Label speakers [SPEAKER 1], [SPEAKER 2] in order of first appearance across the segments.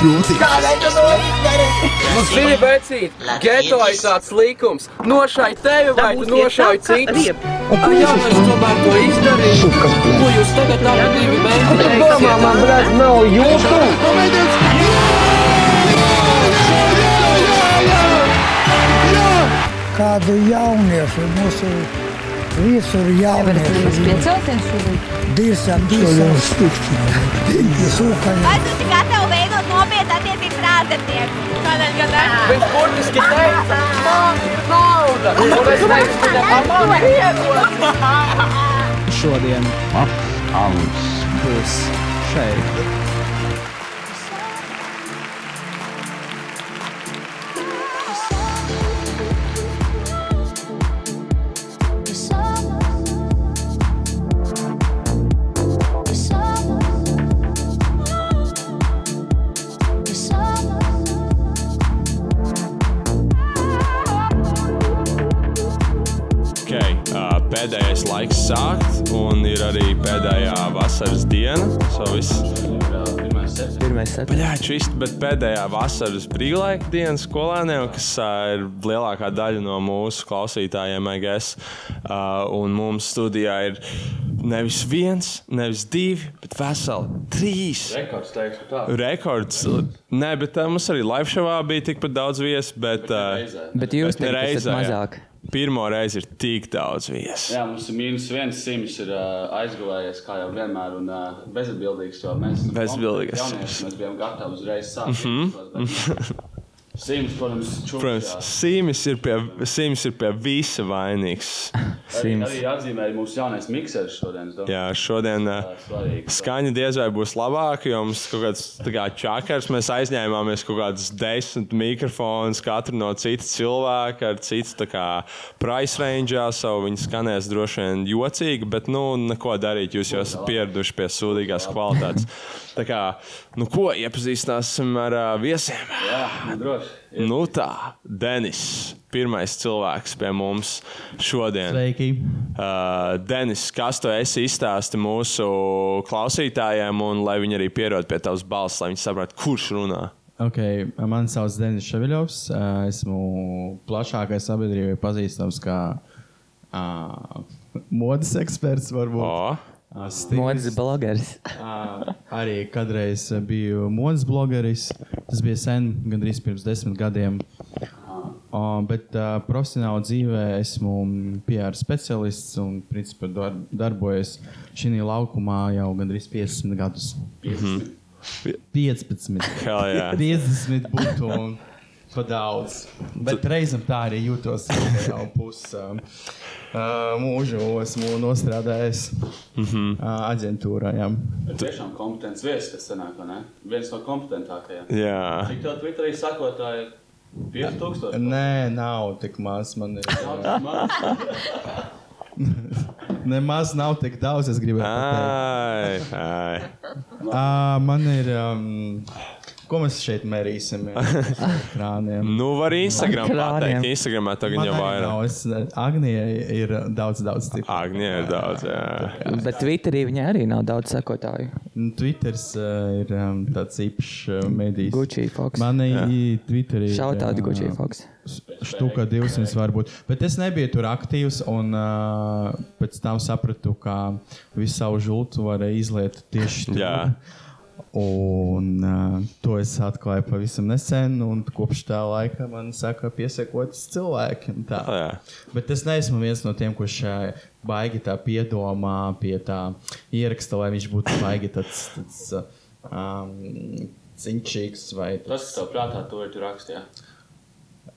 [SPEAKER 1] Grūtības.
[SPEAKER 2] Kādēļ tu to izdari?
[SPEAKER 3] Mums bija vecīt, geto ir tāds likums. Nošai tevi vai tu nošai citu. Ai, jā, es tomēr to izdarīju. Ko jūs tagad nav divi mēneši?
[SPEAKER 4] Domā, man brāl, nav jūtu!
[SPEAKER 5] kādu jauniešu, mūsu visur jauniešu,
[SPEAKER 6] Priecāties šodien!
[SPEAKER 5] divas apgabalus stikti, sūkaņi.
[SPEAKER 7] Vai tu esi gatavs veidot nopietnu attiecību ar ārzemnieku? Tādēļ, ka tā ir.
[SPEAKER 3] Viņš burtiski teica, man ir nauda. Un es teicu, ka man ir iedod.
[SPEAKER 8] Šodien apgabals būs šeit.
[SPEAKER 9] Okay, uh, pēdējais laiks sākt, un ir arī pēdējā vasaras diena. So viss
[SPEAKER 4] Pirmais sēde.
[SPEAKER 9] Paļāču īsti, bet pēdējā vasaras brīvlaika diena skolēniem, kas ā, ir lielākā daļa no mūsu klausītājiem, EGS. Un mums studijā ir nevis viens, nevis divi, bet veseli trīs. Rekords, teiksim, tā. Rekords. Nē, bet ā, mums arī live šovā bija tikpat daudz viesu, bet. ā,
[SPEAKER 4] Bet jūs teikt,
[SPEAKER 9] bet
[SPEAKER 4] esat
[SPEAKER 9] reizē, jā.
[SPEAKER 4] mazāk.
[SPEAKER 9] Pirmo reizi ir tik daudz viesu.
[SPEAKER 10] Jā, mums ir mīnus viens simts, ir uh, aizgājies, kā jau vienmēr, un uh, bezatbildīgs. jo Mēs esam
[SPEAKER 9] Bezatbildīgs.
[SPEAKER 10] jaunieši, Mēs bijām gatavi uzreiz sākt.
[SPEAKER 9] Mhm.
[SPEAKER 10] Mm -hmm. Simts, protams, čūlas.
[SPEAKER 9] Protams, Sīmis ir, pie, Sīmis ir pie visa vainīgs.
[SPEAKER 10] Arī, arī atzīmēja mūsu jaunais mikseris šodien. es domāju,
[SPEAKER 9] Jā, šodien.
[SPEAKER 10] tā
[SPEAKER 9] ā,
[SPEAKER 10] ir svarīgi.
[SPEAKER 9] Skaņa diez vai būs labāka, jo mums kaut kāds tā kā čakars, mēs aizņēmāmies kaut kādus desmit mikrofonus, katru no cita cilvēka, ar citu tā kā price rangeā, savu viņi skanēs droši vien jocīgi, bet, nu, neko darīt, jūs jau esat pieraduši pie sūdīgās kvalitātes. Tā kā, nu ko, iepazīstināsim ar uh, viesiem.
[SPEAKER 10] Jā, nu, droši.
[SPEAKER 9] Nu tā, Denis, pirmais cilvēks pie mums šodien.
[SPEAKER 8] Sveiki!
[SPEAKER 9] Uh, Denis, kas tu esi izstāsti mūsu klausītājiem, un lai viņi arī pierod pie tavas balss, lai viņi saprastu, kurš runā.
[SPEAKER 8] Okay, man sauc Denis Ševiļovs. ā, Esmu plašākai sabiedrībai pazīstams kā uh, modes eksperts, varbūt.
[SPEAKER 9] O,
[SPEAKER 8] Ā, stilists.
[SPEAKER 4] Modes blogeris.
[SPEAKER 8] Ā, arī kādreiz biju modes blogeris. Tas bija sen, gandrīz pirms desmit gadiem. O, bet uh, profesionāli dzīvē esmu mm, PR specialists un principā dar darbojos šajā laukumā jau gandrīz 50 gadus. 15.
[SPEAKER 9] Hell yeah.
[SPEAKER 8] 50 būtu un pa daudz. Bet reizēm tā arī jūtos. ka Jau pusi um, uh, mūžu esmu nostrādājis mm -hmm. uh, aģentūrā. Jā.
[SPEAKER 10] Bet Tiešām kompetents viesis, kas sanāk, vai ne? Viens no kompetentākajiem.
[SPEAKER 9] jā.
[SPEAKER 10] Cik tev Twitterī sakotāji ir? 5000.
[SPEAKER 8] Nē, nav tik maz. Man ir.
[SPEAKER 9] Nu.
[SPEAKER 10] Man-
[SPEAKER 8] Nemaz nav tik daudz, es gribēju pateikt.
[SPEAKER 9] Ai, ai.
[SPEAKER 8] Uh, man ir. Um, ko mēs šeit mērīsim? Krāniem.
[SPEAKER 9] Nu, var Instagram
[SPEAKER 4] Krāniem.
[SPEAKER 9] pateikt. Instagramā tagad
[SPEAKER 8] Man
[SPEAKER 9] jau
[SPEAKER 8] arī
[SPEAKER 9] vairāk.
[SPEAKER 8] nav. Es, Agnija ir daudz, daudz stiprāka.
[SPEAKER 9] Agnija ir daudz, jā.
[SPEAKER 4] Bet Twitterī viņai arī nav daudz sekotāju.
[SPEAKER 8] Nu, Twitters uh, ir um, tāds īpašs uh, mēdījis.
[SPEAKER 4] Gucci, Fox.
[SPEAKER 8] Manī Twitterī.
[SPEAKER 4] Šautādi Gucci Fox.
[SPEAKER 8] Štuka 200 varbūt. Bet es nebiju tur aktīvs un uh, pēc tam sapratu, ka visu savu žultu var izliet tieši tur.
[SPEAKER 9] Jā.
[SPEAKER 8] Un uh, to es atklāju pavisam nesen, un kopš tā laika man saka, piesakoties cilvēki. un tā.
[SPEAKER 9] Oh, jā.
[SPEAKER 8] Bet es neesmu viens no tiem, kurš ā, baigi tā piedomā pie tā ieraksta, lai viņš būtu baigi tāds, tāds um, ciņšīgs vai
[SPEAKER 10] Tas, kas tev prātā, to ir tu rakstījā.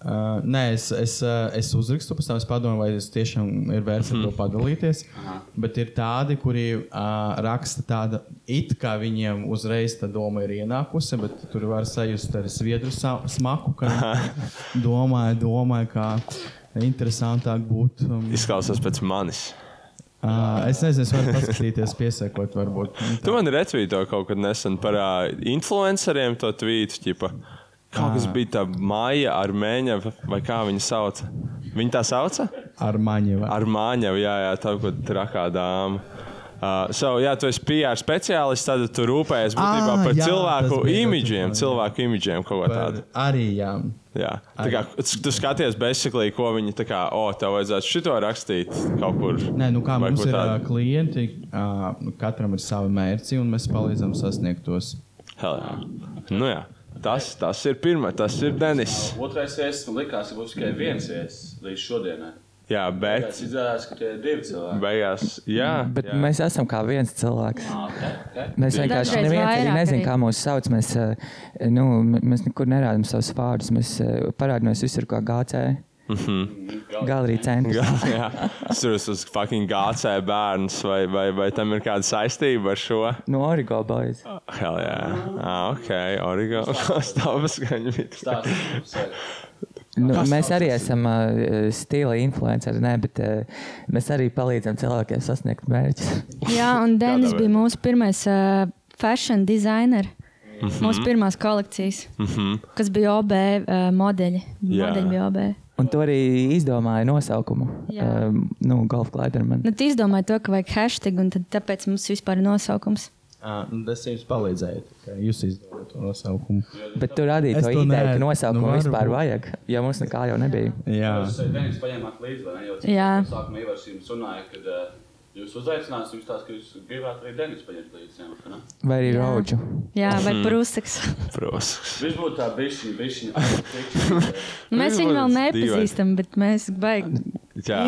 [SPEAKER 8] Uh, nē, es, es, uh, es uzrakstu, pēc tam es padomāju, vai tas tiešām ir vērts ar to
[SPEAKER 9] Mhm.
[SPEAKER 8] padalīties. Bet ir tādi, kuri uh, raksta tādu, it kā viņiem uzreiz tā doma ir ienākusi, bet tur var sajust arī sviedru sa- smaku, ka viņi domāju, domāju, kā interesantāk būtu. Um,
[SPEAKER 9] Izklausās pēc manis.
[SPEAKER 8] uh, es nezinu, es varu paskatīties, piesakot, varbūt. Un tā.
[SPEAKER 9] Tu man retvīto kaut kad nesen par uh, influenceriem to tvītu, ķipa. Kaut kas bija tā māja ar mēņa, vai kā viņa sauca? Viņa tā sauca?
[SPEAKER 8] Ar maņiem.
[SPEAKER 9] Ar māņu, jā, jā, tā kā trakā dāma. Uh, so, jā, tu esi PR speciālists, tad tu rūpējies būtībā
[SPEAKER 8] Ā,
[SPEAKER 9] par
[SPEAKER 8] Ah, jā,
[SPEAKER 9] cilvēku
[SPEAKER 8] tas bija
[SPEAKER 9] imidžiem,
[SPEAKER 8] ļoti labi, jā.
[SPEAKER 9] cilvēku imidžiem kaut ko
[SPEAKER 8] Par,
[SPEAKER 9] tādu.
[SPEAKER 8] arī jā.
[SPEAKER 9] Jā, tā kā c- tu skaties, basically, ko viņi tā kā, o, tev vajadzētu šito rakstīt kaut kur.
[SPEAKER 8] Nē, nu kā
[SPEAKER 9] vai
[SPEAKER 8] mums
[SPEAKER 9] ko
[SPEAKER 8] ir ā,
[SPEAKER 9] tādu.
[SPEAKER 8] klienti, ā, nu, katram ir savi mērķi, un mēs palīdzam sasniegt tos.
[SPEAKER 9] Hell, jā. Nu, jā. Tas, tas ir pirmais, tas ir Denis.
[SPEAKER 10] Otrais viesis man likās, ka būs tikai
[SPEAKER 9] Mhm.
[SPEAKER 10] viens viesis līdz šodienai.
[SPEAKER 9] Jā, bet
[SPEAKER 10] Tas izrādās, ka tie ir divi cilvēki.
[SPEAKER 9] beigās, jā,
[SPEAKER 4] Bet
[SPEAKER 9] jā.
[SPEAKER 4] mēs esam kā viens cilvēks.
[SPEAKER 10] Ah, okay, okay.
[SPEAKER 4] Mēs vienkārši
[SPEAKER 1] Dažreiz
[SPEAKER 4] neviens arī
[SPEAKER 1] vairāk
[SPEAKER 4] nezinām,
[SPEAKER 1] arī.
[SPEAKER 4] kā mūsu sauc. Mēs, eh, nu, m- mēs nekur nerādām savus vārdus. Mēs eh, parādāmies visur, kā gācēji. Galerija centrā.
[SPEAKER 9] Jā, jā. Es tur esmu uz fucking gācē bērns, vai, vai, vai tam ir kāda saistība ar šo?
[SPEAKER 4] No Nu, Origo boys.
[SPEAKER 9] Hell, jā. Ah, ok, origo. Stāvas gaņa bija.
[SPEAKER 10] Tāds ir svarīgs.
[SPEAKER 4] Nu, mēs arī esam eh, stila influenceri, ne, bet eh, mēs arī palīdzam cilvēkiem sasniegt mērķus.
[SPEAKER 1] Jā, un Denis
[SPEAKER 9] Kādā
[SPEAKER 1] bija mūsu pirmais uh, fashion designer. Mm
[SPEAKER 9] Mhm.
[SPEAKER 1] -hmm. Mūsu pirmās kolekcijas, mm -hmm. kas bija OB uh, modeļi.
[SPEAKER 9] Jā.
[SPEAKER 1] Modeļi bija OB.
[SPEAKER 4] Un to arī izdomāja nosaukumu.
[SPEAKER 1] Jā.
[SPEAKER 4] eh, nu, Golf Klaiderman.
[SPEAKER 1] Nu, tu izdomāji to, ka vajag hashtag, un tad tāpēc mums vispār ir nosaukums.
[SPEAKER 8] Ā, nu, Tas jums palīdzēja. ka Jūs izdomājat to nosaukumu.
[SPEAKER 4] Bet tu radīji
[SPEAKER 8] Es
[SPEAKER 4] to
[SPEAKER 8] to
[SPEAKER 4] ideju,
[SPEAKER 8] ne-
[SPEAKER 4] ka
[SPEAKER 8] nu,
[SPEAKER 4] nosaukumu nu,
[SPEAKER 8] varbūt.
[SPEAKER 4] vispār vajag, jo mums nekā jau nebija.
[SPEAKER 8] Jā,
[SPEAKER 10] Jūs esat Denis paņēmāt līdzi, vai ne? Jo
[SPEAKER 1] Jā.
[SPEAKER 10] cik sākumā Ivars jums runāja, kad ā, jūs uzaicinās, jums tās, ka jūs gribētu arī Denis paņemt līdzi. jā, vai ne?
[SPEAKER 4] Vai arī Rauģu.
[SPEAKER 1] Jā, vai prūsaks.
[SPEAKER 9] Prūsaks.
[SPEAKER 10] Viņš būtu tā bišķiņa,
[SPEAKER 9] Mhm.
[SPEAKER 10] bišķiņa.
[SPEAKER 1] Nu, mēs viņu vēl
[SPEAKER 9] Dīvaini.
[SPEAKER 1] nepazīstam, bet mēs baigi
[SPEAKER 9] Jā.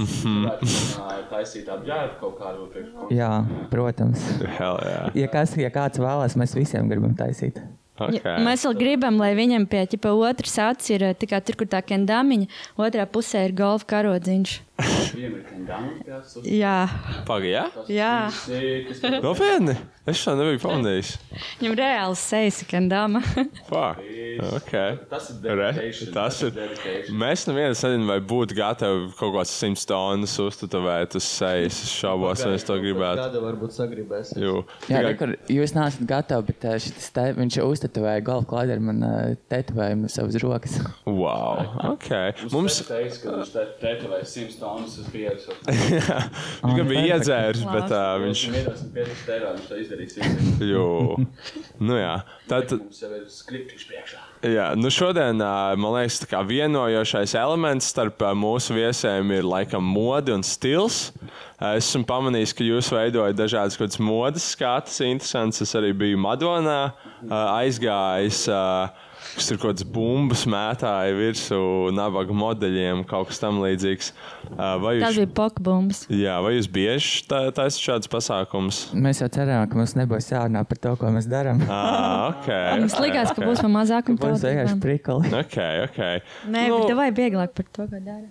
[SPEAKER 10] eh, Taisīt apģērbu kaut kādu priekš. kaut-
[SPEAKER 4] Jā, protams.
[SPEAKER 9] Hell, jā.
[SPEAKER 4] Ja, kas, ja kāds vēlās, mēs visiem gribam taisīt.
[SPEAKER 1] Ja,
[SPEAKER 9] Okay.
[SPEAKER 1] mēs vēl gribam, lai viņam pie ķipa otras acis ir eh, tikai tur, kur tā kendāmiņa, otrā pusē ir golfa karodziņš.
[SPEAKER 10] Viņam ir kandāmas krāsas. uz-
[SPEAKER 1] Jā,
[SPEAKER 9] Pagaidi, jā?
[SPEAKER 1] jā.
[SPEAKER 10] Visi, kas tur
[SPEAKER 9] Nopietni! Es šo nebiju pamanījis.
[SPEAKER 1] viņam reāli sejas kendāma.
[SPEAKER 9] Fuck. Okay.
[SPEAKER 10] Tas ir
[SPEAKER 9] Re,
[SPEAKER 10] dedication,
[SPEAKER 9] tas ir.
[SPEAKER 10] dedication.
[SPEAKER 9] Mēs nevienam nezinām, vai būtu gatavi kaut kāds simts tonnas uztatavēt uz sejas. Es šaubos, vai es to gribētu.
[SPEAKER 8] Kāda varbūt sagribēs?
[SPEAKER 9] Jū.
[SPEAKER 4] Jā,
[SPEAKER 9] Tikai-
[SPEAKER 4] rekur, jūs neesat gatavi, bet eh, šitas te, viņš uztetovēja golf klaidermanu tetovējumu savas rokas.
[SPEAKER 9] Wow. Okay. Mums
[SPEAKER 10] Mums teica, ka viņš te teica, vai 100 tonnas uz 50.
[SPEAKER 9] viņš gan bija iedzēris, bet uh, viņš.
[SPEAKER 10] Viņš ir 50 eiro, viņš to izdarīs. visi.
[SPEAKER 9] Jū. Nu, jā. Tad,
[SPEAKER 10] Mums jau ir skriptiņš priekšā.
[SPEAKER 9] jā. Nu, šodien, ā, man liekas, tā kā vienojošais elements starp ā, mūsu viesiem ir laikam mode un stils. Ā, Es esmu pamanījis, ka jūs veidojat dažādas kaut kādas modes skatus. Interesants. Es arī biju Madonā ā, aizgājis. ā, Kas ir kaut kāds bumbas mētāja virsū, nabaga modeļiem, kaut kas tam līdzīgs. Ā, Vai
[SPEAKER 1] Tas
[SPEAKER 9] jūs,
[SPEAKER 1] bija pokbumbs.
[SPEAKER 9] jā, vai jūs bieži tā- taisat šādus pasākumus?
[SPEAKER 4] Mēs jau cerējām, ka mums nebūs jārunā par to, ko mēs darām.
[SPEAKER 9] Ah, okay,
[SPEAKER 1] Mums
[SPEAKER 9] okay,
[SPEAKER 1] likās, ka
[SPEAKER 9] okay.
[SPEAKER 1] būs pa mazāk un pa
[SPEAKER 4] Mums vienkārši
[SPEAKER 1] vairāk.
[SPEAKER 4] prikali.
[SPEAKER 9] Ok, ok.
[SPEAKER 1] Nē,
[SPEAKER 9] nu,
[SPEAKER 1] bet tev vajag vieglāk par to, ko dara.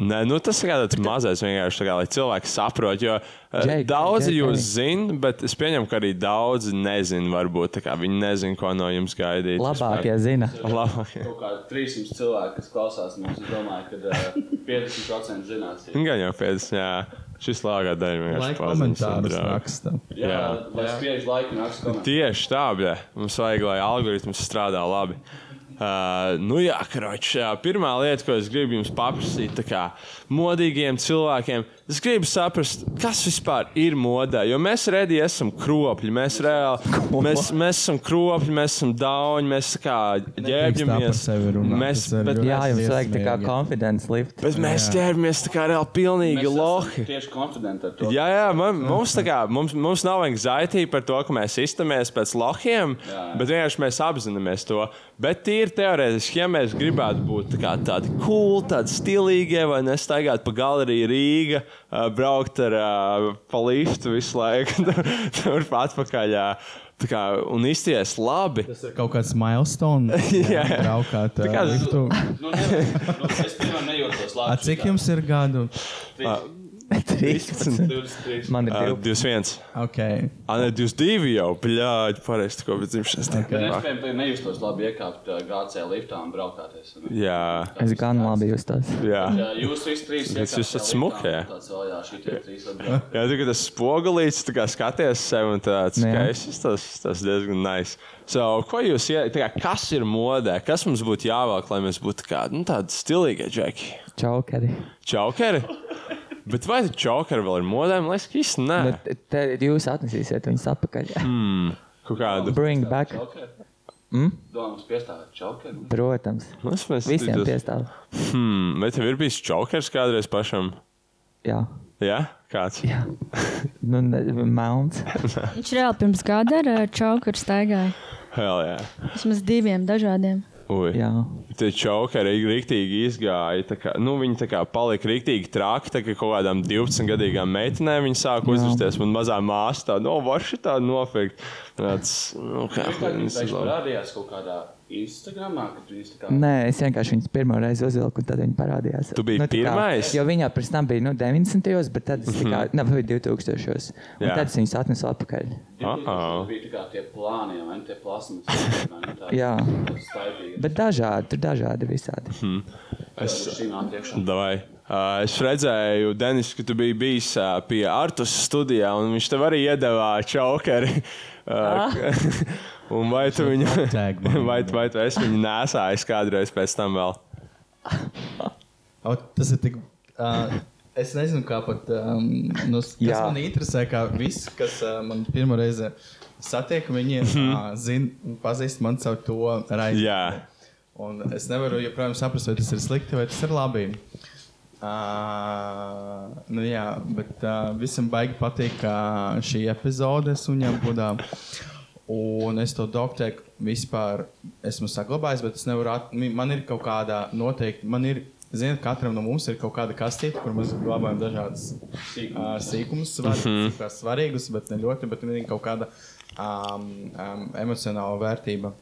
[SPEAKER 9] Nē, nu, tas ir tāds mazais vienkārši, tā kā, lai cilvēki saprotu. Jo eh,
[SPEAKER 4] Jake,
[SPEAKER 9] daudzi
[SPEAKER 4] Jake,
[SPEAKER 9] jūs
[SPEAKER 4] Jake.
[SPEAKER 9] zina, bet es pieņemu, ka arī daudzi nezina. Varbūt tā kā viņi nezina, ko no jums gaidīt.
[SPEAKER 4] Labākie zina.
[SPEAKER 9] vispār. Labākie.
[SPEAKER 10] Kaut kā 300 cilvēki, kas klausās mums, es domāju, ka ā, 50% zinās. ja.
[SPEAKER 9] Gan jau pēc, jā, šis lāgā daļa
[SPEAKER 8] Lai
[SPEAKER 9] vienkārši paziņas un
[SPEAKER 8] komentārus
[SPEAKER 9] draugi.
[SPEAKER 8] raksta.
[SPEAKER 10] Jā, lai spiež laiku nāks komentēt.
[SPEAKER 9] Tieši tā, bļa. Mums vajag, lai algoritms strādā labi. Uh, nu, jā, karoči. Uh, pirmā lieta, ko es gribu jums paprasīt, tā kā modīgiem cilvēkiem, es gribu saprast, kas vispār ir modē. Jo mēs redzam, esam kropļi. Mēs, reāli, mēs, mēs esam kropļi, mēs esam dauni, mēs tā kā ģērbjamies. Mēs, bet,
[SPEAKER 4] Jā, jums vajag tā kā confidence lift.
[SPEAKER 9] bet mēs ķērbamies tā kā reāli pilnīgi lohi.
[SPEAKER 10] Tieši konfidenti ar to.
[SPEAKER 9] Jā, jā man, mums, tā kā, mums, mums nav anxiety par to, ka mēs iztamies pēc lohiem,
[SPEAKER 10] jā.
[SPEAKER 9] bet vienkārši mēs apzināmies to. Bet tīri teorētiski, ja mēs gribētu būt tā kā, tādi cool, tādi stilīgie, vai nestaigāt pa galeriju Rīgā, braukt ar ā, pa liftu visu laiku, tur, tur pa atpakaļ ā, tā kā, un izties labi.
[SPEAKER 8] Tas ir kaut kāds milestone. Jā,
[SPEAKER 9] Jā.
[SPEAKER 8] braukāt.
[SPEAKER 9] Tā kā-
[SPEAKER 8] ā, liftu.
[SPEAKER 10] Nu, nevar- nu, es pirmā nejūtos
[SPEAKER 8] Ā,
[SPEAKER 10] labi.
[SPEAKER 8] Cik jums ir gadu?
[SPEAKER 4] Man ir
[SPEAKER 9] Ā,
[SPEAKER 4] divi.
[SPEAKER 9] 21.
[SPEAKER 8] Okay.
[SPEAKER 9] Ai, 22 jau, bļāģi, pareizi, ko bija dzimšanas diena.
[SPEAKER 10] Bet es piemēram nejūtos labi iekāpt ā, GC liftā un brauktēties.
[SPEAKER 9] Jā,
[SPEAKER 4] Es gan labi jūtos.
[SPEAKER 9] jā.
[SPEAKER 10] Jūs visi trīs
[SPEAKER 9] Bet jūs esat smuki, jā.
[SPEAKER 10] Tāds vēl jā, šī tie trīs atbrauc.
[SPEAKER 9] Jā, tu, kad tas spogulis, tu kā skaties sev un tāds
[SPEAKER 4] Nu, jā.
[SPEAKER 9] skaists, tas, tas diezgan nice. So, ko jūs, ie- tā kā, kas ir modē, kas mums būtu jāvelk, lai mēs būtu kā, nu, tādi stilīgi džeki?
[SPEAKER 4] Čaukeri.
[SPEAKER 9] Čaukeri? Bet vai tas čokars vēl ir modē? Man liekas, ka īsti nē. Hmm,
[SPEAKER 4] Nu, t- Tad jūs atnesīsiet viņus atpakaļ.
[SPEAKER 9] Kaut kādu.
[SPEAKER 4] Bring back,
[SPEAKER 10] Čaukeri?
[SPEAKER 9] Hm?
[SPEAKER 10] Domājams, piestāvēt čaukeri?
[SPEAKER 4] protams.
[SPEAKER 9] Es
[SPEAKER 4] Visiem piestāv.
[SPEAKER 9] Hmm, vai tev ir bijis čokars kādreiz pašam?
[SPEAKER 4] Jā,
[SPEAKER 9] Jā, kāds.
[SPEAKER 4] jā. Nu, ne- melns.
[SPEAKER 1] Viņš reāli pirms gada ar ā, čaukaru staigāja.
[SPEAKER 9] Hell, jā.
[SPEAKER 1] Vismaz diviem dažādiem.
[SPEAKER 9] Ui.
[SPEAKER 4] Jā.
[SPEAKER 9] Tie čaukari rīktīgi izgāja. tā Kā, nu, viņi tā kā palika rīktīgi traki. Tā kā kaut kādām 12-gadīgām meitenēm viņi sāka uzvesties. Un mazā māsā tā, no varši tā nofekt. Tāds, nu, kā,
[SPEAKER 10] Viņš
[SPEAKER 9] nezinu, labi.
[SPEAKER 10] parādījās kaut kādā Instagramā, kad viņš tā kā
[SPEAKER 4] Nē, es vienkārši viņas pirmo reizi uzvilku, un tad viņa parādījās. Nu,
[SPEAKER 9] Tu biji
[SPEAKER 4] tā kā-
[SPEAKER 9] pirmais? Mhm.
[SPEAKER 4] Jo viņa pirms tam bija nu, 90. bet tad es tikai, ne, vai 2000. Un
[SPEAKER 9] Jā.
[SPEAKER 4] tad es viņas atnesu atpakaļ.
[SPEAKER 9] Aha.
[SPEAKER 10] Aha. bija tā kā tie plāni, vai ne, tie plasmas. vai ne, tā-
[SPEAKER 4] Jā.
[SPEAKER 10] tas Staigīgi.
[SPEAKER 4] Bet dažādi, tur dažādi visādi.
[SPEAKER 9] Mhm.
[SPEAKER 10] Es šīm priekšā.
[SPEAKER 9] Davai. Uh, es redzēju, Denis, ka tu biji bijis uh, pie Artus studijā, un viņš tev arī iedeva čaukari. Uh, un vai tu viņu,
[SPEAKER 8] Tag man.
[SPEAKER 9] vai, vai tu esi viņu nesājis kādreiz pēc tam vēl?
[SPEAKER 8] O, tas ir tik. Uh, es nezinu, kā pat. Um, nu, s-
[SPEAKER 4] Jā.
[SPEAKER 8] kas man interesē, kā viss, kas uh, man pirmo reizi satiek, viņi uh, zin, pazīst man caur to raidījumu.
[SPEAKER 9] Jā.
[SPEAKER 8] Un es nevaru joprojām saprast, vai tas ir slikti vai tas ir labi. Uh, nu jā, bet uh, visam baigi patīk uh, šī epizode suņiem būdā. Un es to doktoru vispār esmu saglabājis, bet es nevaru. At... mi- Man ir kaut kāda noteikti. Man ir, ziniet, katram no mums ir kaut kāda kastīte, kur mēs glabājam dažādas uh, sīkumus, svar... mm -hmm. svarīgus, bet ne ļoti, bet viņi ir kaut kāda um, um, emocionāla vērtība.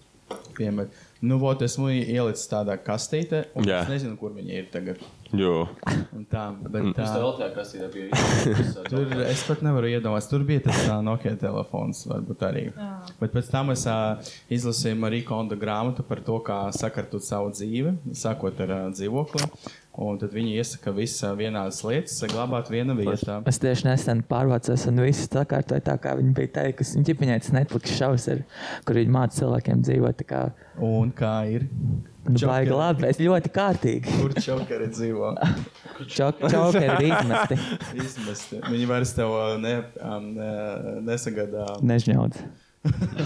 [SPEAKER 8] Piemēram, nu, vot, esmu ielicis tādā kastītē, un
[SPEAKER 9] Jā.
[SPEAKER 8] yeah. es nezinu, kur viņi ir tagad.
[SPEAKER 9] Jo.
[SPEAKER 8] Un Tā, bet,
[SPEAKER 10] Tas
[SPEAKER 8] tā,
[SPEAKER 10] tev tajā kastītē bija.
[SPEAKER 8] Tur es pat nevaru iedomāties. Tur bija tas uh, Nokia telefons, varbūt arī. Jā. Bet pēc tam es uh, izlasīju Mariju Konda grāmatu par to, kā sakartot savu dzīvi, sākot ar uh, dzīvokli. Un tad viņi iesaka visas vienādas lietas, saglabāt viena vietā.
[SPEAKER 4] Es tieši nesen pārvācos, un viss sakārtoja tā, kā viņa bija teikusi. Viņa ģimenē tas Netflix šovs, ir, kur viņa māca cilvēkiem dzīvot. tā Kā,
[SPEAKER 8] Un kā ir?
[SPEAKER 4] nu,
[SPEAKER 8] Čokeri.
[SPEAKER 4] baigi labi, es ļoti kārtīgi.
[SPEAKER 8] Kur čaukari dzīvo?
[SPEAKER 4] Čok, čokeri ir izmesti.
[SPEAKER 8] Izmesti. Viņi vairs tev uh, ne, um, ne, nesagādā
[SPEAKER 4] Nežņauts.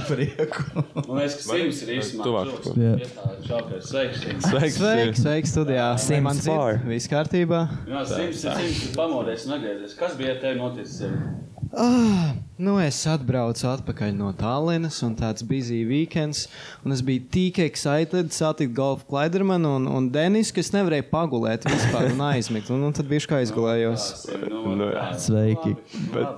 [SPEAKER 8] prieku.
[SPEAKER 10] Man liekas, ka Sims ir īstenībā.
[SPEAKER 9] Tuvāk.
[SPEAKER 6] Jā.
[SPEAKER 10] Piestāvēt čaukeri. Sveiks, Sims.
[SPEAKER 9] Sveiks!
[SPEAKER 6] Sveiki, sveiki studijā. Vai Man
[SPEAKER 4] Sims four.
[SPEAKER 6] dzird, viss kārtībā.
[SPEAKER 10] Jā, Sims ir Sims ir pamodies un atgriezies. Kas bija tev noticis?
[SPEAKER 6] Ah, nu es atbraucu atpakaļ no Tallinas, un tāds bija weekends. Un es biju tik excited satikt Golfu Klaidermanu un, un Denisu, kas nevarēja pagulēt vispār un aizmigt. Un, un tad bija kā aizgulējos.
[SPEAKER 10] Sim, nu,
[SPEAKER 9] Nu, jā.
[SPEAKER 6] Sveiki!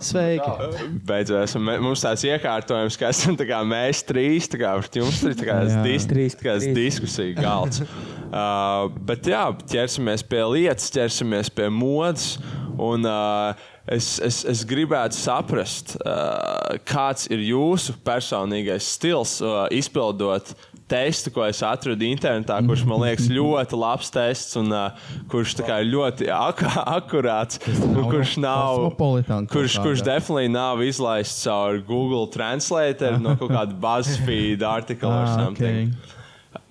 [SPEAKER 6] Sveiki!
[SPEAKER 9] Beidzot, esam- mē- mums tāds iekārtojums, ka esam tā kā mēs trīs, tā kā pret jums trīs, tā kā
[SPEAKER 8] Jā.
[SPEAKER 9] dis,
[SPEAKER 4] Trīs,
[SPEAKER 9] tā kā
[SPEAKER 4] trīs.
[SPEAKER 9] diskusija galds. Uh, bet jā, ķersimies pie lietas, ķersimies pie modes. Un, uh, es, es, es gribētu saprast, uh, kāds ir jūsu personīgais stils uh, izpildot. Testu, ko es atradu internetā, kurš man liekas ļoti labs tests, un uh, kurš tā kā ir ļoti ak akurāts, un
[SPEAKER 8] nav
[SPEAKER 9] kurš nav,
[SPEAKER 8] kosmopolitāns kaut
[SPEAKER 9] kurš, kurš
[SPEAKER 8] kādā.
[SPEAKER 9] Definitely nav izlaists caur Google Translate no kaut kāda BuzzFeed artikla vai
[SPEAKER 8] Ah,
[SPEAKER 9] something. Okay.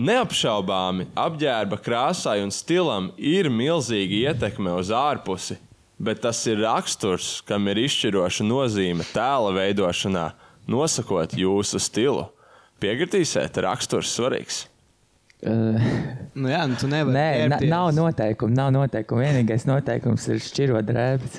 [SPEAKER 9] Neapšaubāmi apģērba krāsai un stilam ir milzīga ietekme uz ārpusi, bet tas ir raksturs, kam ir izšķiroša nozīme tēla veidošanā, nosakot jūsu stilu. Piekritīsiet, raksturs svarīgs.
[SPEAKER 4] Uh,
[SPEAKER 6] Nu jā, nu tu nevari.
[SPEAKER 4] Nē, na,
[SPEAKER 6] ģērbties.
[SPEAKER 4] nav noteikumu. Nav noteikumu. Vienīgais noteikums ir šķirot drēbes.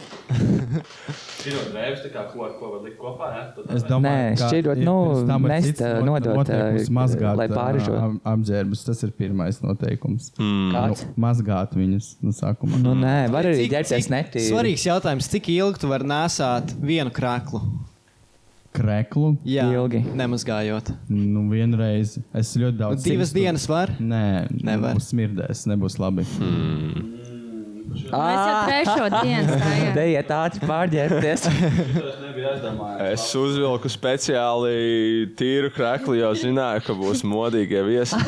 [SPEAKER 10] Šīro drēbes, tā kā ko, ko var likt kopā, ne? Tad
[SPEAKER 8] Es
[SPEAKER 4] Nē,
[SPEAKER 8] domāju, ka
[SPEAKER 4] šķirot,
[SPEAKER 8] ir
[SPEAKER 4] nu,
[SPEAKER 8] pirms tam ir
[SPEAKER 4] mest,
[SPEAKER 8] cits
[SPEAKER 4] ā,
[SPEAKER 8] not-
[SPEAKER 4] nodot, ā,
[SPEAKER 8] noteikums mazgāt,
[SPEAKER 4] lai
[SPEAKER 8] ā,
[SPEAKER 4] pārražot.
[SPEAKER 8] ap- Apģērbus, tas ir pirmais noteikums.
[SPEAKER 9] Mm.
[SPEAKER 4] Kāds?
[SPEAKER 8] Mazgāt viņus no sākuma.
[SPEAKER 4] Nu, nē, var arī
[SPEAKER 6] Cik-
[SPEAKER 4] ģērbties
[SPEAKER 6] cik
[SPEAKER 4] netīri.
[SPEAKER 6] Svarīgs jautājums, cik ilgi tu vari nesāt vienu krāklu?
[SPEAKER 8] Kreklu.
[SPEAKER 6] Jā,
[SPEAKER 4] Ilgi.
[SPEAKER 6] Nemazgājot.
[SPEAKER 8] Nu, vienreiz. Es ļoti
[SPEAKER 6] Nu,
[SPEAKER 8] daudz.
[SPEAKER 6] divas
[SPEAKER 8] cīkstu.
[SPEAKER 6] dienas var.
[SPEAKER 8] Nē,
[SPEAKER 6] Nevar.
[SPEAKER 8] nevar. Smirdēs, nebūs labi.
[SPEAKER 1] Mēs jau trešo dienu strādājām.
[SPEAKER 4] Dejiet ātri pārģērbties.
[SPEAKER 10] tas nebija aizdomājums.
[SPEAKER 9] Es uzvilku speciāli tīru krāklī, jo zināju, ka būs modīgie viesi.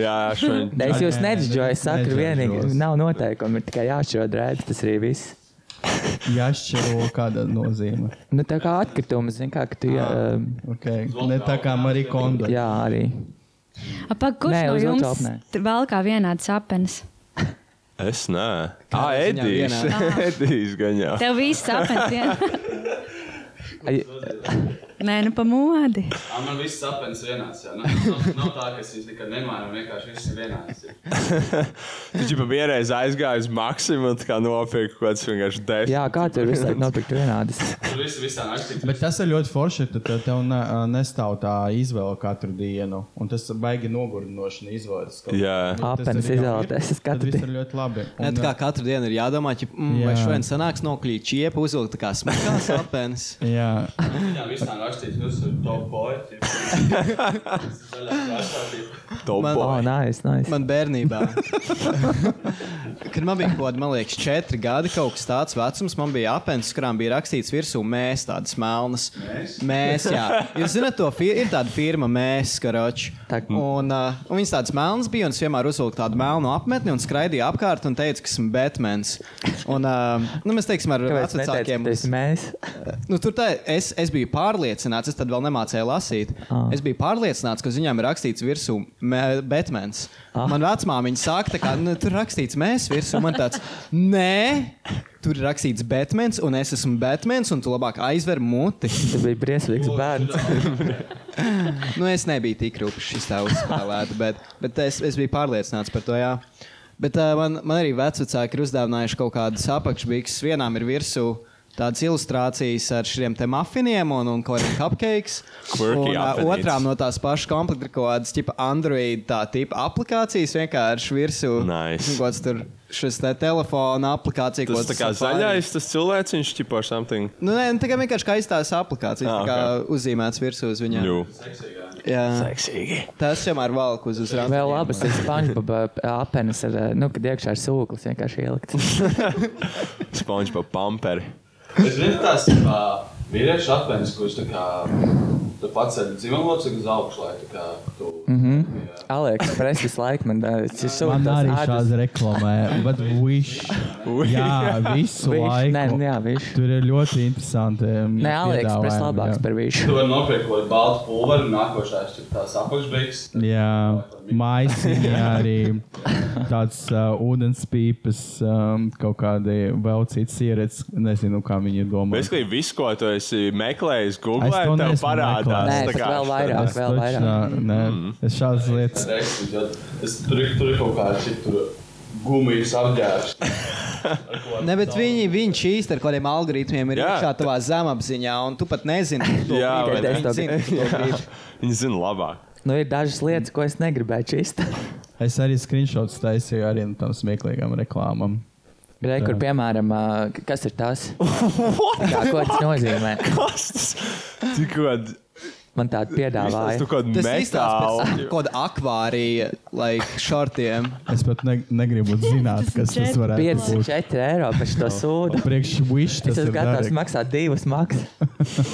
[SPEAKER 9] Jā, šodien
[SPEAKER 4] Es jūs
[SPEAKER 8] Nē, nē,
[SPEAKER 4] nedžoju, es saku,
[SPEAKER 8] nedžodžos.
[SPEAKER 4] vienīgi nav noteikumu. Ir tikai jāšķiro drēbes, tas arī viss.
[SPEAKER 8] Jāšķiro kāda nozīme.
[SPEAKER 4] Nu, tā kā atkritumi, zin kā, ka tu, jā,
[SPEAKER 8] Okay. Ne tā kā Marija Konda.
[SPEAKER 4] jā arī.
[SPEAKER 1] Apā, kurš
[SPEAKER 4] Nē,
[SPEAKER 1] no
[SPEAKER 4] uz
[SPEAKER 1] jums
[SPEAKER 4] WhatsApp nē.
[SPEAKER 1] t- vēl kā vienāds sapnis?
[SPEAKER 9] Es nē, ah,
[SPEAKER 8] ziņā
[SPEAKER 9] Edijs.
[SPEAKER 8] vienā?
[SPEAKER 1] Aha.
[SPEAKER 9] Edijs gan jā.
[SPEAKER 1] Tev viss sapņot vienā. Nē, nu pa modi.
[SPEAKER 11] Ā, Man viss sapnis vienāds.
[SPEAKER 10] Nu,
[SPEAKER 11] jā. Nav, nav, nav tā, ka es viņus nekad nemainu, vienkārši viss ir vienāds. ir.
[SPEAKER 9] Viņš jau vienreiz aizgāja uz maksimumu, tā kā nopirka kaut kāds vienkārši desmit.
[SPEAKER 4] Jā, kā tur visu laiku notiek vienādas.
[SPEAKER 11] Tur viss visā naktī.
[SPEAKER 12] Bet tas ir ļoti forši. Tad tev, tev ne, nestāv tā izvēle katru dienu. Un tas baigi nogurdinoši izvēles.
[SPEAKER 9] Jā.
[SPEAKER 4] Apenas izvēlēties, es
[SPEAKER 12] Tas
[SPEAKER 4] katru
[SPEAKER 12] viss
[SPEAKER 4] dienu.
[SPEAKER 12] ir ļoti labi.
[SPEAKER 8] Ne, tā kā katru dienu ir jādomā, ķip, mm, vai
[SPEAKER 12] Jā.
[SPEAKER 8] šodien sanāks nokļūt čiepu, uzvilkt tā kā smagās apenas.
[SPEAKER 12] jā.
[SPEAKER 11] Jā, visā naktī. Tas ir Nu, top boy. tip. Zaļā krāsā, tip.
[SPEAKER 9] Top
[SPEAKER 8] Man-
[SPEAKER 9] boy.
[SPEAKER 4] O, Ah, nē, nē.
[SPEAKER 8] Man bērnībā, kad man bija kaut kāda četri gadi, kaut kas tāds vecums, man bija apelsīns, kurām bija rakstīts virsū mēs, tādas melnas. Mēs, mēs jā. Jūs zināt, to fi ir tāda firma, mēs, karoči.
[SPEAKER 4] Tā-
[SPEAKER 8] Un, uh, un viņas tādas melnas bija, un es vienmēr uzvilku tādu melnu apmetni un skraidīju apkārt un teicu, ka esmu Batmans. Un, uh, nu, mēs teiksim, ar
[SPEAKER 4] Kāpēc
[SPEAKER 8] vecākiem.
[SPEAKER 4] neteicāt, mēs?
[SPEAKER 8] Nu, tur tā, es, es biju pārliecināts, es tad vēl nemācīju lasīt. Ah. Es biju pārliecināts, ka uz viņiem ir rakstīts virsū mē- Batmans. Ah. Man vecmāmiņa saka, tā kā nu, tur rakstīts mēs virsū. Man tāds, nē, tur ir rakstīts Batmans, un es esmu Batmans, un tu labāk aizver muti.
[SPEAKER 4] Tu biji briesmīgs bērns.
[SPEAKER 8] Nu, es nebiju tik rupšs, šis tā uzspēlēts, bet, bet es, es biju pārliecināts par to. Jā. Bet uh, man, man arī vecāki ir uzdāvinājuši kaut kādas apakšbikses. Vienām ir virsū tādas ilustrācijas ar šiem te mafiniem un, un kaut kādiem cupcakes.
[SPEAKER 9] Quirky
[SPEAKER 8] un, ā,
[SPEAKER 9] apelītes.
[SPEAKER 8] otrām no tās pašas komplekta kaut kādas tipa Android tā tipa aplikācijas vienkārši virsū.
[SPEAKER 9] Nice.
[SPEAKER 8] Nu, Kaut kas tur šis te telefona aplikācija.
[SPEAKER 9] Tas
[SPEAKER 8] kaut
[SPEAKER 9] tā
[SPEAKER 8] kas
[SPEAKER 9] kā
[SPEAKER 8] Safari.
[SPEAKER 9] zaļais, tas cilvēciņš, tipo ar something.
[SPEAKER 8] Nu, nē, nu, tā kā vienkārši skaistās
[SPEAKER 9] Ah,
[SPEAKER 8] aplikācijas, tā kā uzzīmēts virsū uz viņiem.
[SPEAKER 9] Jū.
[SPEAKER 8] Jā, tas vienmēr valk uz uzrādu.
[SPEAKER 4] Vēl labas ir SpongeBob apenas, ar, eh, nu, kad iekšā ir sūklis vienkārši ielikts.
[SPEAKER 9] Sponge pa pamperi.
[SPEAKER 11] Es zinu, tās ir vīriešu apgabals, kurš tā kā tu pats ar dzimumlocekli uz augšu, lai tā kā tu. Mm -hmm.
[SPEAKER 4] Aleks, press visu laiku man dara. Viņš
[SPEAKER 12] Man arī
[SPEAKER 4] sūta
[SPEAKER 12] šādas reklamē, bet viņš jā, visu
[SPEAKER 4] Viņš, nē, nu,
[SPEAKER 12] laiku.
[SPEAKER 4] jā, viņš.
[SPEAKER 12] Tur ir ļoti interesanti.
[SPEAKER 4] Nē, Aleks, press labāks par
[SPEAKER 11] Tu
[SPEAKER 4] višu.
[SPEAKER 11] vari nopirkt kaut kādu baltu pulveri, un nākošais ir tās apakšbeigas.
[SPEAKER 12] Jā, maisiņā arī tāds uh, ūdenspīpes, um, kaut kādi vēl cits ieredzes. Nezinu, kā viņi domā.
[SPEAKER 9] Basically, visu, ko tu esi meklējis, Google,
[SPEAKER 12] Es to
[SPEAKER 9] tev
[SPEAKER 12] neesmu
[SPEAKER 9] parādās.
[SPEAKER 4] Nē,
[SPEAKER 12] meklējis.
[SPEAKER 9] tā
[SPEAKER 4] pat
[SPEAKER 9] kā-
[SPEAKER 4] vēl vairāk, vēl vairāk.
[SPEAKER 12] Nē, es šādas lietas.
[SPEAKER 11] Es tur ir tur ir kaut kāda šī gumijas apģērbs. Ar ko-
[SPEAKER 8] Ne, bet viņi, viņš īstenībā ar kādiem algoritmiem ir
[SPEAKER 9] Jā.
[SPEAKER 8] iekšā tavā zemapziņā, un tu pat nezini,
[SPEAKER 9] Jā,
[SPEAKER 8] kas
[SPEAKER 9] vai
[SPEAKER 4] ne?
[SPEAKER 8] tas ir.
[SPEAKER 9] Viņi zina labāk.
[SPEAKER 4] Nu, ir dažas lietas, ko es negribēju čist.
[SPEAKER 12] Es arī screenshots taisīju arī no tām smieklīgām reklāmām.
[SPEAKER 4] Re, kur, piemēram, ā, k- kas ir tas? Kā, ko tas nozīmē?
[SPEAKER 9] Kas tas? Tu kaut
[SPEAKER 4] Man tādu
[SPEAKER 9] kādu
[SPEAKER 4] piedāvāja.
[SPEAKER 9] tādu
[SPEAKER 8] Tas izstāsta par
[SPEAKER 9] metālu.
[SPEAKER 8] kaut kādu akvāriju, like šortiem.
[SPEAKER 12] Es pat ne, negribu zināt, kas tas varētu būt.
[SPEAKER 4] 54 eiro par šo sūdu.
[SPEAKER 12] Priekšvišķis Oh. tas
[SPEAKER 4] Es esmu
[SPEAKER 12] ir.
[SPEAKER 4] gatavs
[SPEAKER 12] dārgi.
[SPEAKER 4] maksāt divas maksas.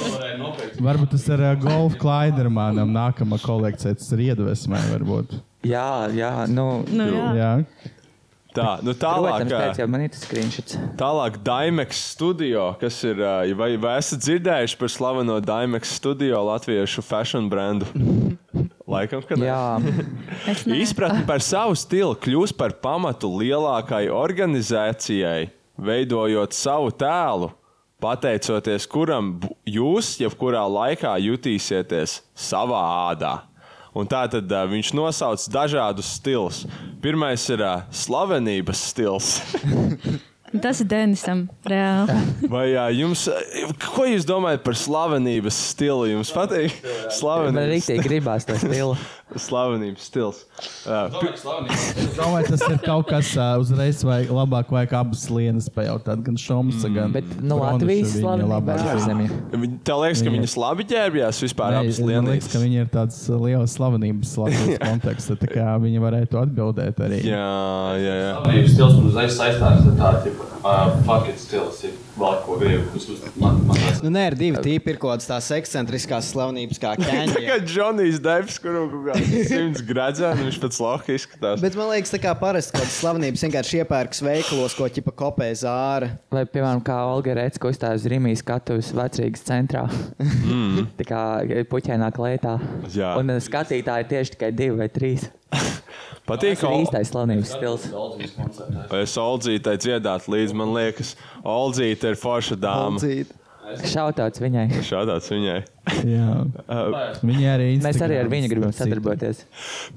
[SPEAKER 12] Varbūt tas ir uh, Golf Klaidermanam nākamā kolekcija, tas ir iedvesmē, varbūt.
[SPEAKER 4] Jā, jā, nu.
[SPEAKER 1] Nu, jā.
[SPEAKER 12] Jā.
[SPEAKER 9] Tā, nu tālāk.
[SPEAKER 4] Protams,
[SPEAKER 9] ā,
[SPEAKER 4] pēc jau man ir tas skriņšits.
[SPEAKER 9] Tālāk, Daimekas studio, kas ir. ā, Vai, vai esat dzirdējuši par slaveno Daimekas studio latviešu fashion brendu? Laikam, ka nē.
[SPEAKER 4] Jā,
[SPEAKER 1] Es nezinu.
[SPEAKER 9] Izpratne par savu stilu kļūst par pamatu lielākai organizācijai, veidojot savu tēlu, pateicoties kuram bu- jūs jebkurā laikā jutīsieties savā ādā. Un tā tad uh, viņš nosauc dažādus stilus. Pirmais ir uh, slavenības stils.
[SPEAKER 1] Nu, Tas ir Denisam. Reāli.
[SPEAKER 9] Vai uh, jums, uh, ko jūs domājat par slavenības stilu? Jums patīk?
[SPEAKER 4] man
[SPEAKER 9] Slavenības,
[SPEAKER 4] rīktīgi gribās to stilu.
[SPEAKER 9] slavenības stils. Uh,
[SPEAKER 11] Domāju, ka slavenība.
[SPEAKER 12] Es domāju, tas ir kaut kas uh, uzreiz, vai labāk vajag abas lienas pajautāt, gan Šomsa,
[SPEAKER 9] Mm.
[SPEAKER 12] gan
[SPEAKER 4] Bet no Latvijas slavenība ir ārzemē.
[SPEAKER 9] Viņ- Tev liekas, ka
[SPEAKER 12] Viņa-
[SPEAKER 9] viņas labi ģērbjās vispār
[SPEAKER 12] Nē,
[SPEAKER 9] abas
[SPEAKER 12] man liekas, ka
[SPEAKER 9] lietas.
[SPEAKER 12] viņi ir tāds uh, liels slavenības Latvijas konteksts, tā kā viņi varētu atbildēt arī.
[SPEAKER 9] Jā, jā, jā.
[SPEAKER 11] Slavenības stils man uzreiz saistās ar tādu tipu uh, fucking stils, ja vēl ko gribu. kas uz- Man, man tāds
[SPEAKER 8] Nu, nē, ir divi tipi, ir kaut kādas tās ekscentriskās slavenības, kā Kenija.
[SPEAKER 9] Tagad Džonijs Deivs, kuram kaut kāds simts gradzēni, viņš pēc loka izskatās.
[SPEAKER 8] Bet man liekas, tā kā parasti kaut kādas slavenības vienkārši iepērkas veikalos, ko ķipa kopē zāra.
[SPEAKER 4] Vai, piemēram, kā Olga Rēts, ko uzstājas Rīgas skatuves vecrīgas centrā. tā kā puķēnā klētā.
[SPEAKER 9] Mm. Jā.
[SPEAKER 4] uh, Un eh, skatītāji tieši tikai divi vai trīs.
[SPEAKER 9] Patīk,
[SPEAKER 4] Tas ir īstais slavenības Nu, stils.
[SPEAKER 9] Es Oldzītai dziedātu līdzi. Man liekas, Oldzīte ir forša dāma.
[SPEAKER 4] Šautāts viņai.
[SPEAKER 9] Šādāds viņai. Uh,
[SPEAKER 8] Viņa arī
[SPEAKER 4] Mēs arī ar viņu gribam sadarboties.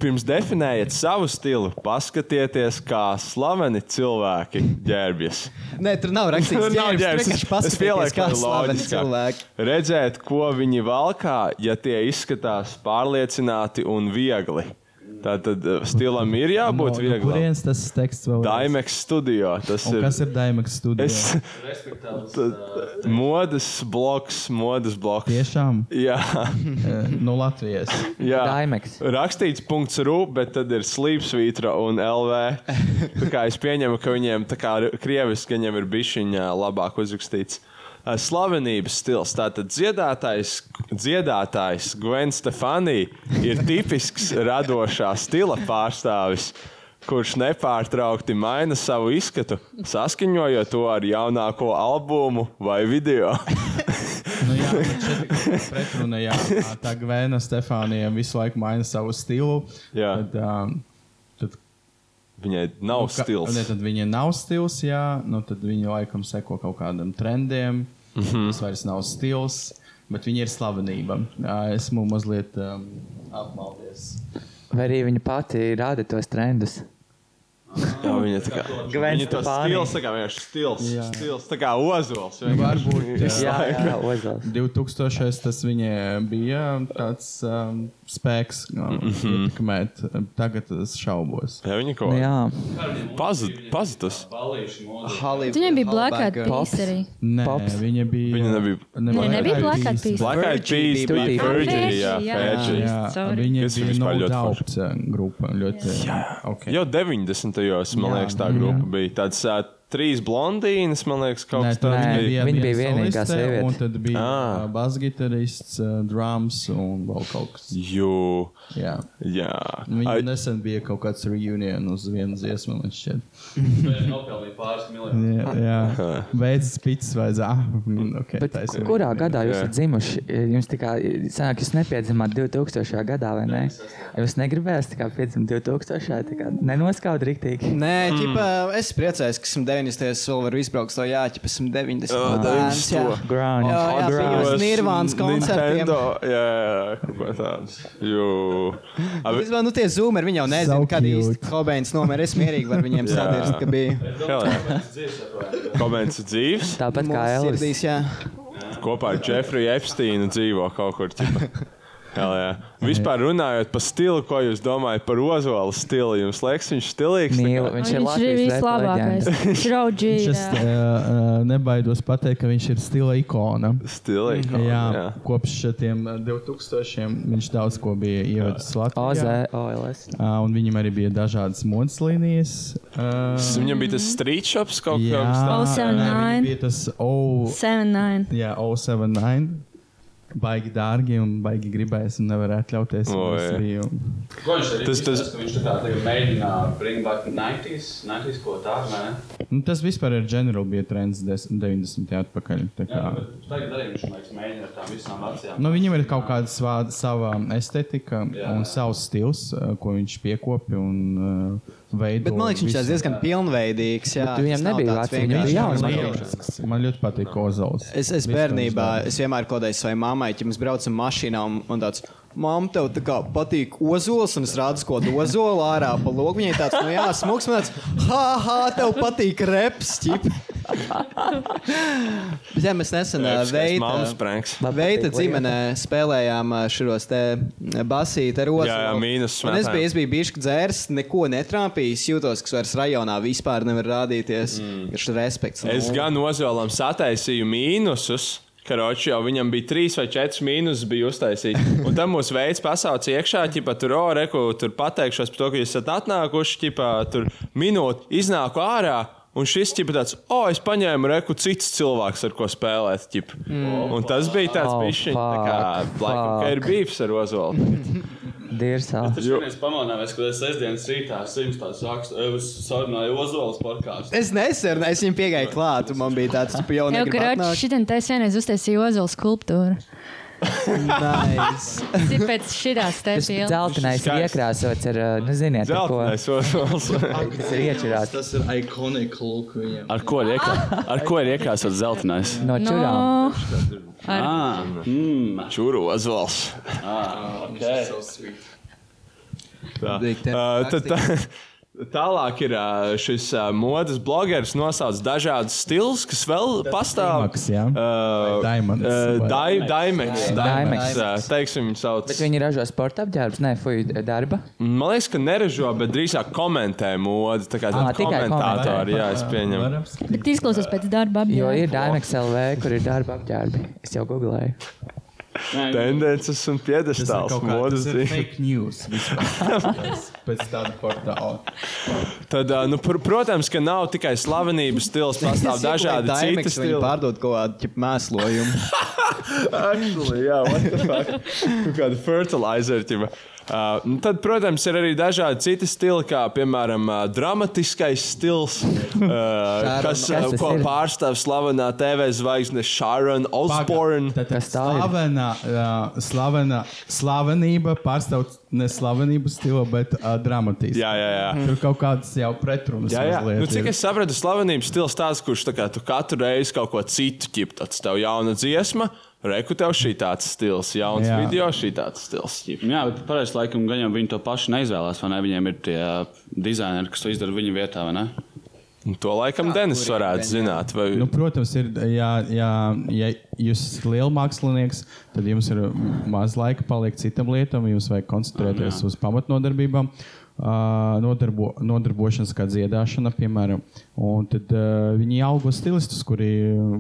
[SPEAKER 9] Pirms definējiet savu stilu, paskatieties, kā slaveni cilvēki ģērbjas.
[SPEAKER 6] Nē, tur nav rakstīts,
[SPEAKER 9] Nav
[SPEAKER 6] ģērbs,
[SPEAKER 9] ģērbs.
[SPEAKER 6] vienkārši paskaties,
[SPEAKER 9] pielieku
[SPEAKER 6] kā
[SPEAKER 9] tādu
[SPEAKER 6] slaveni
[SPEAKER 9] loģiskā.
[SPEAKER 6] cilvēki.
[SPEAKER 9] Redzēt, ko viņi valkā, ja tie izskatās pārliecināti un viegli. Tātad eh, stilam ir jābūt vieglam.
[SPEAKER 8] Kurienes tas teksts vēl
[SPEAKER 9] Daimeks studijā. Tas
[SPEAKER 8] Un
[SPEAKER 9] ir.
[SPEAKER 8] kas ir Daimeks studijā?
[SPEAKER 9] Es,
[SPEAKER 10] uh,
[SPEAKER 9] Tad, modes bloks, modes bloks.
[SPEAKER 8] Tiešām
[SPEAKER 9] Jā,
[SPEAKER 8] eh, no Latvijas.
[SPEAKER 9] jā.
[SPEAKER 4] Daimeks.
[SPEAKER 9] Rakstīts, punkts, rūp, bet tad ir slīpsvītra un LV. Tā kā es pieņemu, ka viņiem tā kā ri- krieviski viņiem ir bišķiņā labāk uzrakstīts. Ā, Slavenības stils. Tātad dziedātājs, dziedātājs Gwen Stefani ir tipisks radošā stila pārstāvis, kurš nepārtraukti maina savu izskatu, saskaņojot to ar jaunāko albumu vai video.
[SPEAKER 8] Nu, jā, bet šeit ir pretruna, jā, tā- tā Gvēna Stefānija visu laiku maina savu stilu.
[SPEAKER 9] Jā.
[SPEAKER 8] Tad, um, tad,
[SPEAKER 9] Viņai nav
[SPEAKER 8] Nu, ka-
[SPEAKER 9] stils.
[SPEAKER 8] Ne, tad viņa nav stils, jā, nu, tad viņa laikam seko kaut kādam trendiem. Mm
[SPEAKER 9] Mhm.
[SPEAKER 8] -hmm. Tas vairs nav stils, bet viņa ir slavenība. Jā, esmu mazliet um, apmaldies.
[SPEAKER 4] Vai arī viņa pati rāda tos trendus?
[SPEAKER 9] Jā, viņa tā kā
[SPEAKER 4] Gwen
[SPEAKER 9] Viņa tas
[SPEAKER 4] Stefani.
[SPEAKER 9] stils, tā kā vienkārši stils,
[SPEAKER 8] Jā.
[SPEAKER 9] stils, tā kā ozols. vienkārši.
[SPEAKER 8] Varbūt tas
[SPEAKER 4] Jā, jā, jā, ozels.
[SPEAKER 8] 2000. tas viņai bija tāds um, spēks, um, mm
[SPEAKER 9] Mhm.
[SPEAKER 8] -hmm. ietekmēt. Tagad es šaubos.
[SPEAKER 9] Jā, viņa
[SPEAKER 4] Nu,
[SPEAKER 9] kaut kā
[SPEAKER 4] jā,
[SPEAKER 9] pazudusi. Pazudus.
[SPEAKER 1] Viņam bija Black Eyed Peas
[SPEAKER 4] Pops.
[SPEAKER 1] arī.
[SPEAKER 8] Nē,
[SPEAKER 4] Pops.
[SPEAKER 8] viņa bija.
[SPEAKER 9] Viņa nebija.
[SPEAKER 1] Nē, nebija Black Eyed Peas.
[SPEAKER 9] Black Eyed Peas
[SPEAKER 4] bija
[SPEAKER 9] bija
[SPEAKER 4] Virgin.
[SPEAKER 9] Virgin. Jā,
[SPEAKER 1] Ah, Virgin, jā.
[SPEAKER 9] Virgin.
[SPEAKER 8] Jā,
[SPEAKER 1] Sorry.
[SPEAKER 8] viņa
[SPEAKER 9] Kas ir
[SPEAKER 8] bija no
[SPEAKER 9] vispār ļoti
[SPEAKER 8] daudzas grupas. Ļoti okay.
[SPEAKER 9] Jau 90. gados, man
[SPEAKER 8] Jā,
[SPEAKER 9] liekas, tā
[SPEAKER 8] jā.
[SPEAKER 9] grupa bija. Tāds ā, trīs blondīnas, man liekas, kaut kas tāds
[SPEAKER 4] nē,
[SPEAKER 9] bija.
[SPEAKER 4] viņa
[SPEAKER 8] viena
[SPEAKER 4] bija vienīgā
[SPEAKER 8] soliste,
[SPEAKER 4] sieviete.
[SPEAKER 8] Un tad bija
[SPEAKER 9] Ā.
[SPEAKER 8] ah. basģitarists, uh, drums un vēl kaut kas.
[SPEAKER 9] Jū,
[SPEAKER 8] Jā.
[SPEAKER 9] jā.
[SPEAKER 8] Viņa
[SPEAKER 9] Ai,
[SPEAKER 8] nesen bija kaut kāds reunion uz vienas dziesmas, man šķiet.
[SPEAKER 10] Nopelnīja pāris miljonus.
[SPEAKER 8] Jā, jā. beidzas pits vai zāle. Okay,
[SPEAKER 4] bet
[SPEAKER 8] taisnība.
[SPEAKER 4] kurā gadā jūs
[SPEAKER 9] Jā.
[SPEAKER 4] esat dzimuši? Jums tā kā sanāk, jūs nepiedzimāt 2000. gadā, vai ne? Jūs negribējāt tā kā piedzimt 2000. tā kā nenoskaut riktīgi.
[SPEAKER 6] Nē,
[SPEAKER 9] Mm.
[SPEAKER 6] ķipa, es priecājos, ka 190. es vēl varu izbraukt no Jāķa, 190.
[SPEAKER 9] Jā,
[SPEAKER 6] bērns, jā.
[SPEAKER 9] 90.
[SPEAKER 4] Grunge.
[SPEAKER 6] Jā, jā,
[SPEAKER 4] Grunge.
[SPEAKER 6] bija
[SPEAKER 9] Grunge,
[SPEAKER 6] uz Nirvānas koncertiem.
[SPEAKER 9] Nintendo, Jā, jā, kaut kā tāds. Jū. Ai,
[SPEAKER 6] Vispār, nu, tie zūmeri, viņi jau nezina,
[SPEAKER 8] So
[SPEAKER 6] so kad
[SPEAKER 8] cute.
[SPEAKER 6] īsti Hobēns nomira. Es mierīgi varu viņiem
[SPEAKER 9] Jā.
[SPEAKER 6] sadarboties, ka bija
[SPEAKER 9] hell, jā. Koments ir dzīves.
[SPEAKER 4] Tāpat kā
[SPEAKER 6] mūsu
[SPEAKER 4] Elvis.
[SPEAKER 6] sirdīs. Jā,
[SPEAKER 9] kopā ar Jeffrey Epsteinu dzīvo kaut kur. ķipa. Jā, jā. Vispār runājot par stilu, ko jūs domājat par Ozola stilu, jums liekas, viņš ir stilīgs. tā
[SPEAKER 4] Mīlu,
[SPEAKER 9] kā?
[SPEAKER 4] viņš
[SPEAKER 1] Viņš
[SPEAKER 4] ir
[SPEAKER 1] ir
[SPEAKER 4] Latvijas repa
[SPEAKER 1] vislabākais.
[SPEAKER 4] leģenda.
[SPEAKER 1] Viņš ir OG.
[SPEAKER 8] Viņš
[SPEAKER 1] jā.
[SPEAKER 8] es, uh, nebaidos pateikt, ka viņš ir stila ikona.
[SPEAKER 9] Stilīgs.
[SPEAKER 8] Jā, jā.
[SPEAKER 9] jā.
[SPEAKER 8] Kopš tiem eh, 2000 viņš daudz ko bija ievedis Latvijā.
[SPEAKER 4] OZ, OLS.
[SPEAKER 8] Uh, un viņam arī bija dažādas modes līnijas. Uh,
[SPEAKER 9] Tas Viņam bija tas street shops kaut
[SPEAKER 8] jā,
[SPEAKER 9] kā.
[SPEAKER 1] 079.
[SPEAKER 8] viņam bija tas O,
[SPEAKER 1] 7-9.
[SPEAKER 8] jā, 079. oh, Baigi dārgi un baigi er gribējis, un nevar atļauties.
[SPEAKER 9] O,
[SPEAKER 8] un es
[SPEAKER 9] jā.
[SPEAKER 8] biju-
[SPEAKER 10] Viņš arī
[SPEAKER 9] Tas-
[SPEAKER 10] tas,
[SPEAKER 9] tas-
[SPEAKER 10] tas... Viņš tā kā tagad mēģina bring back 90s, 90s ko tā, vai ne?
[SPEAKER 8] Nu, tas vispār ir ģenerāli bija trends des- 90. gadu atpakaļ. tā
[SPEAKER 10] Jā,
[SPEAKER 8] kā.
[SPEAKER 10] bet tagad arī viņš, man liekas, mēģina ar tām visām acīm.
[SPEAKER 8] Nu, viņam ir kaut kāda svā- sava estetika
[SPEAKER 10] Jā.
[SPEAKER 8] un savs stils, eh, ko viņš piekopja un uh, veido.
[SPEAKER 6] bet man liekas, viņš ir
[SPEAKER 8] visu.
[SPEAKER 6] diezgan pilnveidīgs. Jā,
[SPEAKER 4] Bet viņam
[SPEAKER 6] tas nav
[SPEAKER 4] nebija
[SPEAKER 6] tāds
[SPEAKER 4] veci, viņam
[SPEAKER 6] vienkārši-
[SPEAKER 4] bija Jā,
[SPEAKER 8] Man
[SPEAKER 4] man
[SPEAKER 8] liekas, Man ļoti patīk Ozols.
[SPEAKER 6] Es, es bērnībā es vienmēr kodēju savai mammai, ja mēs braucam mašīnā un, un tāds. Māma, tev tā kā patīk ozols, un es rādu, ko ozolu ārā pa logu. Viņai tāds, nu jā, smūgs, man tāds, ha, ha, tev patīk reps, ķip. Bet jā, mēs nesen
[SPEAKER 9] Reps, kas
[SPEAKER 6] veidojām.
[SPEAKER 9] mammas pranks.
[SPEAKER 4] Man
[SPEAKER 6] Veita
[SPEAKER 4] patīk
[SPEAKER 6] ģimenē spēlējām ā, šos te basīti ar ozogu.
[SPEAKER 9] Jā, jā, mīnus
[SPEAKER 6] Un Es
[SPEAKER 9] smetām.
[SPEAKER 6] biju, es biju bijis dzērs, neko netrāpījis, jūtos, ka vairs rajonā vispār nevar rādīties. Ir šis respekts.
[SPEAKER 9] Mm.
[SPEAKER 6] nu.
[SPEAKER 9] Es gan Ozolam sataisīju mīnusus. Karoči, jau viņam bija trīs vai četras mīnusus, bija uztaisīts. Un tam mūsu veids pasauca iekšā, ja tur oreku, tur pateikšos par to, ka jūs esat atnākuši, ķipā, tur minūti iznāku ārā. Un šis tipa tāds, o, oh, es paņēmu reku cits cilvēks, ar ko spēlēt. Mm. Un tas bija tāds
[SPEAKER 4] Oh,
[SPEAKER 9] oh, bišķiņš, tā kā,
[SPEAKER 4] fuck,
[SPEAKER 9] laikam, ka ir
[SPEAKER 4] fuck.
[SPEAKER 9] bijis ar Ozolu.
[SPEAKER 4] Dirsā.
[SPEAKER 10] Tas
[SPEAKER 9] Jo-
[SPEAKER 10] ir viens pamanāmies, kad es sestdienas rītā simts tās rakstu, es sarunāju Ozolas podkāstu.
[SPEAKER 6] Es nesen, es viņam piegāju klāt, un man bija tāds, ka jau
[SPEAKER 1] Jā,
[SPEAKER 6] negribu
[SPEAKER 1] Kroči,
[SPEAKER 6] atnākt.
[SPEAKER 1] šitien taisa vienreiz uztaisīja ozola skulptūru.
[SPEAKER 6] Nice.
[SPEAKER 1] Tas ir pēc šīs
[SPEAKER 4] Tas
[SPEAKER 1] tēmas.
[SPEAKER 4] dzeltenais ir iekrāsots ar, uh, nu, ziniet, ar ko.
[SPEAKER 9] Dzeltenais osols.
[SPEAKER 4] Tas ir ieķerāts.
[SPEAKER 6] Tas ir iconic look viņiem.
[SPEAKER 11] Ar ko ir iekrā- ar ko ir iekrāsot zeltainais?
[SPEAKER 4] No
[SPEAKER 1] Nu,
[SPEAKER 4] čurām.
[SPEAKER 11] Mmm, čūru azvals.
[SPEAKER 10] Ah,
[SPEAKER 9] Tā. Uh, tad tā- Tālāk ir uh, šis uh, modes blogeris, nosauc dažādus stilus, kas vēl pastāv.
[SPEAKER 8] Dimags, jā.
[SPEAKER 9] Uh,
[SPEAKER 8] Diamonds,
[SPEAKER 9] uh,
[SPEAKER 8] vai-
[SPEAKER 9] Dai- Dimex.
[SPEAKER 4] Jā.
[SPEAKER 9] Dimex,
[SPEAKER 4] Dimex.
[SPEAKER 9] uh, Teiksim, viņu sauc.
[SPEAKER 4] Bet viņi ražo sporta apģērbus, ne fuj darba.
[SPEAKER 9] Man liekas, ka neražo, bet drīzāk komentē modi. Tā kā
[SPEAKER 4] Ā,
[SPEAKER 9] tāda
[SPEAKER 4] tikai
[SPEAKER 9] komentātori,
[SPEAKER 4] komentē.
[SPEAKER 9] jā, es pieņemu.
[SPEAKER 1] Bet izklausās pēc darba.
[SPEAKER 4] Jo
[SPEAKER 1] apģērba.
[SPEAKER 4] ir Daimex LV, kur ir darba apģērbi. Es jau googlēju.
[SPEAKER 9] Tendences un
[SPEAKER 8] Tas
[SPEAKER 9] piedestāls
[SPEAKER 8] ir kaut kā-
[SPEAKER 9] modes.
[SPEAKER 8] tas ir fake news vispār. Pēc tāda portāla.
[SPEAKER 9] Tad, ā, nu, pr protams, ka nav tikai slavenības stils, pastāv dažādi citi
[SPEAKER 6] Daimex viņi
[SPEAKER 9] stili.
[SPEAKER 6] pārdod kaut kādu ķip mēslojumu.
[SPEAKER 9] Actually, jā, what the fuck? Kaut Kāda fertilizer. Ķipa. Uh, nu tad, protams, ir arī dažādi citi stili, kā piemēram uh, dramatiskais stils, uh, kas,
[SPEAKER 4] Kas
[SPEAKER 9] uh,
[SPEAKER 4] tas
[SPEAKER 9] ko
[SPEAKER 4] ir?
[SPEAKER 9] pārstāv slavenā TV zvaigzne Sharon Osbourne.
[SPEAKER 4] Kas tā ir?
[SPEAKER 8] Slavena, uh, slavena, slavenība pārstāv ne slavenību stilu, bet uh, dramatismu.
[SPEAKER 9] Jā, jā, jā.
[SPEAKER 8] Tur kaut kādas jau pretrunas
[SPEAKER 9] Jā, jā.
[SPEAKER 8] mazliet
[SPEAKER 9] Nu, cik
[SPEAKER 8] ir.
[SPEAKER 9] es sapratu, slavenības stils tāds, kurš tā kā, tu katru reizi kaut ko citu ķip. Tad tev jauna dziesma, reku tev šī tāds stils, jauns jā.
[SPEAKER 8] Jā.
[SPEAKER 9] video, šī tāds stils. Ķip.
[SPEAKER 11] Jā, bet parasti laikam gan jau viņi to pašu neizvēlās, vai ne? Viņiem ir tie ā, dizaineri, kas to izdara viņu vietā, vai ne?
[SPEAKER 9] Un To laikam Denis varētu zināt. Vai...
[SPEAKER 8] Nu, protams, ir, ja, ja, ja jūs esat liels mākslinieks, tad jums ir maz laika palikt citam lietam, jums vajag koncentrēties uz pamatnodarbībām. Uh, nodarbo, nodarbošanās kā dziedāšana, piemēram. Un Tad, uh, viņi augo stilistus, kuri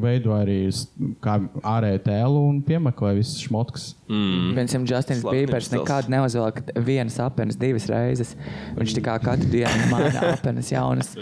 [SPEAKER 8] veido arī s- kā ārēju tēlu un piemaklē visas šmotkas.
[SPEAKER 6] Mm.
[SPEAKER 4] Piemēram, Justins
[SPEAKER 9] Slavenības
[SPEAKER 4] Bībers
[SPEAKER 9] stils.
[SPEAKER 4] nekad neuzvelk vienas apenes divas reizes. Viņš tikai katru dienu maina apenes jaunas.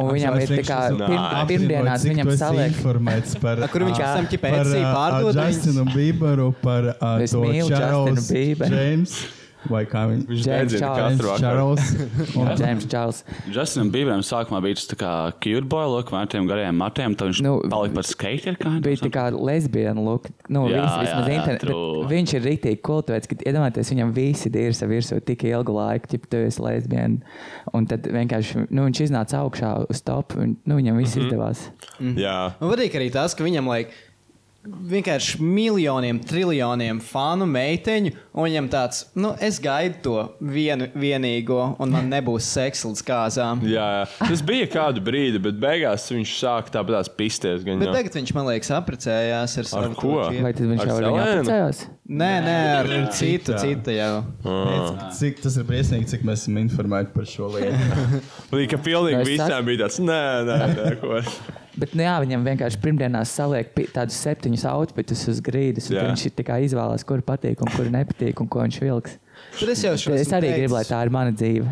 [SPEAKER 4] Un viņam ir tā kā
[SPEAKER 8] Apzinot,
[SPEAKER 4] pirm- pirmdienās
[SPEAKER 8] cik tu
[SPEAKER 4] viņam
[SPEAKER 8] esi
[SPEAKER 4] saliek.
[SPEAKER 8] informēts par
[SPEAKER 6] Kur viņš
[SPEAKER 8] ā,
[SPEAKER 6] tam ķip
[SPEAKER 8] par,
[SPEAKER 6] etsī
[SPEAKER 8] ā,
[SPEAKER 6] pārdod.
[SPEAKER 8] ā,
[SPEAKER 6] viņus?
[SPEAKER 8] Justinu Bieberu, par ā,
[SPEAKER 4] Es
[SPEAKER 8] to
[SPEAKER 4] mīlu
[SPEAKER 8] Čārlzu
[SPEAKER 4] Justinu Bieberu.
[SPEAKER 8] Džeimsu. Vai kā viņ-
[SPEAKER 9] Viņš
[SPEAKER 4] James
[SPEAKER 9] nedzina
[SPEAKER 4] Charles.
[SPEAKER 9] katru vakaru.
[SPEAKER 8] Čārls.
[SPEAKER 4] Un Džeims Čārls.
[SPEAKER 11] Justinam Bieberam sākumā bija tas tā kā cute boy, look, vai ar tiem garajiem matiem, tad viņš nu,
[SPEAKER 4] Nu,
[SPEAKER 11] palika par skateru. kā?
[SPEAKER 4] Bija tā kā lesbiena look. Nu, jā,
[SPEAKER 11] Jā, jā,
[SPEAKER 4] viņas, vismaz
[SPEAKER 11] jā,
[SPEAKER 4] internet,
[SPEAKER 11] true.
[SPEAKER 4] bet viņš ir rītīgi kultūrēts, kad iedomājieties, viņam visi dīrs ir virsū tik ilgu laiku, ja tu esi lesbiena. Un tad vienkārši nu, viņš iznāca augšā uz top, un nu, viņam viss mm -hmm. izdevās.
[SPEAKER 9] Jā.
[SPEAKER 6] Mhm. Man patīk arī tas, ka viņam like, vienkārši miljoniem, triljoniem fanu meiteņu, un viņam tāds, nu, es gaidu to vienu vienīgo, un man nebūs seksa līdz kāzām.
[SPEAKER 9] Jā, jā. tas bija kādu brīdi, bet beigās viņš sāka tāpat pisties. Gan,
[SPEAKER 6] Bet tagad viņš, man liekas, apprecējās ar savu
[SPEAKER 9] ko?
[SPEAKER 6] to čiepu.
[SPEAKER 4] Vai tad viņš
[SPEAKER 9] Ar
[SPEAKER 4] jau ir
[SPEAKER 9] Selēnu?
[SPEAKER 4] apcēlies?
[SPEAKER 6] Nē, nē, ar citu, citu jau.
[SPEAKER 9] Ah.
[SPEAKER 8] Cik tas ir briesmīgi, cik mēs esam informēti par šo lietu.
[SPEAKER 9] Līdz ka pilnīgi
[SPEAKER 4] Nu, es
[SPEAKER 9] visiem
[SPEAKER 4] saku-
[SPEAKER 9] bija tāds, nē, nē, nē ko.
[SPEAKER 4] Bet nu, jā, viņam vienkārši pirmdienās saliek pi- tādus septiņus outfitus uz grīdas, un
[SPEAKER 9] Jā.
[SPEAKER 4] tad viņš ir tā kā izvēlās, kur patīk un kur nepatīk un ko viņš vilks.
[SPEAKER 6] Tad es jau šo
[SPEAKER 4] Es
[SPEAKER 6] esmu
[SPEAKER 4] arī
[SPEAKER 6] teicis
[SPEAKER 4] gribu, lai tā ir mana dzīve.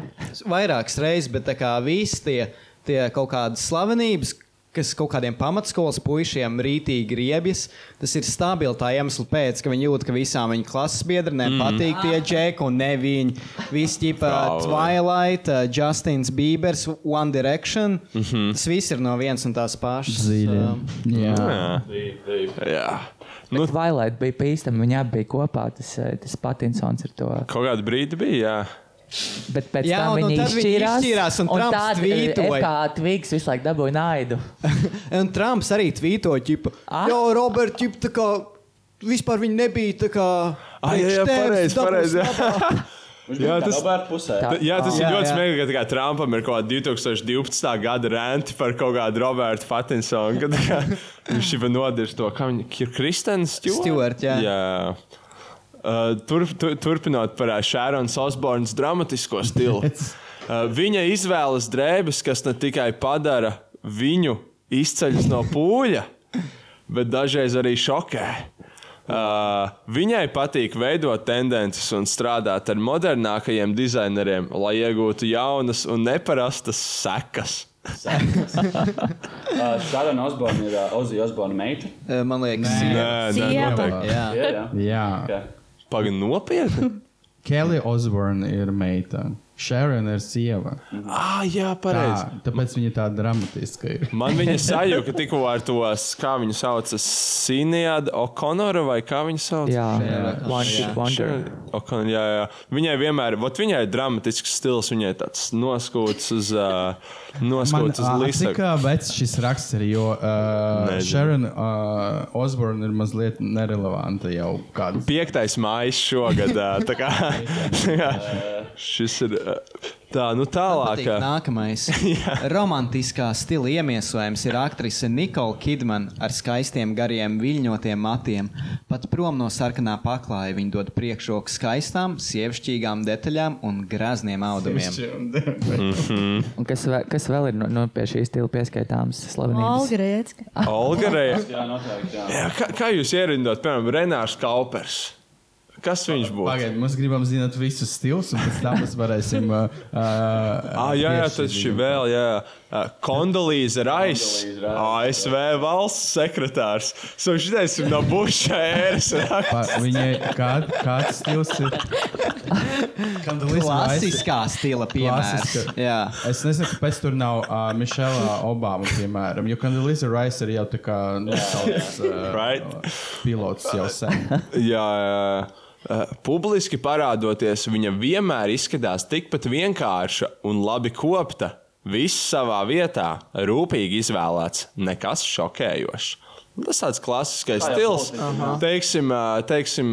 [SPEAKER 6] Vairākas reizes, bet tā kā visi tie, tie kaut kādas slavenības. Kas kaut kādiem pamatskolas puišiem rītīgi riebjas, tas ir stabils tā iemesla pēc, ka viņi jūt, ka visām viņa klases biedrenēm mm. patīk tie džeki un ne viņi. Visi ģipa
[SPEAKER 9] Bravo.
[SPEAKER 6] Twilight, uh, Justins Biebers, One Direction. Mm -hmm. Tas viss ir no vienas un tās pašas. um,
[SPEAKER 8] Jā,
[SPEAKER 9] Jā.
[SPEAKER 4] Nu, Twilight bija pīstami, viņi abi bija kopā, tas, eh, tas Patinsons ar to.
[SPEAKER 9] Kaut kādu brīdi bija, jā.
[SPEAKER 4] Bet pēc
[SPEAKER 6] Jā,
[SPEAKER 4] jā, tam
[SPEAKER 6] un- un
[SPEAKER 4] viņi
[SPEAKER 6] tad viņi
[SPEAKER 4] izšķīrās.
[SPEAKER 6] izšķīrās, un Trumps
[SPEAKER 4] tāda
[SPEAKER 6] tvītoja.
[SPEAKER 4] ir kā Twigs visu laiku dabūja naidu.
[SPEAKER 6] Un Trumps arī tvīto, ka,
[SPEAKER 4] Ah.
[SPEAKER 6] jo Roberts, ģip, tā kā vispār viņa nebija tā kā.
[SPEAKER 9] Ah, jā, jā,
[SPEAKER 6] priekš tevis,
[SPEAKER 9] pareizi, pareizi.
[SPEAKER 6] dabūs
[SPEAKER 9] Jā. Jā, tas,
[SPEAKER 11] Roberta pusē.
[SPEAKER 4] Tā,
[SPEAKER 9] jā, tas ir
[SPEAKER 6] Jā,
[SPEAKER 9] ļoti
[SPEAKER 6] jā.
[SPEAKER 9] smieklīgi, ka tā kā Trumpam ir kaut kāda 2012. gada renta par kaut kādu Robertu Patinsonu. Kad tā kā viņš jau nodirst to, kā viņa ir Kristens
[SPEAKER 6] Stewart, jā.
[SPEAKER 9] jā. Uh, tur, tur, turpinot par Šāronas uh, Osbornas dramatisko stilu. Uh, viņa izvēlas drēbes, kas ne tikai padara viņu izceļus no pūļa, bet dažreiz arī šokē. Uh, viņai patīk veidot tendences un strādāt ar modernākajiem dizaineriem, lai iegūtu jaunas un neparastas sekas.
[SPEAKER 11] Šāda no Osborne uh, ir Ozija Osborne meita.
[SPEAKER 6] eh, Man liekas,
[SPEAKER 9] Nē, nē,
[SPEAKER 1] Sieva.
[SPEAKER 9] noteikti.
[SPEAKER 6] jā.
[SPEAKER 11] Jā, jā.
[SPEAKER 8] jā.
[SPEAKER 11] Okay.
[SPEAKER 9] Pagaid, nu, nopietni.
[SPEAKER 8] Kelly Osborne ir meita. Šerona ir sieva.
[SPEAKER 9] Ah, jā, pareizi.
[SPEAKER 8] Tā, tāpēc viņa tāda dramatiska ir.
[SPEAKER 9] Man viņa sajūta tikko ar tos, kā viņu sauc, Sinjāda O'Connora vai kā viņu sauc?
[SPEAKER 4] Jā, Shara O'Connor.
[SPEAKER 9] Sh-
[SPEAKER 4] Wonder.
[SPEAKER 9] Shara O'Connor, jā, jā. Viņai vienmēr, vot viņai ir dramatisks stils, viņai tāds noskūts uz, uh, noskūts uz
[SPEAKER 8] Cik
[SPEAKER 9] līsaku.
[SPEAKER 8] vecs šis raksts ir? Jo uh,
[SPEAKER 9] Nezinu.
[SPEAKER 8] Sharon uh, Osborne ir mazliet nerelevanta jau kādu.
[SPEAKER 9] Piektais mājas šogad. ā, Tā kā, tā kā šis ir. ā, Tā, nu tālāk.
[SPEAKER 6] Patīk Nākamais romantiskā stila iemiesojums ir aktrise Nikola Kidman ar skaistiem, gariem, viļņotiem matiem. Pat prom no sarkanā paklāja viņa dod priekšroku skaistām, sievišķīgām detaļām un grazniem audumiem.
[SPEAKER 9] Mhm.
[SPEAKER 4] Un kas, vē, kas vēl ir no, no pie šīs stila pieskaitāms slavenības?
[SPEAKER 1] Olgrēcka.
[SPEAKER 9] Olgarē.
[SPEAKER 11] Jā, noteikti. jā.
[SPEAKER 9] Jā, kā, kā jūs ierindot, piemēram, Renārs Kaupers? Kas viņš būtu?
[SPEAKER 8] Pagaidiet, mēs gribam zināt visus stilus, un pēc tam mēs varēsim. Uh, uh,
[SPEAKER 9] Ah, jā, jā, tas šī vēl, jā. Kondolīze Rais, ASV valsts sekretārs. So šitais ir no Buša ēras.
[SPEAKER 8] Viņai kā, kāds stils ir? Kandalīze Rice.
[SPEAKER 6] Klasiskā stila piemērs.
[SPEAKER 8] Klasiska. Es nezinu, kāpēc tur nav uh, Mišela Obama, piemēram, jo Kandalīze Rice ir jau tā kā nosaucts uh,
[SPEAKER 9] Right?
[SPEAKER 8] pilots jau sen.
[SPEAKER 9] Jā, jā. Uh, Publiski parādoties, viņa vienmēr izskatās tikpat vienkārša un labi kopta. Viss savā vietā, rūpīgi izvēlēts, nekas šokējošs. Tas tāds klasiskais
[SPEAKER 10] Tā jau
[SPEAKER 9] stils.
[SPEAKER 10] politiski.
[SPEAKER 9] Teiksim, ā, teiksim,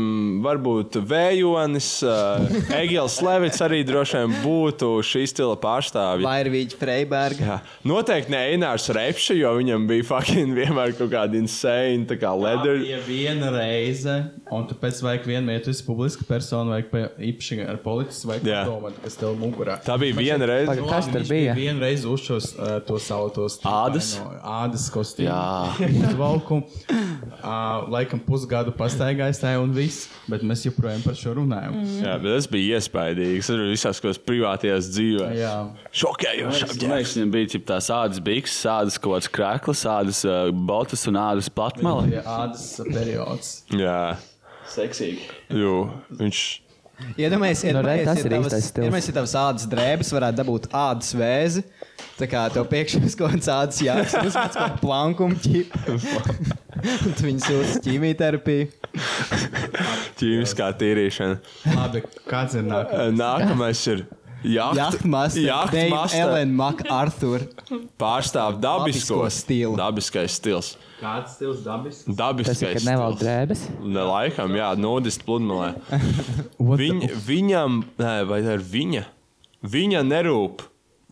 [SPEAKER 9] varbūt Vējonis, ā, Egils Levits arī droši vien būtu šī stila pārstāvja.
[SPEAKER 6] Vai ir Vīģa Freiberga?
[SPEAKER 9] Jā, noteikti ne Einārs Repša, jo viņam bija fucking vienmēr kaut kāda insane, tā kā leather.
[SPEAKER 8] Ja viena reize, un tāpēc vajag vienmēr, ja tu esi publiska persona, vajag pa- īpaši ar politiku, vajag
[SPEAKER 9] Jā.
[SPEAKER 8] padomāt, kas tev mugurā.
[SPEAKER 9] Tā bija viena reize.
[SPEAKER 8] Labi,
[SPEAKER 4] Kas tur
[SPEAKER 8] viņš
[SPEAKER 4] bija?
[SPEAKER 8] Vienu reizi uzšos uh, to savu tos
[SPEAKER 9] Ādas?
[SPEAKER 8] no ādas kostīmu.
[SPEAKER 9] Jā.
[SPEAKER 8] Uzvalku. Uh, laikam pusgadu pastaigājis tajā un viss, bet mēs joprojām par šo runājam. Mm.
[SPEAKER 9] Jā, bet tas bija iespaidīgi. Tas bija visās kaut kādās privātajās dzīvēm.
[SPEAKER 8] Jā.
[SPEAKER 9] Šokējoši.
[SPEAKER 11] Man liekas, viņam bija ģip, tā sādas bikses, sādas kaut kāds krēklis, sādas uh, botas un ādas platmale.
[SPEAKER 8] Bija ādas periods.
[SPEAKER 9] Jā,
[SPEAKER 11] Seksīgi.
[SPEAKER 9] Jū, viņš.
[SPEAKER 6] Iedomājieties,
[SPEAKER 4] Nu, re, tas
[SPEAKER 6] iedomājieties,
[SPEAKER 4] ir
[SPEAKER 6] ja
[SPEAKER 4] īstais
[SPEAKER 6] tavas-
[SPEAKER 4] stils.
[SPEAKER 6] iedomājieties, ja tavs ādas drēbes varētu dabūt ādas vēzi. Tā kā tev pēkšņi ir kaut kāds ādas jāsaka, tas ir kā plankums, un tu viņu sūti uz ķīmijterapiju.
[SPEAKER 9] Ķīmiskā tīrīšana.
[SPEAKER 8] Labi, kāds ir nākamais?
[SPEAKER 9] Nākamais ir.
[SPEAKER 6] Jachtmaster, Dave
[SPEAKER 9] Jachtmaster
[SPEAKER 6] Ellen MacArthur.
[SPEAKER 9] pārstāv dabisko
[SPEAKER 6] Dabisko stilu.
[SPEAKER 9] Dabiskais stils.
[SPEAKER 8] Kāds stils dabis?
[SPEAKER 9] Dabiskais
[SPEAKER 4] Tas ir, kad nevalda
[SPEAKER 9] stils.
[SPEAKER 4] drēbes.
[SPEAKER 9] Ne laikam, jā, nudist pludmalē. Viņ, viņam, nē, vai tā ir viņa? Viņa nerūp,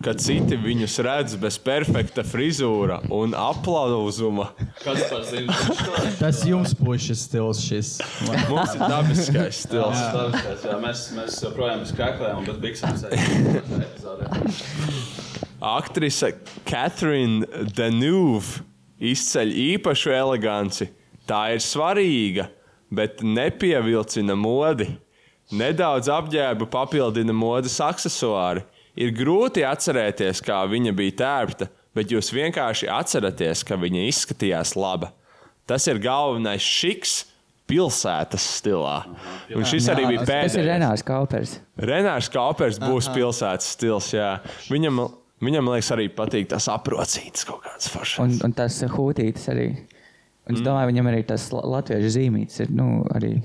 [SPEAKER 9] ka citi viņus redz bez perfekta frizūra un aplausuma.
[SPEAKER 10] Kas par zinu? Tas
[SPEAKER 8] Tas jums pušas stils šis.
[SPEAKER 9] Mums ir dabiskais stils.
[SPEAKER 10] tas ir. Mēs, mēs joprojām skaklējam, bet biksam sēžam.
[SPEAKER 9] Aktrise Katrīna Denūve izceļ īpašu eleganci. Tā ir svarīga, bet nepievilcina modi. Nedaudz apģērbu papildina modes accessori. Ir grūti atcerēties, kā viņa bija tērpta, bet jūs vienkārši atceraties, ka viņa izskatījās laba. Tas ir galvenais šiks pilsētas stilā. Un šis arī bija
[SPEAKER 4] Tas ir
[SPEAKER 9] pēdējais.
[SPEAKER 4] Renārs Kaupers.
[SPEAKER 9] Renārs Kaupers būs pilsētas stils. Jā. Viņam, viņam man liekas, arī patīk tas aprocīts kaut kāds
[SPEAKER 4] Un,
[SPEAKER 9] foršs.
[SPEAKER 4] un tas hūtītis arī. Un
[SPEAKER 6] Mm.
[SPEAKER 4] es domāju, viņam arī tas la- latviešu zīmītis ir. Nu, arī.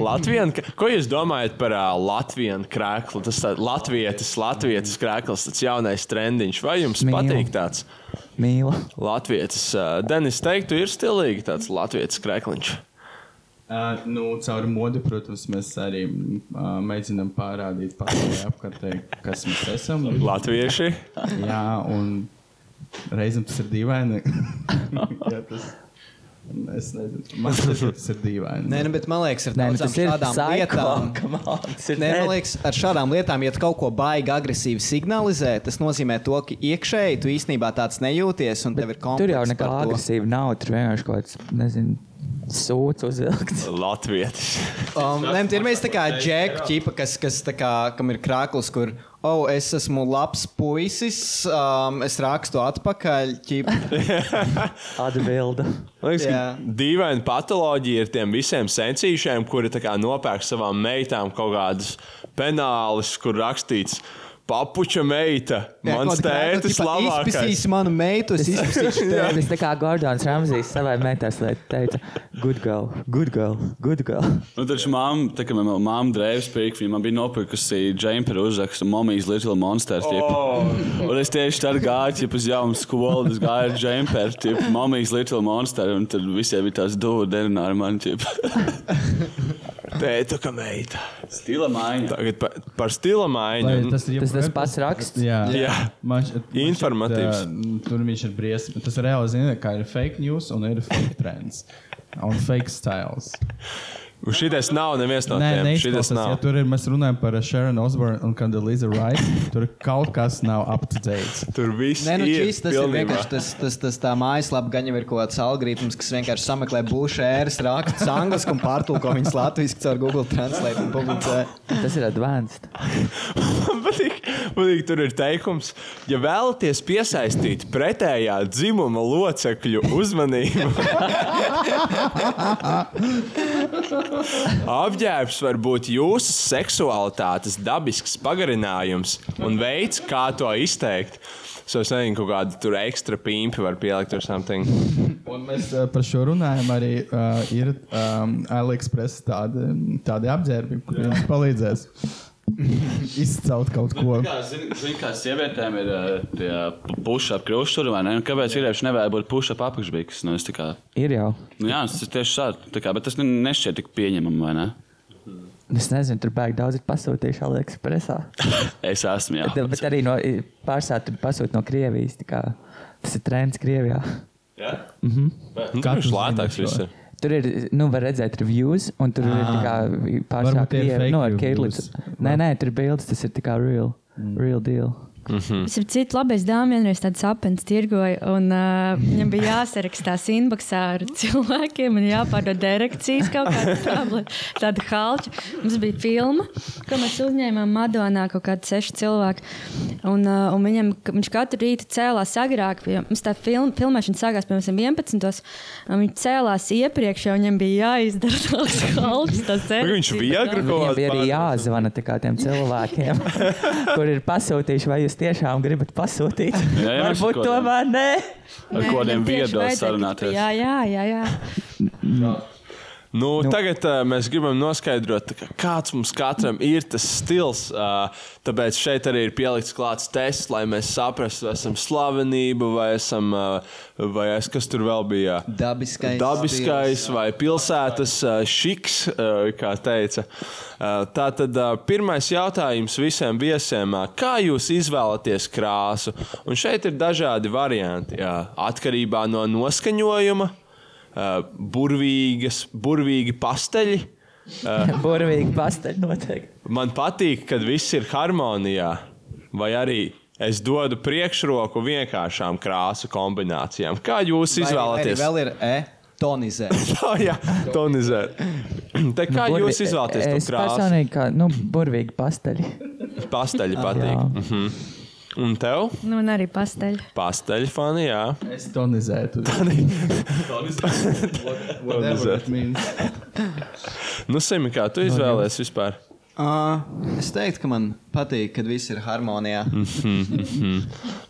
[SPEAKER 9] Latvijas, ko jūs domājat par uh, Latvijas krēslu? Tas ir latvietis, latvietis krēsls, tas jaunais trendiņš. Vai jums
[SPEAKER 4] Mīlu.
[SPEAKER 9] patīk tāds
[SPEAKER 4] Mīlu.
[SPEAKER 9] latvietis? Uh, Denis teiktu, ir stilīgi tāds latvietis krēsliņš.
[SPEAKER 8] Uh, nu, caur modi, protams, mēs arī uh, mēģinām parādīt pasaulē apkārtē, kas mēs esam.
[SPEAKER 9] Latvieši.
[SPEAKER 8] Jā, un reizēm tas ir dīvaini. Jā, tas... Es nezinu, man liekas, tas ir dīvaini.
[SPEAKER 6] Nē, nu, bet man liekas, ar
[SPEAKER 4] Nē, nu,
[SPEAKER 6] daudzām
[SPEAKER 4] tas ir
[SPEAKER 6] šādām lietām. Nē, man liekas, ar šādām lietām, ja tu kaut ko baigi agresīvi signalizē, tas nozīmē to, ka iekšēji tu īstenībā tāds nejūties un tev ir komplekss.
[SPEAKER 4] Tur jau
[SPEAKER 6] par
[SPEAKER 4] nekā
[SPEAKER 6] to.
[SPEAKER 4] agresīva nav. Tur vienkārši kaut kāds, nezinu, sūds uzvilkts.
[SPEAKER 9] Latvietis.
[SPEAKER 6] Um, nē, nu, ir mēs tā kā džekļi, ķipa, kas, kas tā kā, kam ir krāklis, kur, oh, es esmu labs puisis, um, es rakstu atpakaļ. Ķipa.
[SPEAKER 4] Atbilda.
[SPEAKER 9] Man Liekas,
[SPEAKER 6] Jā.
[SPEAKER 9] ka dīvaina patoloģija ir tiem visiem sensīšiem, kuri tā kā nopērk savām meitām kaut kādas penālus, kur rakstīts, Papuča meita. Mans tētis labākais.
[SPEAKER 6] Izpētīs manu meitu, es izpētīšu tevi.
[SPEAKER 4] Es tā kā Gordons Ramsīs savai meitai teica, good girl, good girl, good girl.
[SPEAKER 11] Nu, taču mamma, tā kā man mamma drēbes pirka, viņa man bija nopirkusi džemperi uzrakstu Mommy's Little Monster. Oh. Un es tieši tad gāju, ja uz jaunu skolu, es gāju ar džemperi, tip, Mommy's Little Monster, un tad visiem bija tās duva derināri man, tip.
[SPEAKER 9] Tēta kā meita.
[SPEAKER 11] Stila maiņa.
[SPEAKER 9] Tagad par, par stila maiņu.
[SPEAKER 8] Vai tas ir
[SPEAKER 4] Tas tas
[SPEAKER 8] jebkas?
[SPEAKER 4] pats raksts.
[SPEAKER 8] Jā,
[SPEAKER 9] Jā.
[SPEAKER 8] Man šķiet- man šķiet,
[SPEAKER 9] Informatīvs.
[SPEAKER 8] ā, nu, Tur viņš ir briesmīgs. Tas reāli zina, kā ir fake news un ir fake trends. Un fake styles.
[SPEAKER 9] Un šitais nav neviens no
[SPEAKER 8] Nē,
[SPEAKER 9] tiem. Šitais
[SPEAKER 8] neizklausās. Ja
[SPEAKER 9] nav.
[SPEAKER 8] tur ir, mēs runājam par Sharon Osborne un Candeliza Rice, tur kaut kas nav up to date.
[SPEAKER 9] Tur viss
[SPEAKER 6] Nē, nu,
[SPEAKER 9] ir.
[SPEAKER 6] šis tas ir
[SPEAKER 9] pilnībā.
[SPEAKER 6] vienkārši tas, tas, tas tā mājaslapa, gan jau ir kaut kāds algoritms, kas vienkārši sameklē būšu ēras, rakstus angliski un pārtulko viņus latviešu caur Google Translate un publicē.
[SPEAKER 4] Tas ir advanced.
[SPEAKER 9] Man patīk, patīk, tur ir teikums, ja vēlaties piesaistīt pretējā dzimuma locekļu uzmanību, apģērbs var būt jūsu seksualitātes dabisks pagarinājums un veids, kā to izteikt. So es nezinu, kaut kādu tur ekstra pīnu var pielikt vai something.
[SPEAKER 8] Un mēs ā, par šo runājam. Arī uh, ir um, AliExpress tādi, tādi apģērbi, kuriem jums palīdzēs izcelt kaut ko.
[SPEAKER 11] Ziniet, kā sievietēm ir eh, puša apgrozījuma, vai ne? Un kāpēc vīrieši nevēlas būt puša apakšbīks? Nu, es tā kā-
[SPEAKER 4] Ir jau.
[SPEAKER 11] nu, jā, tas ir tieši šādi. tā kā, Bet tas ne- nešķiet tik pieņemami, vai ne?
[SPEAKER 4] Es nezinu, tur baigi daudz ir pasūtījuši AliExpressā.
[SPEAKER 11] Es esmu, jā.
[SPEAKER 4] Bet, bet arī no, pārsvarā tur pasūta no Krievijas. tā kā Tas ir trends Krievijā.
[SPEAKER 9] Nu,
[SPEAKER 8] Katrs
[SPEAKER 9] Katrs lētāks
[SPEAKER 8] zina
[SPEAKER 9] viss
[SPEAKER 8] šo.
[SPEAKER 9] ir.
[SPEAKER 4] Tur ir, nu, var redzēt, reviews, un tur
[SPEAKER 6] Ah.
[SPEAKER 4] ir tā kā pārsvarā
[SPEAKER 8] Varbūt tie ir
[SPEAKER 4] Krievija.
[SPEAKER 8] fake
[SPEAKER 4] Nu, ar
[SPEAKER 8] reviews.
[SPEAKER 4] Kirlis. Nē, nē, tur ir bildes, tas ir tā kā real,
[SPEAKER 6] Mm.
[SPEAKER 4] real deal.
[SPEAKER 1] Es ar citu labais dāmu vienreiz tādu sapni tirgoju, un uh, viņam bija jāsarakstās inboxā ar cilvēkiem, un jāpārdod direkcijas kaut kāda tableta, tāda halča. Mums bija filma, ko mēs uzņēmām Madonā kaut kādi seši cilvēki. Un, uh, un viņam, ka- viņš katru rītu cēlās agrāk, jo mums tā film, filmēšana sākās piemēram 11. un viņš cēlās iepriekš, jo viņam bija jāizdara tās halčas. tās
[SPEAKER 9] Viņš
[SPEAKER 1] direkcijas.
[SPEAKER 9] bija
[SPEAKER 4] Viņam bija arī
[SPEAKER 9] agrāk.
[SPEAKER 4] jāzvana tā kā tiem cilvēkiem, kur ir pasūtījuši, vai jūs tiešām gribat pasūtīt.
[SPEAKER 11] Jā, jā, es
[SPEAKER 4] Varbūt
[SPEAKER 11] kaut
[SPEAKER 4] tomēr nē.
[SPEAKER 11] Ar
[SPEAKER 1] Nē,
[SPEAKER 11] kodiem
[SPEAKER 1] viņam tieši
[SPEAKER 11] viedokļiem
[SPEAKER 1] vajadzēja tikt-
[SPEAKER 11] sarunāties.
[SPEAKER 1] Jā, jā, jā. jā.
[SPEAKER 9] Nu, nu. Tagad uh, mēs gribam noskaidrot, tā kā, kāds mums katram ir tas stils. Uh, tāpēc šeit arī ir pielikts klāts tests, lai mēs saprastu, vai esam slavenība, vai esam, uh, vai es, kas tur vēl bija.
[SPEAKER 6] Dabiskais.
[SPEAKER 9] Dabiskais vai pilsētas uh, šiks, uh, kā teica. Uh, Tā tad uh, pirmais jautājums visiem viesiem, uh, kā jūs izvēlaties krāsu? Un šeit ir dažādi varianti jā, atkarībā no noskaņojuma, uh, burvīgas, burvīgi pasteļi.
[SPEAKER 4] Burvīgi pasteļ noteikti.
[SPEAKER 9] Man patīk, kad viss ir harmonijā, vai arī es dodu priekšroku vienkāršām krāsu kombinācijām. Kā
[SPEAKER 6] Vai
[SPEAKER 9] jūs
[SPEAKER 6] arī
[SPEAKER 9] izvēlaties?
[SPEAKER 6] Vēl ir E. Tonizē.
[SPEAKER 9] Tā, jā, tonizēt. Tā kā
[SPEAKER 4] Nu,
[SPEAKER 9] jūs
[SPEAKER 4] burvi-
[SPEAKER 9] izvēlaties to
[SPEAKER 4] Es
[SPEAKER 9] krāsu?
[SPEAKER 4] personīgi, kā, nu, burvīgi pasteļi.
[SPEAKER 9] Pasteļi patīk.
[SPEAKER 4] Jā.
[SPEAKER 9] Mhm. Un tev?
[SPEAKER 1] Nu, un arī pasteļi.
[SPEAKER 9] Pasteļi fani, jā.
[SPEAKER 8] Es tonizētu.
[SPEAKER 9] Tonizēt. Nu, Simi, kā tu izvēlējies vispār?
[SPEAKER 6] Uh, es teiktu, ka man patīk, kad viss ir harmonijā.
[SPEAKER 11] Mm.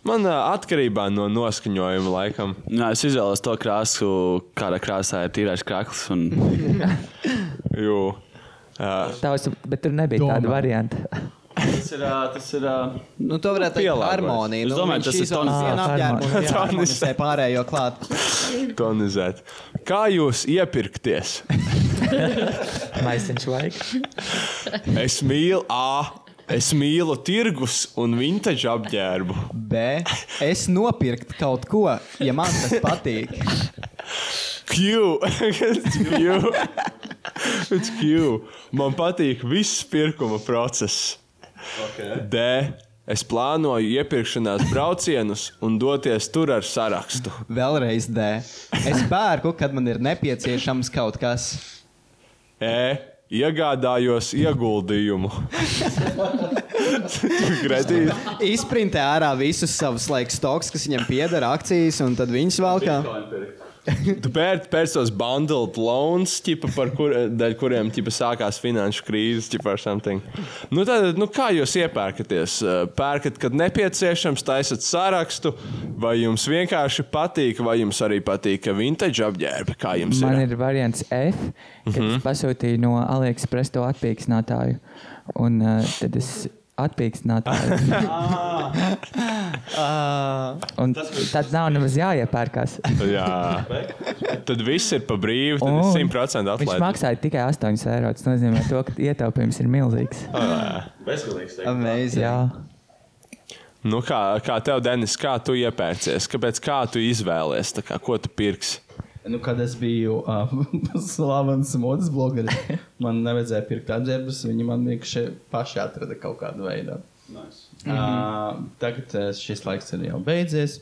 [SPEAKER 9] Man ā, atkarībā no noskaņojuma laikam.
[SPEAKER 11] Jā, es izvēlos to krāsu, kāda krāsā ir tīrais krāklis. Un...
[SPEAKER 9] Jo. Uh,
[SPEAKER 4] Tavs, bet tur nebija
[SPEAKER 8] Domā.
[SPEAKER 4] tāda varianta.
[SPEAKER 11] tas ir. ā, Tas ir ā,
[SPEAKER 6] Nu, to varētu teikt,
[SPEAKER 9] Pielāgojas.
[SPEAKER 6] ka harmonija.
[SPEAKER 11] Es
[SPEAKER 6] Nu,
[SPEAKER 11] domāju, tas ir tonizē.
[SPEAKER 6] tonizē. Tonizē pārējo klāt.
[SPEAKER 9] tonizēt. Kā jūs iepirkties?
[SPEAKER 4] Maisiņš vajag.
[SPEAKER 9] Es mīlu A. Es mīlu tirgus un vintage apģērbu.
[SPEAKER 6] B. Es nopirkt kaut ko, ja man tas patīk.
[SPEAKER 9] Q. It's Q. It's Q. Man patīk viss pirkuma process. Okay. D. Es plānoju iepirkšanās braucienus un doties tur ar sarakstu.
[SPEAKER 6] Vēlreiz D. Es pērku, kad man ir nepieciešams kaut kas.
[SPEAKER 9] E. Iegādājos ieguldījumu. Kredīt.
[SPEAKER 6] Izprintē ārā visus savus laikus, stoks, kas viņam pieder, akcijas, un tad viņas vēl kā.
[SPEAKER 9] Tu pērci pērc tos bundled loans, tipa, par kur, dēļ kuriem tipa, sākās finanšu krīze, tipa, or something. Nu, tad, nu, kā jūs iepērkaties? Uh, Pērkat, kad nepieciešams, taisat sarakstu, vai jums vienkārši patīk, vai jums arī patīk vintage apģērbi, kā jums
[SPEAKER 4] Man
[SPEAKER 9] ir.
[SPEAKER 4] ir variants F, kad mm -hmm. es pasūtīju no AliExpress to atpīkstinātāju. Un uh, tad es atpīkstinātāju. un tad nav nemaz jāiepērkās.
[SPEAKER 9] Jā, tad viss ir pa brīvu, tad
[SPEAKER 4] Un
[SPEAKER 9] ir 100%
[SPEAKER 4] Viņš
[SPEAKER 9] atlaide.
[SPEAKER 4] maksāja tikai 8 eiro. Tas nozīmē, to, ka ietaupījums ir milzīgs.
[SPEAKER 10] Bezgalīgs. teikt.
[SPEAKER 4] Jā.
[SPEAKER 9] Nu, kā, kā tev, Denis, kā tu iepērcies? Kāpēc kā tu izvēlējies? Kā, ko tu pirksi?
[SPEAKER 8] Nu, kad es biju uh, slavens modes blogeris, man nevajadzēja pirkt apģērbus. Viņi man vienkārši paši atrada kaut kādu veidu. Nice. Uh, tagad eh, šis laiks ir jau beidzies,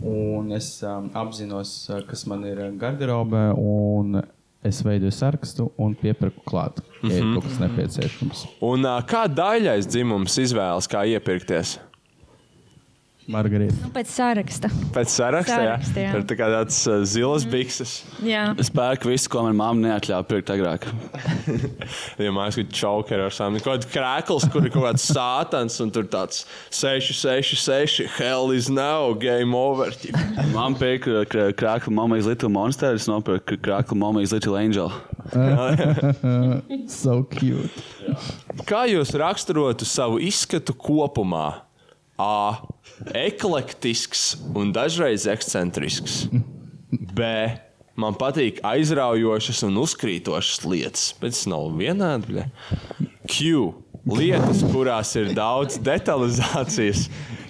[SPEAKER 8] un es um, apzinos, eh, kas man ir garderobē. un Es veidoju sarakstu un pieprasu klāt, ja ir
[SPEAKER 9] Mhm.
[SPEAKER 8] kaut kas nepieciešams.
[SPEAKER 9] Un ā, kā daļais dzimums izvēlas, kā iepirkties?
[SPEAKER 8] Margarita.
[SPEAKER 1] Pēc saraksta.
[SPEAKER 9] Pēc saraksta, jā.
[SPEAKER 1] Saraksta, jā. Mm.
[SPEAKER 9] Tur tā kā tāds uh, zilas bikses.
[SPEAKER 1] Jā.
[SPEAKER 11] Es pērku visu, ko manā māte neatļāva pirkt agrāk.
[SPEAKER 9] Ja mājas kaut kāda čaukera ar sāpēm, kaut kāda krēkls, kur ir kaut kāds sātans un tur tāds 6, 6, 6, hell is now, game over. ķip.
[SPEAKER 11] Man pērka uh, kr- krāklu mammai Little Monster, es nopirku krāklu mammai Little Angel.
[SPEAKER 8] so cute.
[SPEAKER 9] Kā jūs raksturotu savu izskatu kopumā? A. Eklektisks un dažreiz ekscentrisks. B. Man patīk aizraujošas un uzkrītošas lietas, bet tas nav vienādi. bļe. Q. Lietas, kurās ir daudz detalizācijas,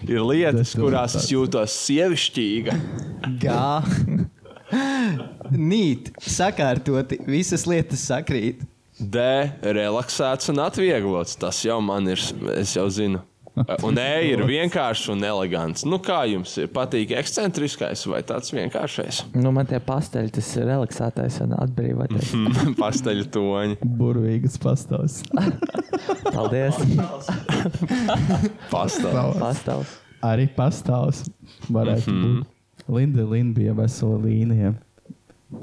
[SPEAKER 9] ir lietas, kurās es jūtos sievišķīga.
[SPEAKER 6] Gā. Nīt, sakārtoti, visas lietas sakrīt.
[SPEAKER 9] D. Relaxēts un atvieglots. Tas jau man ir, es jau zinu. Un E ir vienkāršs un elegants. Nu, kā jums ir? Patīk ekscentriskais vai tāds vienkāršais?
[SPEAKER 4] Nu, man tie pasteļi, tas ir relaksētais un atbrīvotais.
[SPEAKER 9] Mhm. Pasteļu toņi.
[SPEAKER 8] Burvīgas pastāvs.
[SPEAKER 4] Paldies!
[SPEAKER 9] Pastāvs.
[SPEAKER 4] Pastāvs.
[SPEAKER 8] Arī pastāvs. Varētu mm -hmm.
[SPEAKER 9] Mhm.
[SPEAKER 8] būt. Linda Linda bija vesela līnija.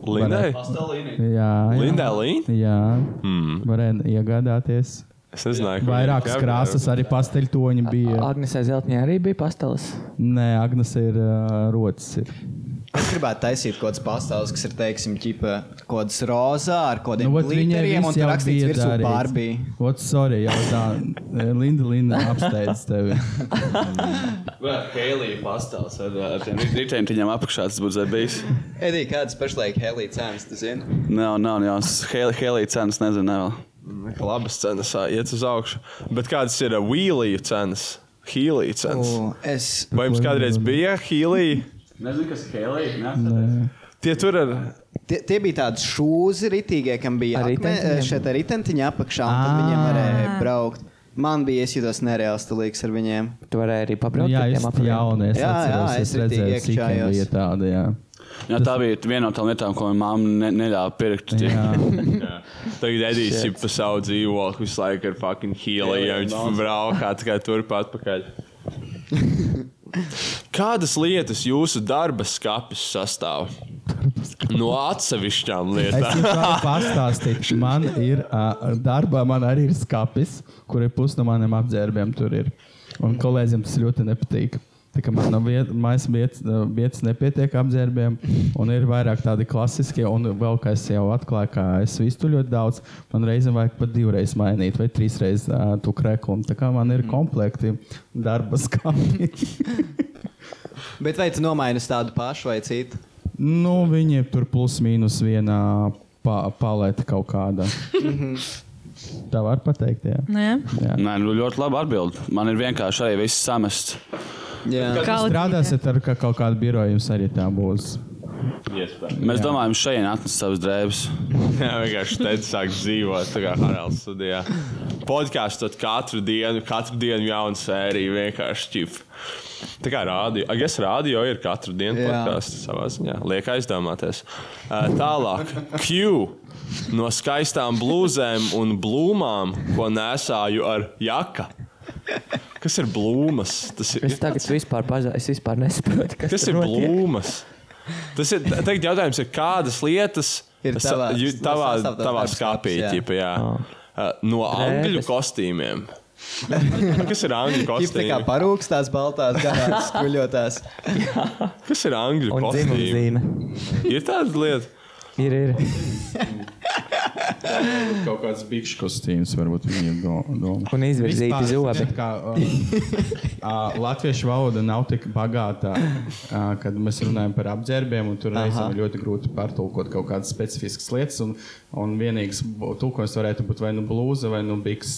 [SPEAKER 9] Lindai?
[SPEAKER 8] Jā, jā.
[SPEAKER 9] Lindai Līnija?
[SPEAKER 8] Jā.
[SPEAKER 9] Mm.
[SPEAKER 8] Varēja iegādāties.
[SPEAKER 9] Es nezināju, ko
[SPEAKER 8] Vairākas
[SPEAKER 9] viņa
[SPEAKER 8] krāsas, arī pasteļtoņi bija.
[SPEAKER 4] Agnesē Zeltņē arī bija pastāvs.
[SPEAKER 8] Nē, Agnēs ir uh, rocis. Ir.
[SPEAKER 6] Es gribētu taisīt kaut kādas pastāvus, kas ir, teiksim, ķipa, kaut kādas rozā ar kaut
[SPEAKER 8] Nu,
[SPEAKER 6] kādiem
[SPEAKER 8] ot, viņai
[SPEAKER 6] glitteriem un
[SPEAKER 8] viss
[SPEAKER 6] tur
[SPEAKER 8] jau
[SPEAKER 6] rakstīts
[SPEAKER 8] bija
[SPEAKER 6] virsū
[SPEAKER 8] darīts.
[SPEAKER 6] Barbie.
[SPEAKER 8] Ot, sorry, jau tā. Linda, Linda apsteidz tevi.
[SPEAKER 10] Vēl Helija pastāvs ar ar tiem.
[SPEAKER 11] Rītdien viņam apakšā tas būtu bijis.
[SPEAKER 6] Edī, kādas pašlaik Helija cenas, tu zini?
[SPEAKER 11] Nav, nav, nav. Helija cenas nezinu. Nav.
[SPEAKER 9] Labas cenas ā, iet uz augšu. Bet kādas ir wheeliju cenas? Hīliju cenas.
[SPEAKER 6] O, es-
[SPEAKER 9] Vai jums kādreiz bija hīlija?
[SPEAKER 11] Nezinu, kas Helija.
[SPEAKER 9] Tie tur ir.
[SPEAKER 6] Tie, tie bija tādi šūzi ritīgie, kam bija akme,
[SPEAKER 4] ritentiņiem?
[SPEAKER 6] šeit ar ritentiņu apakšā, un tad viņiem varēja braukt. Man bija iesjūtos nereāls stilīgs ar viņiem.
[SPEAKER 4] Tu varēji arī
[SPEAKER 8] Nu,
[SPEAKER 4] pabraukt.
[SPEAKER 8] jā,
[SPEAKER 4] ar
[SPEAKER 8] es
[SPEAKER 4] tiem
[SPEAKER 8] esmu
[SPEAKER 4] apaviem?
[SPEAKER 8] jauna. Es
[SPEAKER 6] Jā,
[SPEAKER 8] atceros,
[SPEAKER 6] jā,
[SPEAKER 8] es
[SPEAKER 6] es ritīgi
[SPEAKER 8] redzēju, cik
[SPEAKER 6] iekšājos.
[SPEAKER 8] bija tāda. Jā.
[SPEAKER 11] Jā, tā bija viena no tām lietām, ko manā māte ne, neļāva pirkt.
[SPEAKER 9] Jā. Tagad Edijs ir pa savu dzīvokli visu laiku ar fucking hīliju, ja viņš braukā tikai turp atpakaļ. Kādas lietas jūsu darba skāpes sastāv? No atsevišķām
[SPEAKER 8] Es jums
[SPEAKER 9] lietām.
[SPEAKER 8] varu pastāstīt, man ir uh, darbā, man arī ir skats, kur ir puse no maniem apģērbiem. Tur ir. Un kolēģiem tas ļoti nepatīk. Tā kā man nav viet, mājas vietas, uh, vietas nepietiek apģērbiem, un ir vairāk tādi klasiskie, un vēl kā es jau atklāju, ka es visu ļoti daudz, man reizēm vajag pat divreiz mainīt, vai trīsreiz uh, tu krēkumu. Tā kā man ir komplekti darba skati.
[SPEAKER 6] Bet vai tu nomaini uz tādu pašu vai citu?
[SPEAKER 8] nu, viņi ir tur plus mīnus vienā pa palete kaut kāda.
[SPEAKER 6] Mhm.
[SPEAKER 8] Tā var pateikt, jā.
[SPEAKER 1] Nē.
[SPEAKER 11] Nē, nu, ļoti labi atbild. Man ir vienkārši arī viss samests.
[SPEAKER 6] Jā,
[SPEAKER 8] Kad jūs
[SPEAKER 1] Kaudzīte.
[SPEAKER 8] strādāsiet ar kā, kaut kādu biroju, jums arī tā būs.
[SPEAKER 11] Mēs domājam, šeit atnesa savas drēbes.
[SPEAKER 9] Jā, vienkārši te sāk dzīvot, tā kā Haralds studijā. Podkāstot katru dienu, katru dienu jaunu sēriju, vienkārši čip. Tā kā rādio, ah, es rādio ir katru dienu
[SPEAKER 6] Jā.
[SPEAKER 9] podkāsts savā ziņā. Liek aizdomāties. Ā, Tālāk, Q. No skaistām blūzēm un blūmām, ko nesāju ar jaka. Kas ir blūmas? Tas ir,
[SPEAKER 4] Es tagad vispār, paza... es vispār nesaprotu, kas,
[SPEAKER 9] kas
[SPEAKER 4] tur
[SPEAKER 9] ir
[SPEAKER 4] notiek.
[SPEAKER 9] blūmas? Tas ir teikt, jautājums, ir, kādas lietas
[SPEAKER 6] Ir
[SPEAKER 9] tas-
[SPEAKER 6] tavā-
[SPEAKER 9] ju-
[SPEAKER 6] no
[SPEAKER 9] tavā,
[SPEAKER 6] sastāvdaļām
[SPEAKER 9] tavā
[SPEAKER 6] tavs
[SPEAKER 9] skāpī,
[SPEAKER 6] skapis, jā.
[SPEAKER 9] ķipa, jā. Uh, no angļu kostīmiem. Kas ir angļu
[SPEAKER 6] Jūs tā kā
[SPEAKER 9] kostīmi?
[SPEAKER 6] parūkstās, baltās, garās, guļotās.
[SPEAKER 9] Kas ir angļu
[SPEAKER 6] Un
[SPEAKER 9] kostīmi? Ir tāda lieta.
[SPEAKER 4] Ir, ir.
[SPEAKER 8] Kaut kāds bikšu kostīms, varbūt viņiem domā.
[SPEAKER 4] Un izvirzīti
[SPEAKER 8] Vispār,
[SPEAKER 4] zobi.
[SPEAKER 8] ziniet, Kā, uh, uh, latviešu valoda nav tik bagāta, uh, kad mēs runājam par apģērbiem, un tur
[SPEAKER 6] Aha.
[SPEAKER 8] reizēm ir ļoti grūti pārtulkot kaut kādas specifiskas lietas. Un, un vienīgais bu- tulkojums varētu būt vai nu blūza, vai nu biks.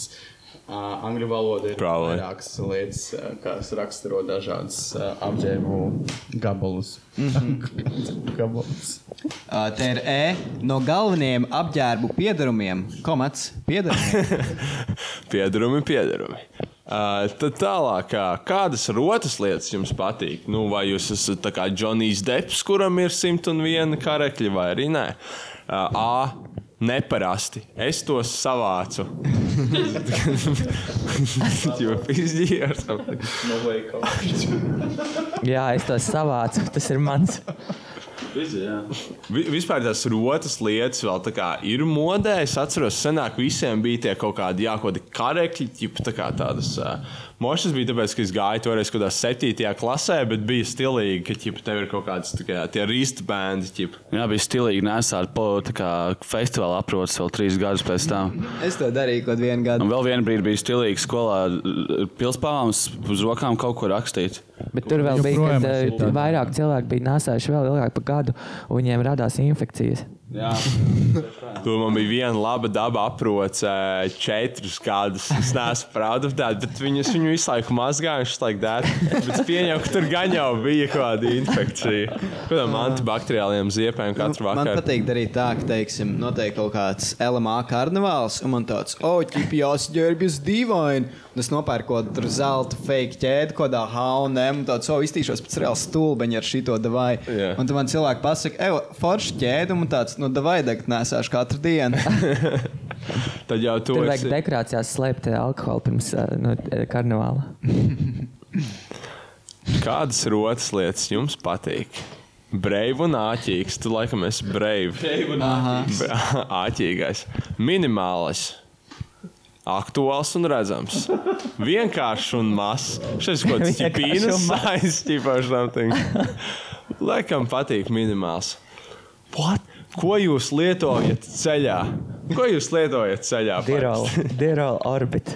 [SPEAKER 8] Uh, angļu valoda ir
[SPEAKER 9] Probably.
[SPEAKER 8] vairākas lietas, uh, kas raksturo dažādas uh, apģērbu gabalus.
[SPEAKER 6] Mhm.
[SPEAKER 8] gabalus.
[SPEAKER 6] Ā, Te ir E no galvenajiem apģērbu piedarumiem. Komats piedarumi.
[SPEAKER 9] Piedarumi, piedarumi. Uh, tad tālāk, ā, kādas rotas lietas jums patīk? Nu, vai jūs esat tā kā Džonijs Deps, kuram ir 101 karekļi, vai arī nē? Uh, A. Neparasti. Es tos savācu. Jo pizdzīgi ar savu.
[SPEAKER 10] No way, kaut
[SPEAKER 4] Jā, es to savācu. Tas ir mans.
[SPEAKER 10] kā.
[SPEAKER 9] Vi, vispār tās rotas lietas vēl tā kā ir modē. Es atceros, senāk visiem bija tie kaut kādi jākodi karekļi, tipu tā kā tādas. Uh, Mošas bija tāpēc, ka es gāju toreiz kaut kādā septītajā klasē, bet bija stilīgi, ka tipu, tev ir kaut kādas tā kā, tie rīstbēndi. Tipu.
[SPEAKER 11] Jā, bija stilīgi nesāt po tā kā festivāla aprots vēl trīs gadus pēc tam.
[SPEAKER 6] Es to darīju kaut vienu gadu.
[SPEAKER 11] Un vēl vienā brīdī bija stilīgi skolā pilspāvāms uz rokām kaut ko rakstīt.
[SPEAKER 4] Bet tur vēl bija, kad eh, vairāk cilvēki bija nesājuši vēl ilgāk par gadu, un viņiem radās infekcijas.
[SPEAKER 11] Jā.
[SPEAKER 9] Tur man bija viena laba daba aproce, eh, četras kādas. Es neesmu proud of that, bet viņas viņu visu laiku mazgāju, viņš laik dēļ. Bet es pieņēmu, ka tur gan jau bija kaut kāda infekcija. Kādām antibakteriāliem ziepēm katru
[SPEAKER 6] Ah. Man
[SPEAKER 9] vakaru.
[SPEAKER 6] patīk darīt tā, ka, teiksim, notiek kaut kāds LMA karnevāls, un man tāds, oh, ķipi jāsģērbjas dīvaini. Un es nopērku kaut kādu zelta fake ķēdi, kaut kādā haunēm, un tāds, oh, iztīšos pēc reāla stulbeņa ar šito davai.
[SPEAKER 9] Jā.
[SPEAKER 6] Un tad man cilvēki pasaka, evo, forši ķēdi, un man tāds, nu, davai degt nesāšu katru dienu.
[SPEAKER 9] Tad jau to
[SPEAKER 4] Tur vajag dekorācijās slēpt eh, alkoholu pirms eh, nu, eh, karnevāla.
[SPEAKER 9] Kādas rotas lietas jums patīk? Brīvi un āķīgs. Tu laikam esi brīvs.
[SPEAKER 10] Brave un āķīgs.
[SPEAKER 9] Āķīgais. Minimāls. Aktuāls un redzams. Vienkāršs un mazs. Šis kaut kāds
[SPEAKER 10] Vienkāršs
[SPEAKER 9] ķipīnas
[SPEAKER 10] un mazs.
[SPEAKER 9] saistībā. Laikam patīk minimāls. What? Ko jūs lietojat ceļā? Ko jūs lietojat ceļā?
[SPEAKER 4] Dērola orbit.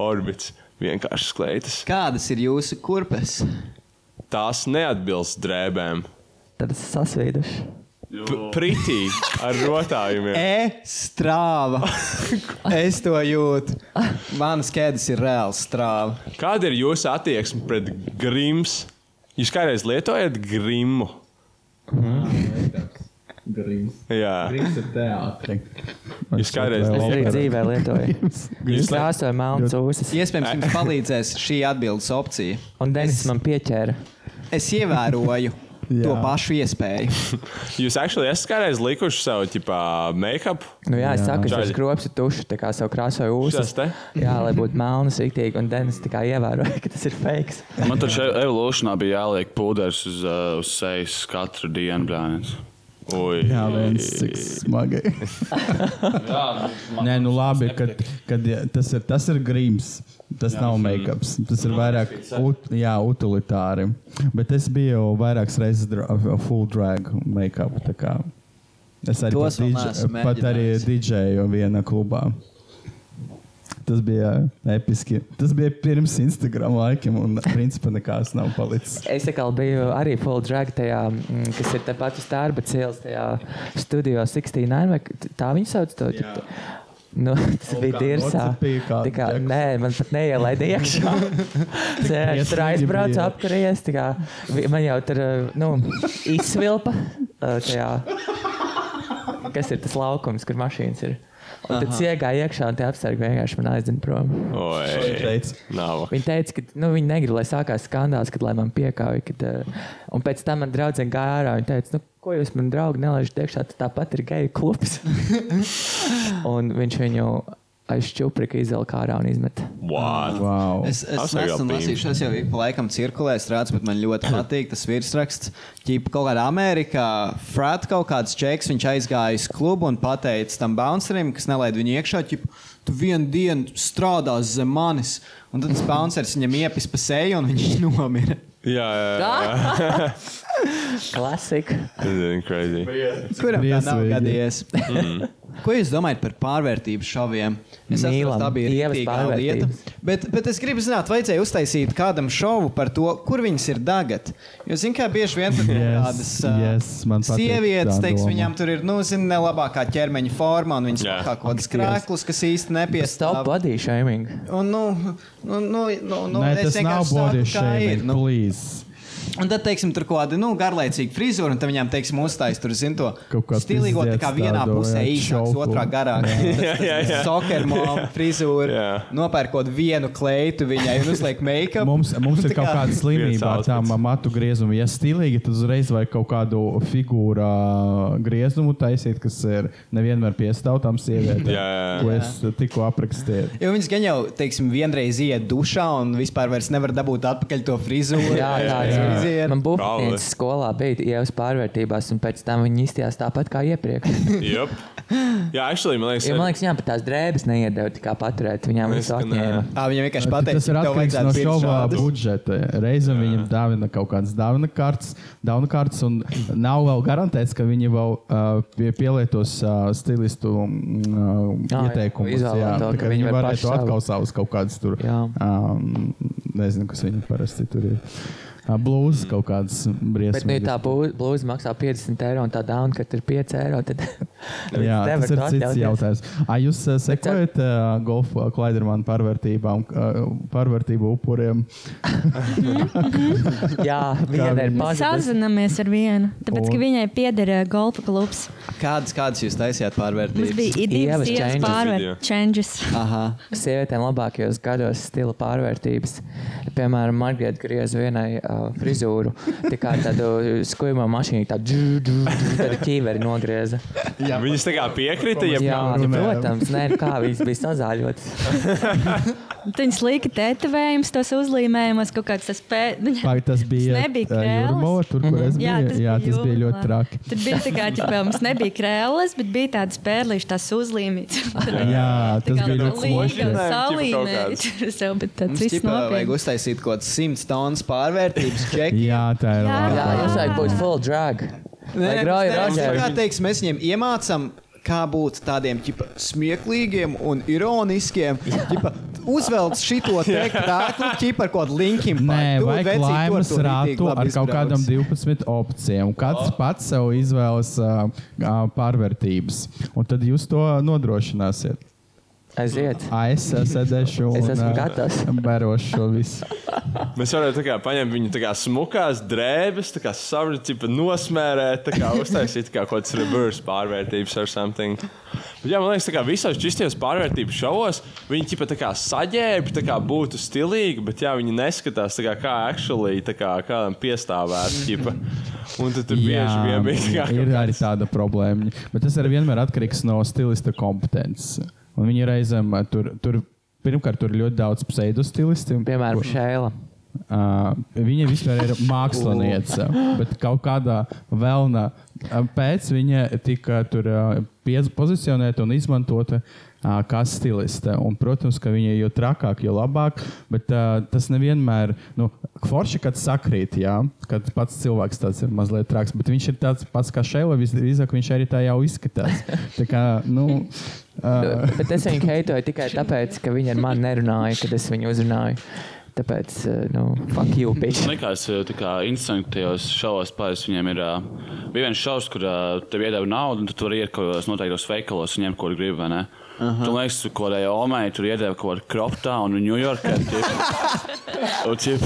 [SPEAKER 9] Orbits. Vienkārši sklētas.
[SPEAKER 6] Kādas ir jūsu kurpes?
[SPEAKER 9] Tās neatbilst drēbēm.
[SPEAKER 4] Tad es sasveidošu.
[SPEAKER 9] P- Pretī ar rotājumiem.
[SPEAKER 6] E strāva. Es to jūtu. Manas ķēdes ir reāls strāva.
[SPEAKER 9] Kāda ir jūsu attieksme pret grims? Jūs kādreiz lietojat grimu?
[SPEAKER 8] Grims.
[SPEAKER 9] Jā,
[SPEAKER 8] Grims ir teātris.
[SPEAKER 9] jūs kādreiz
[SPEAKER 4] Es arī dzīvē lietoju. Jūs
[SPEAKER 9] Jūs lai-
[SPEAKER 4] krāsojat melnas ausis.
[SPEAKER 6] Iespējams, jums palīdzēs šī atbildes opcija.
[SPEAKER 4] Un Denis man pieķēra.
[SPEAKER 6] Es ievēroju to pašu iespēju.
[SPEAKER 9] Jūs actually esat kādreiz likuši sev tipā make-up?
[SPEAKER 4] Nu, jā, es saku, ka šis
[SPEAKER 9] Čaļi.
[SPEAKER 4] skrops ir tušs, tā kā sev krāsoju
[SPEAKER 9] Šis
[SPEAKER 4] ūsas.
[SPEAKER 9] te?
[SPEAKER 4] Jā, lai būtu melnas, rīktīgi, un Denis tā kā ievēroja, ka tas ir fake.
[SPEAKER 11] Man taču evolūcijā bija jāliek pūderis uz, uh, uz sejas katru dienu, brānīt.
[SPEAKER 9] Ui.
[SPEAKER 8] Jā, viens cik smagi. Nē, nu labi, kad, kad ja, tas ir, tas ir grims. Tas
[SPEAKER 10] Jā,
[SPEAKER 8] jā,
[SPEAKER 10] tas
[SPEAKER 8] nav
[SPEAKER 10] ir-
[SPEAKER 8] make-up. Tas ir
[SPEAKER 10] Nu,
[SPEAKER 8] vairāk
[SPEAKER 10] tas ir
[SPEAKER 8] ut, jā, utilitāri. Bet es biju vairākas reizes dra- full drag make-up. tā kā. Es arī
[SPEAKER 6] Tos
[SPEAKER 8] pat,
[SPEAKER 6] vēl
[SPEAKER 8] DJ,
[SPEAKER 6] neesmu
[SPEAKER 8] pat arī didžēju vienā klubā. Tas bija episki. Tas bija pirms Instagram laikiem, un principā nekas nav palicis.
[SPEAKER 4] Es atkal biju arī full drag tajā, mm, kas ir tepat uz Tārba cēlus, tajā studijā 69. vai k- Tā viņi sauc to. Jā. Nu, tas
[SPEAKER 8] Un
[SPEAKER 4] bija
[SPEAKER 8] kā
[SPEAKER 4] dirzā.
[SPEAKER 8] nocipīja kādu
[SPEAKER 4] Tā kā, nē, man pat neielaida iekšā. Es tur
[SPEAKER 8] briesmīgi
[SPEAKER 4] aizbraucu,
[SPEAKER 8] bija.
[SPEAKER 4] apkaries. tā kā, vi- Man jau tur eh, nu, izsvilpa. eh, Tajā, kas ir tas laukums, kur mašīnas ir? Un tad
[SPEAKER 9] Aha.
[SPEAKER 4] iegāja iekšā, un tie apstākļi vienkārši man aizdzen prom.
[SPEAKER 9] Oi,
[SPEAKER 8] teica.
[SPEAKER 9] Nav.
[SPEAKER 4] Viņa teica, ka nu, viņa negrib, lai sākās skandāls, kad lai man piekāpja. Kad, uh, un pēc tam man draudzene gāja ārā. Viņa teica, nu, ko jūs man draugi nelaižat iekšā, tad tāpat ir geju klubs. un viņš viņu aiz čuprika izvelk ārā un izmet.
[SPEAKER 6] Wow. Es, es nesen lasīju, tas jau ik pa laikam cirkulē, strādājot, bet man ļoti patīk tas virsraksts. Ķīpa kaut kādā Amerikā, Frāta kaut kāds čeks, viņš aizgāja uz klubu un pateica tam bouncerim, kas nelaid viņu iekšā, ķip, tu vienu dienu strādās zem manis. Un tad tas bouncers viņam iepis pa seju un viņš nomira.
[SPEAKER 9] Jā, jā, jā.
[SPEAKER 4] Klasika.
[SPEAKER 9] Zini, crazy.
[SPEAKER 6] Kuram tā nav
[SPEAKER 9] Briesmīgi.
[SPEAKER 6] gadījies?
[SPEAKER 9] Mm.
[SPEAKER 6] Ko jūs domājat par pārvērtības šoviem? Es saprotu,
[SPEAKER 4] Mīlam,
[SPEAKER 6] tā bija rītīgā
[SPEAKER 4] Dievas
[SPEAKER 6] lieta.
[SPEAKER 4] pārvērtības.
[SPEAKER 6] Bet, bet es gribu zināt, vajadzēja uztaisīt kādam šovu par to, kur viņas ir tagad. Jo, zinām, kā bieži vien tur ir tādas uh,
[SPEAKER 8] yes, man patīk
[SPEAKER 6] sievietes,
[SPEAKER 8] tā
[SPEAKER 6] teiks,
[SPEAKER 8] doma.
[SPEAKER 6] viņām tur ir, nu, zina, ne labākā ķermeņa forma, un viņas
[SPEAKER 4] Jā.
[SPEAKER 6] kā kaut kādas
[SPEAKER 4] Ak, Dievs.
[SPEAKER 6] krāklus, kas īsti nepiestāv.
[SPEAKER 4] Body shaming.
[SPEAKER 6] Un, nu, nu, nu, nu, nu,
[SPEAKER 8] Nē,
[SPEAKER 6] es
[SPEAKER 8] tas
[SPEAKER 6] vienkārši
[SPEAKER 8] nav
[SPEAKER 6] saku,
[SPEAKER 8] body
[SPEAKER 6] kā ir,
[SPEAKER 8] shaming,
[SPEAKER 6] nu.
[SPEAKER 8] please.
[SPEAKER 6] Un tad, teiksim, tur kaut kāda nu, garlaicīga frizūra, un tad viņām, teiksim, uzstājas tur, zin, to
[SPEAKER 8] Kaut kā
[SPEAKER 6] stilīgo, tā kā
[SPEAKER 8] pizdiec
[SPEAKER 6] vienā
[SPEAKER 8] tādu,
[SPEAKER 6] pusē
[SPEAKER 8] jā,
[SPEAKER 6] īsāks,
[SPEAKER 8] čauku.
[SPEAKER 6] otrā garāks.
[SPEAKER 8] Jā.
[SPEAKER 6] Tas- tas
[SPEAKER 8] Jā, jā.
[SPEAKER 6] Soccer mom frizūra, nopērkot vienu kleitu viņai un uzliek make-up.
[SPEAKER 8] Mums, mums
[SPEAKER 6] Un
[SPEAKER 8] ir
[SPEAKER 6] tā
[SPEAKER 8] kaut
[SPEAKER 6] kā-
[SPEAKER 8] kāda slimība ar tām matu griezumu. Ja stilīgi, tad uzreiz vajag kaut kādu figūru ā, griezumu taisīt, kas ir nevienmēr piestāv tam sievietēm.
[SPEAKER 9] Jā, jā, jā.
[SPEAKER 8] Ko es tikko aprakstīju.
[SPEAKER 6] Jo viņas gan jau, teiksim, vienreiz iet dušā un vispār vairs nevar dabūt atpakaļ to frizūru.
[SPEAKER 4] Jā, tā ir. Man buļbuļsaktas skolā bija ievas pārvērtībās, un pēc tam viņi izties tāpat kā iepriekš.
[SPEAKER 9] Jup. Jā, actually, man liekas,
[SPEAKER 4] Jo, man liekas, viņām pat tās drēbes neiedēja tā kā paturēt. Viņām
[SPEAKER 9] Es
[SPEAKER 4] visu
[SPEAKER 9] ka nē.
[SPEAKER 4] atņēma.
[SPEAKER 6] Tā viņa vienkārši
[SPEAKER 8] Tas ir atkarīgs no šova budžeta. Reizēm viņam dāvina kaut kādas dāvana kartes, dāvana kartes, un nav vēl garantēts, ka viņi vēl uh, pie, pielietos uh, stilistu mm, uh,
[SPEAKER 4] Jā, jā,
[SPEAKER 8] ieteikumus.
[SPEAKER 4] izvēlē
[SPEAKER 8] Jā,
[SPEAKER 4] to,
[SPEAKER 8] tā
[SPEAKER 4] ka
[SPEAKER 8] kā
[SPEAKER 4] viņi
[SPEAKER 8] viņi
[SPEAKER 4] var
[SPEAKER 8] varētu
[SPEAKER 4] paši savu.
[SPEAKER 8] atkal savus kaut kādus tur. Um, nezinu, kas viņi parasti tur ir. Uh, Blūzi kaut kādas
[SPEAKER 4] Bet, nu, ja tā
[SPEAKER 8] briesmīgas.
[SPEAKER 4] blūza maksā 50 eiro un tā dāvana, ka tur ir 5 eiro, tad
[SPEAKER 8] Jā,
[SPEAKER 4] nevar
[SPEAKER 8] tas ir
[SPEAKER 4] to
[SPEAKER 8] cits
[SPEAKER 4] atļauties.
[SPEAKER 8] jautājums. Ai, jūs uh, sekojat uh, golfa klaidermanu pārvērtībām, uh, pārvērtību upuriem?
[SPEAKER 4] Jā,
[SPEAKER 8] vienai ir
[SPEAKER 1] Mēs sazināmies ar vienu, tāpēc, ka
[SPEAKER 6] Un?
[SPEAKER 1] viņai pieder ā, golfa klubs.
[SPEAKER 6] Kādas, kādas jūs taisījāt
[SPEAKER 1] Mums
[SPEAKER 6] pārvērtības?
[SPEAKER 1] bija ideja
[SPEAKER 4] Ievas changes.
[SPEAKER 1] pārvērt changes.
[SPEAKER 8] Ah.
[SPEAKER 6] Aha.
[SPEAKER 4] Sievietēm labākajos gados stila pārvērtības. Piemēram, Margarita grieza vienai uh, frizūru, tikai tādu skūjumu mašīnu, tādu ķīveri nogrieza.
[SPEAKER 9] Jā, Viņas tā kā piekrita, ja
[SPEAKER 4] Jā, nu, protams, nē, kā viņas bija sazāļotas.
[SPEAKER 1] Viņas lika tetovējumus, tos uzlīmējumus, kaut kāds tas pēdas.
[SPEAKER 8] Vai tas bija
[SPEAKER 1] nebija
[SPEAKER 8] ā,
[SPEAKER 1] krēls.
[SPEAKER 8] Jūrmala, tur, kur
[SPEAKER 6] Mhm.
[SPEAKER 8] es biju?
[SPEAKER 1] Jā, tas
[SPEAKER 8] Jā, tas bija ļoti traki.
[SPEAKER 1] Tad bija tā kā, ja mums nebija krēles, bet bija tādas pērlīšas, tās uzlīmītas.
[SPEAKER 8] Jā, tas bija ļoti
[SPEAKER 1] līga,
[SPEAKER 8] smuki.
[SPEAKER 1] salīmētas. Sev, bet tas
[SPEAKER 6] Mums
[SPEAKER 1] viss
[SPEAKER 6] ķipa vajag
[SPEAKER 1] nopietni.
[SPEAKER 6] uztaisīt kaut kāds 100 tonnas pārvērtības čeku.
[SPEAKER 8] Jā, tā ir
[SPEAKER 4] Jā,
[SPEAKER 8] labi.
[SPEAKER 4] jums vajag būt full drag.
[SPEAKER 6] Nē,
[SPEAKER 4] Vai
[SPEAKER 6] nē,
[SPEAKER 4] grauji
[SPEAKER 6] mums ne- mums
[SPEAKER 4] rožēm?
[SPEAKER 6] tā Kā teiks, mēs viņiem iemācām, kā būt tādiem ķipa, smieklīgiem un ironiskiem. Ķipa, uzvelc šito te krāklu, ķipa ar kaut kādu linkiem.
[SPEAKER 8] Nē, vajag laimas rātu ar kaut kādām 12 opcijām.
[SPEAKER 6] Oh.
[SPEAKER 8] Kāds pats sev izvēlas ā, ā, pārvērtības. Un tad jūs to nodrošināsiet.
[SPEAKER 4] Aiziet.
[SPEAKER 8] Ā, es ā, sēdēšu
[SPEAKER 4] Es
[SPEAKER 8] un
[SPEAKER 4] esmu
[SPEAKER 8] ā,
[SPEAKER 4] gatavs.
[SPEAKER 8] Barošu šo visu.
[SPEAKER 9] Mēs varētu tā kā paņemt viņu tā kā smukās drēbes, tā kā savrīt, tipa nosmērēt, tā kā uztaisīt tā kā kaut kāds reverse pārvērtības or something. Bet, jā, man liekas, tā kā visos čistajos pārvērtības šovos viņi tipa tā kā saģērbi, tā kā būtu stilīgi, bet jā, viņi neskatās tā kā kā actually, tā kā kādam piestāvēt, tipa. Un tad tur bieži vien bija tā kā
[SPEAKER 8] ir arī tāda problēma. Bet tas arī vienmēr atkarīgs no stilista kompetences. Un viņi reizēm ā, tur, tur pirmkārt, tur ir ļoti daudz pseidostilistu.
[SPEAKER 4] Piemēram, Šēla.
[SPEAKER 8] Uh, viņa vispār ir mākslinieca, bet kaut kādā vēlnā ā, pēc viņa tika uh, tur ā, piez- pozicionēta un izmantota ā, kā stiliste. Un, protams, ka viņa jo trakāk, jo labāk, bet uh, tas nevienmēr nu, forši, kad sakrīt, jā, kad pats cilvēks tāds ir mazliet traks, bet viņš ir tāds pats kā šeit, visdrīzāk viņš arī tā jau izskatās. Tā kā, nu, ā,
[SPEAKER 4] Bet es viņu heitoju tikai tāpēc, ka viņa ar mani nerunāja, kad es viņu uzrunāju. Tāpēc, eh, nu, fuck you, bitch.
[SPEAKER 11] Man liekas, eh, ka instinktīvos šovos pāris viņiem ir. ā, Bija viens šovs, kur ā, tev iedeva naudu, un tu tur ir kaut kādos noteiktos veikalos, un ņem, ko tu gribi. vai ne? Tu man liekas, ko tai Omai tur iedeva kaut kādu kroptā un Ņujorkā. Un tie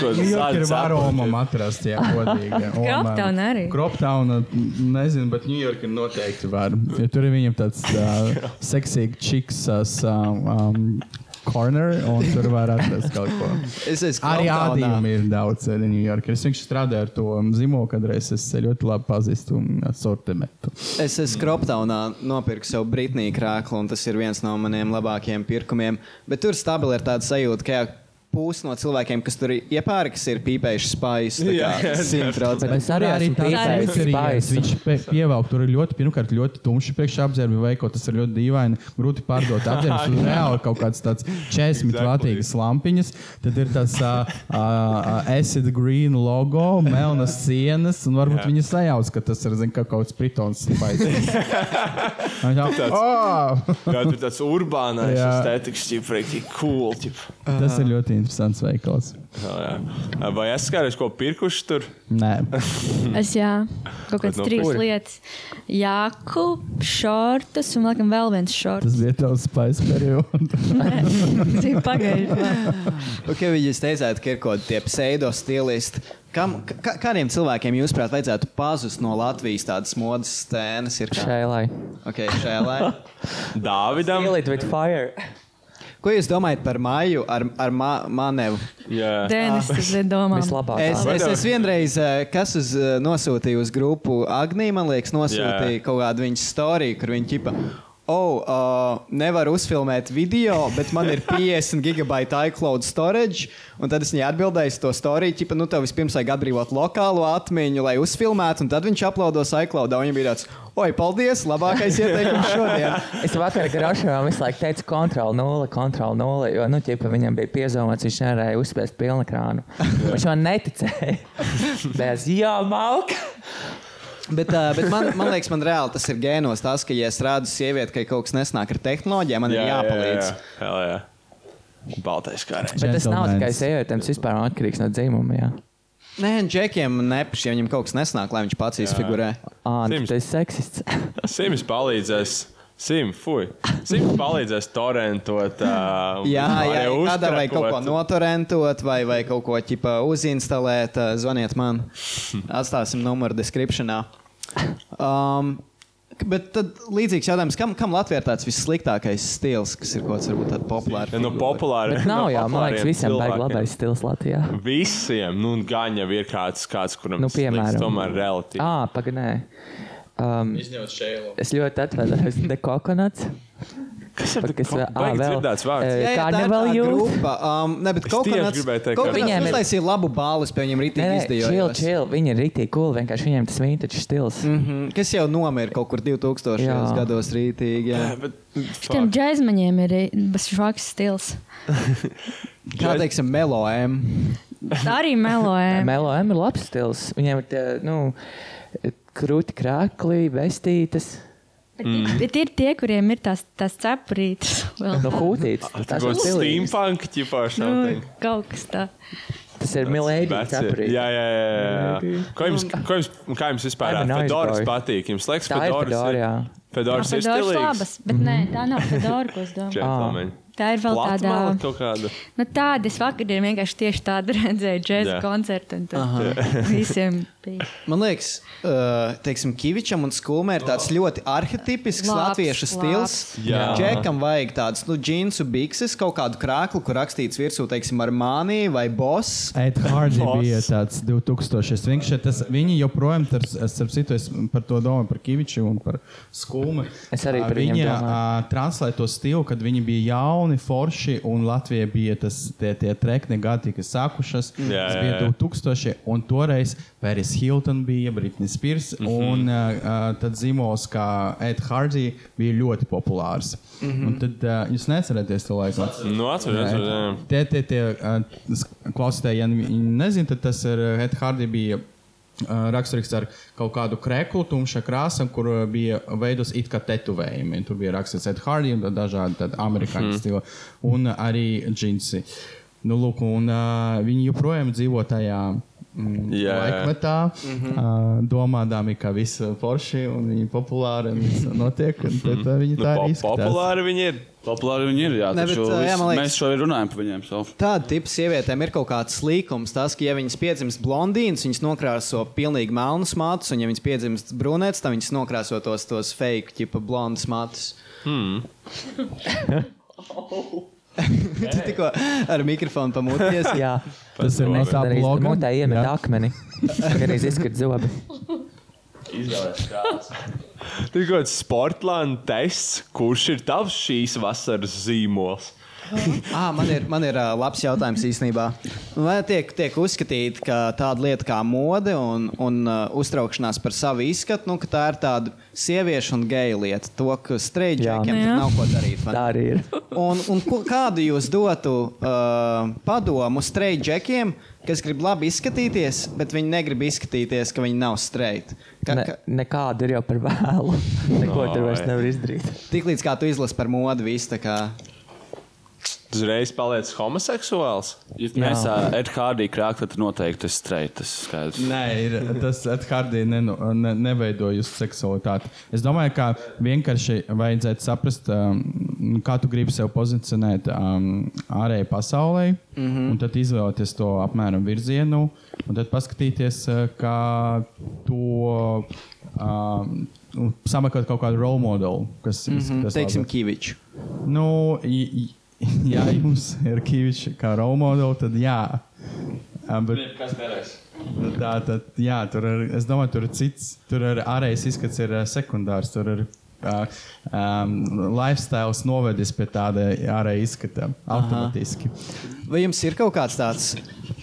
[SPEAKER 8] New York ir
[SPEAKER 11] ir
[SPEAKER 8] varomam atrast, ja godīgi.
[SPEAKER 1] Croptown arī.
[SPEAKER 8] Kroptauna, nezinu, bet New York ir noteikti var. Ja tur ir viņam tāds uh, seksīgs čiks, uh, um, corner, un tur var atrast kaut ko.
[SPEAKER 6] Es esmu
[SPEAKER 8] Arī
[SPEAKER 6] Comptonā.
[SPEAKER 8] Ādījumi ir daudz eh, Ņujorkā. Es vienkārši strādāju ar to zīmolu, kadreiz es ļoti labi pazīstu sortimentu.
[SPEAKER 6] Es esmu Kroptaunā nopirku sev Britnijas krāklu, un tas ir viens no maniem labākajiem pirkumiem. Bet tur stabili ir tāda sajūta, ka jā, pūs no cilvēkiem, kas tur iepērkas, ir pīpējuši spējas.
[SPEAKER 4] Jā, jā, Bet es arī esmu pīpējis spaisu.
[SPEAKER 8] Viņš pie- pievelk tur ir ļoti, pirmkārt, ļoti tumši priekšapģērbi veikot. Tas ir ļoti dīvaini. Grūti pārdot apģērbus. Tur reāli kaut kāds tāds 40 vatīgas lampiņas. Tad ir tas uh, uh, acid green logo, melnas sienas, un varbūt viņi sajauc, ka tas ir zin, kā kaut kāds pritons spaisu.
[SPEAKER 9] tāds, jā, tur tāds urbānais
[SPEAKER 8] Jā.
[SPEAKER 9] estētikas, jau rīktī cool. Ķip.
[SPEAKER 8] Tas ir ļoti interesants veikals.
[SPEAKER 9] Jā, jā. Vai es skāru, ko pirkuši tur?
[SPEAKER 8] Nē.
[SPEAKER 9] Mm.
[SPEAKER 1] Es jā, kaut kādas
[SPEAKER 9] no
[SPEAKER 1] trīs
[SPEAKER 9] kuri?
[SPEAKER 1] lietas. Jāku, šortus un, laikam, vēl viens šorts.
[SPEAKER 8] Tas bija tavs spaisu periods.
[SPEAKER 1] Zinu, pagaidi.
[SPEAKER 6] Okay, ja jūs teicāt, ka ir kaut kādi tie pseido stilisti, kam, ka, kādiem cilvēkiem jūs, prāt, vajadzētu pazust no Latvijas tādas modes scēnas? Ir kā-
[SPEAKER 4] Šēlai.
[SPEAKER 6] Okay, šēlai.
[SPEAKER 9] Dāvidam.
[SPEAKER 4] Fill it with fire.
[SPEAKER 6] Ko jūs domājat par māju ar, ar ma manevu?
[SPEAKER 9] Jā,
[SPEAKER 1] Dēnis, tas ir domāts.
[SPEAKER 6] Es, es, es vienreiz, eh, kas uz, eh, nosūtīju uz grupu Agnija, man liekas, nosūtīja
[SPEAKER 9] Jā.
[SPEAKER 6] kaut kādu viņas storiju, kur viņa ķipa. Oh, uh, nevaru uzfilmēt video, bet man ir 50 gigabaita iCloud storage. Un tad es viņai atbildēju uz to storiju, ka, nu, tev vispirms vajag atbrīvot lokālo atmiņu, lai uzfilmētu, un tad viņš aplaudos iCloud. Un viņam bija tāds, oi, paldies, labākais ieteikums šodien.
[SPEAKER 4] Es vakarā gražojām, visu laiku teicu, kontrole, nulle, kontrole, nulle. Jo, nu, ķipa, viņam bija piezīmēts, viņš nevarēja uzspēst pilnu krānu. Viņš man neticēja. Bez jā, malka.
[SPEAKER 6] Bet, uh, bet man, man liekas, man reāli tas ir gēnos, tas, ka, ja es rādu sievieti, ka kaut kas nesnāk ar tehnoloģijām, man jā, ir jāpalīdz. Jā, jā.
[SPEAKER 9] Jā, jā. jā. Baltais kārējs.
[SPEAKER 4] Bet tas nav tikai sievietēm, tas vispār atkarīgs no dzimuma. Jā.
[SPEAKER 6] Nē, un Džekiem nepatīk, ja viņam kaut kas nesnāk, lai viņš pats izfigurē.
[SPEAKER 4] Ah, tas ir seksists.
[SPEAKER 9] Sims palīdzēs. Sim, fuj. Sims palīdzēs torentot. Uh,
[SPEAKER 6] Jā, jā, kādā vai kaut ko notorentot, vai, vai kaut ko ķipa uzinstalēt, ā, zvaniet man. Atstāsim numuru descriptionā. Um, k- bet tad līdzīgs jautājums, kam, kam Latvijā ir tāds vissliktākais stils, kas ir kaut kas varbūt tāds populārs?
[SPEAKER 9] Ja, nu, populāri-
[SPEAKER 4] Bet nav jā, man liekas,
[SPEAKER 9] populāriem
[SPEAKER 4] visiem vajag
[SPEAKER 9] cilvēkiem.
[SPEAKER 4] labais stils Latvijā.
[SPEAKER 9] Visiem, nu, gan jau ir kāds, kāds kuram
[SPEAKER 4] Nu,
[SPEAKER 9] tas liekas
[SPEAKER 4] piemēram.
[SPEAKER 9] tomēr relatīvi.
[SPEAKER 4] Ah, pagaidām. Um,
[SPEAKER 9] Izņemot šēlo.
[SPEAKER 4] Es ļoti atvainojos. The coconuts.
[SPEAKER 9] Kas
[SPEAKER 4] ir tas?
[SPEAKER 9] baigi dzirdēts vārds. Jā, jā, tā ir
[SPEAKER 4] Carnival
[SPEAKER 9] tā
[SPEAKER 4] youth.
[SPEAKER 6] grupa. Um, ne, bet
[SPEAKER 9] Es
[SPEAKER 6] kaut
[SPEAKER 9] tieši
[SPEAKER 6] kādā
[SPEAKER 9] gribēju teikt, ka-
[SPEAKER 6] veidā
[SPEAKER 9] Viņiem ir-
[SPEAKER 6] uztaisīja labu balvu, pie viņiem
[SPEAKER 4] Nē,
[SPEAKER 6] rītīgi
[SPEAKER 4] nē, Chill,
[SPEAKER 6] izdevās.
[SPEAKER 4] chill. Viņi ir rītīgi cool. Vienkārši viņiem tas vintage stils.
[SPEAKER 6] Mm -hmm. Kas jau nomira kaut kur 2000.
[SPEAKER 4] Jā.
[SPEAKER 6] gados rītīgi. Jā.
[SPEAKER 9] Bet,
[SPEAKER 1] Šitiem džēzmaņiem ir švaks stils.
[SPEAKER 6] Kā teiksim, melojam?
[SPEAKER 1] Arī melojam.
[SPEAKER 4] Melo M ir labs stils. Viņiem ir tie, nu, krūti krāklī, vestītes.
[SPEAKER 1] Mm. Bet ir tie, kuriem ir tās, tās cepurītes. vēl.
[SPEAKER 4] No Nu, hūtītes.
[SPEAKER 9] Tā
[SPEAKER 4] Tas
[SPEAKER 9] kā
[SPEAKER 4] ir stilīgi.
[SPEAKER 9] steampunk ķipā
[SPEAKER 1] Nu,
[SPEAKER 9] šādi.
[SPEAKER 1] kaut kas tāds.
[SPEAKER 4] Tas ir milēdi
[SPEAKER 9] Veci.
[SPEAKER 4] cepurīte.
[SPEAKER 9] Jā, jā, jā. jā, jā. Ko jums, ko jums, kā jums vispār
[SPEAKER 4] Nu, I'm a
[SPEAKER 9] ir?
[SPEAKER 4] nice
[SPEAKER 9] Fedoras
[SPEAKER 4] boy.
[SPEAKER 9] patīk. Jums liekas,
[SPEAKER 4] Tā ir
[SPEAKER 9] Fedoras
[SPEAKER 4] fedora, jā.
[SPEAKER 9] Fedoras ir
[SPEAKER 1] Fedoras
[SPEAKER 9] stilīgs.
[SPEAKER 1] labas, bet nē, tā nav Fedora, ko es
[SPEAKER 4] Ah.
[SPEAKER 1] domāju.
[SPEAKER 9] Džentlmeņi.
[SPEAKER 1] Tā ir vēl
[SPEAKER 9] Platmala
[SPEAKER 1] tāda.
[SPEAKER 9] kaut kāda.
[SPEAKER 1] Nu, tāda es vakarā vienkārši tieši tādu redzēju, džēza
[SPEAKER 9] Jā.
[SPEAKER 1] koncertu. un tad
[SPEAKER 6] Aha. Jā.
[SPEAKER 1] Visiem bija.
[SPEAKER 6] Man liekas, uh, teiksim, Kavičam un Skulmē ir tāds ļoti arhitektisks
[SPEAKER 1] Labs,
[SPEAKER 6] latviešu
[SPEAKER 1] labs.
[SPEAKER 6] stils.
[SPEAKER 9] Jā.
[SPEAKER 6] Džekam vajag tādas nu, džinsu, bikses, kaut kādu krāklu, kur rakstīts virsū, teiksim, ar mānī vai boss.
[SPEAKER 8] Ed Hardy bija tāds 2000. Es Vienkārši tas, viņi joprojām, tur, es starp citu, es par to domāju, par Kaviču un par Skulmu.
[SPEAKER 4] Es arī par viņiem
[SPEAKER 8] Viņi
[SPEAKER 4] domāju.
[SPEAKER 8] ā, translē to stilu, kad viņi bija jauni, forši, un Latvijā bija tas, tie, tie trekni gadi, kas sākušas.
[SPEAKER 9] Jā,
[SPEAKER 8] Tas
[SPEAKER 9] jā,
[SPEAKER 8] bija
[SPEAKER 9] jā.
[SPEAKER 8] 2000, un toreiz Paris Hilton bija, Britney Spears, mm -hmm. un uh, tad zīmols, kā Ed Hardy, bija ļoti populārs. Mm
[SPEAKER 9] Mhm.
[SPEAKER 8] -hmm. Un tad uh, jūs neatceraties to laiku?
[SPEAKER 9] Nu, atceros,
[SPEAKER 8] Nē.
[SPEAKER 9] jā.
[SPEAKER 8] Tie, tie, tie ā, s- klausītāji, ja viņi nezina, tad tas ir ā, Ed Hardy bija. ā, Raksturīgs ar kaut kādu krēslu, tumšā krāsā, kur ā, bija veidots it kā tetovējumi. Tur bija rakstīts Ed Hardy un tad dažādi tādi amerikāņu
[SPEAKER 9] Mhm.
[SPEAKER 8] stili un ā, arī džinsi. Nu, lūk, un, ā, viņi joprojām dzīvo tajā mm,
[SPEAKER 9] Jā, Mhm. jā.
[SPEAKER 8] laikmetā, mm -hmm. domādami, ka viss ir forši un viņi ir populāri un viss notiek. Un tad, ā, viņi
[SPEAKER 9] Nu,
[SPEAKER 8] tā arī
[SPEAKER 9] po-
[SPEAKER 8] izskatās.
[SPEAKER 9] Populāri viņi ir.
[SPEAKER 11] Populāri viņi ir. Jā,
[SPEAKER 6] Ne,
[SPEAKER 11] ne,
[SPEAKER 6] bet,
[SPEAKER 11] bet,
[SPEAKER 6] eh, jā,
[SPEAKER 11] jā,
[SPEAKER 6] man liekas-
[SPEAKER 11] mēs šodien runājam par viņiem. Savu.
[SPEAKER 6] Tāda tipa sievietēm ir kaut kāds līkums. Tas, ka, ja viņas piedzimst blondīnas, viņas nokrāso pilnīgi melnus matus, un, ja viņas piedzimst brunētas, tad viņas nokrāso tos, tos fake, tipa blondus matus.
[SPEAKER 9] Hmm.
[SPEAKER 6] Tu tikko ar mikrofonu pamūties.
[SPEAKER 4] Jā,
[SPEAKER 8] Tas ir no tā bloga.
[SPEAKER 4] Mutē iemet
[SPEAKER 8] Jā.
[SPEAKER 4] akmeni. Arī izskrit zobi.
[SPEAKER 9] Tur ir kaut kāds sportlāna tests, kurš ir tavs šīs vasaras zīmols.
[SPEAKER 6] À, man ir, man ir ā, labs jautājums īstenībā. Vai tiek, tiek uzskatīta, ka tāda lieta kā mode un, un uh, uztraukšanās par savu izskatu, nu, ka tā ir tāda sieviešu un geju lieta, to, ka streidžēkiem
[SPEAKER 4] Jā.
[SPEAKER 6] nav ko darīt? vai ne?
[SPEAKER 4] Tā arī ir.
[SPEAKER 6] Un, un ko, kādu jūs dotu uh, padomu streidžēkiem, kas grib labi izskatīties, bet viņi negrib izskatīties, ka viņi nav streiti?
[SPEAKER 4] Ne, nekāda ir jau par vēlu. Neko tur vairs nevar izdarīt.
[SPEAKER 6] Tiklīdz kā tu izlasi par modi, viss tā kā.
[SPEAKER 9] Uzreiz paliec homoseksuāls.
[SPEAKER 11] Ja mēs ar Edu Hārdiju krākt, tad noteikti tas streitas skaidrs.
[SPEAKER 8] Nē, ir, tas atkardīgi neno, ne, neveido jūsu seksualitāti. Es domāju, ka vienkārši vajadzētu saprast, um, kā tu gribi sevi pozicionēt um, ārēji pasaulē, mm
[SPEAKER 6] Mhm.
[SPEAKER 8] -hmm. un tad izvēlēties to apmēram virzienu, un tad paskatīties, uh, kā to um, sameklēt kaut kādu role modeli, kas
[SPEAKER 6] Mhm,
[SPEAKER 8] izskatās
[SPEAKER 6] teiksim,
[SPEAKER 8] labi.
[SPEAKER 6] Kīvičs.
[SPEAKER 8] Nu, i- i- ja jums ir Kīvičs kā role model, tad jā. Um, bet,
[SPEAKER 10] Kas derēs?
[SPEAKER 8] Nu, Tā tad, jā, tur ir, es domāju, tur ir cits, tur ir ārējais izskats, ir ā, sekundārs, tur ir uh, um, lifestyle novedis pie tāda ārējā izskata automātiski.
[SPEAKER 6] Vai jums ir kaut kāds tāds,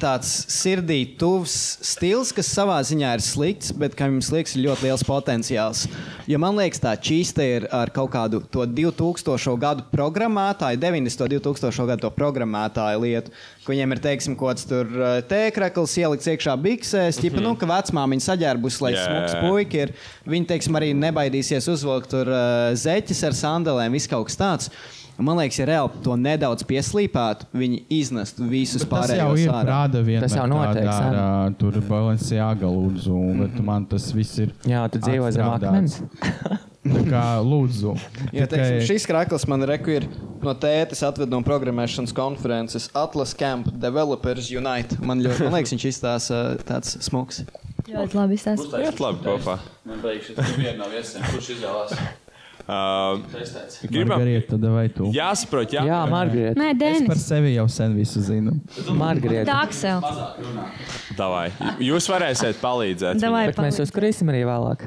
[SPEAKER 6] tāds sirdī tuvs stils, kas savā ziņā ir slikts, bet kam jums liekas, ir ļoti liels potenciāls? Jo man liekas, tā čīsta ir ar kaut kādu to 2000. gadu programmētāju, 90. un 2000. gadu to programmētāju lietu, ka viņiem ir, teiksim, kaut kāds tur eh, tēkrakls ielikts iekšā biksēs, mm -hmm. nu, ka vecmāmiņa saģērbus, lai
[SPEAKER 9] Jā.
[SPEAKER 6] yeah. smūgs puika ir. Viņi, teiksim, arī nebaidīsies uzvilkt tur uh, zeķes ar sandalēm, viss kaut kas tāds. Un Man liekas, ja reāli to nedaudz pieslīpētu, viņi iznestu visus
[SPEAKER 8] Tas jau
[SPEAKER 6] pārējos
[SPEAKER 8] ir
[SPEAKER 6] ārā.
[SPEAKER 8] prāta vienā.
[SPEAKER 4] Tas jau notiek,
[SPEAKER 8] Ar, ā, tur ir balancijāga lūdzu, un bet man tas viss ir.
[SPEAKER 4] Jā, tu dzīvo zem
[SPEAKER 8] atstrādāts. Tā kā lūdzu.
[SPEAKER 6] Ja, teiksim,
[SPEAKER 8] tikai-
[SPEAKER 6] šis krāklis man reku ir no tētas atved no programmēšanas konferences Atlas Camp Developers Unite. Man, ļoti, man liekas, viņš izstās uh, tāds smuks.
[SPEAKER 1] Ļoti labi izstāstīts.
[SPEAKER 9] Iet labi kopā.
[SPEAKER 11] Man liekas, tas ir viena no viesiem, kurš izvēlās.
[SPEAKER 6] Um,
[SPEAKER 9] Uh, gribam,
[SPEAKER 8] Margarita, vai tu?
[SPEAKER 9] jāsaprot, jā.
[SPEAKER 4] Jā, Margarita.
[SPEAKER 1] Nē,
[SPEAKER 8] Es par
[SPEAKER 1] Dēnis.
[SPEAKER 8] sevi jau sen visu zinu.
[SPEAKER 4] Margarita.
[SPEAKER 1] Dāksel.
[SPEAKER 9] Davai. Jūs varēsiet palīdzēt.
[SPEAKER 1] Davai,
[SPEAKER 4] Bet mēs uzkrīsim arī vēlāk.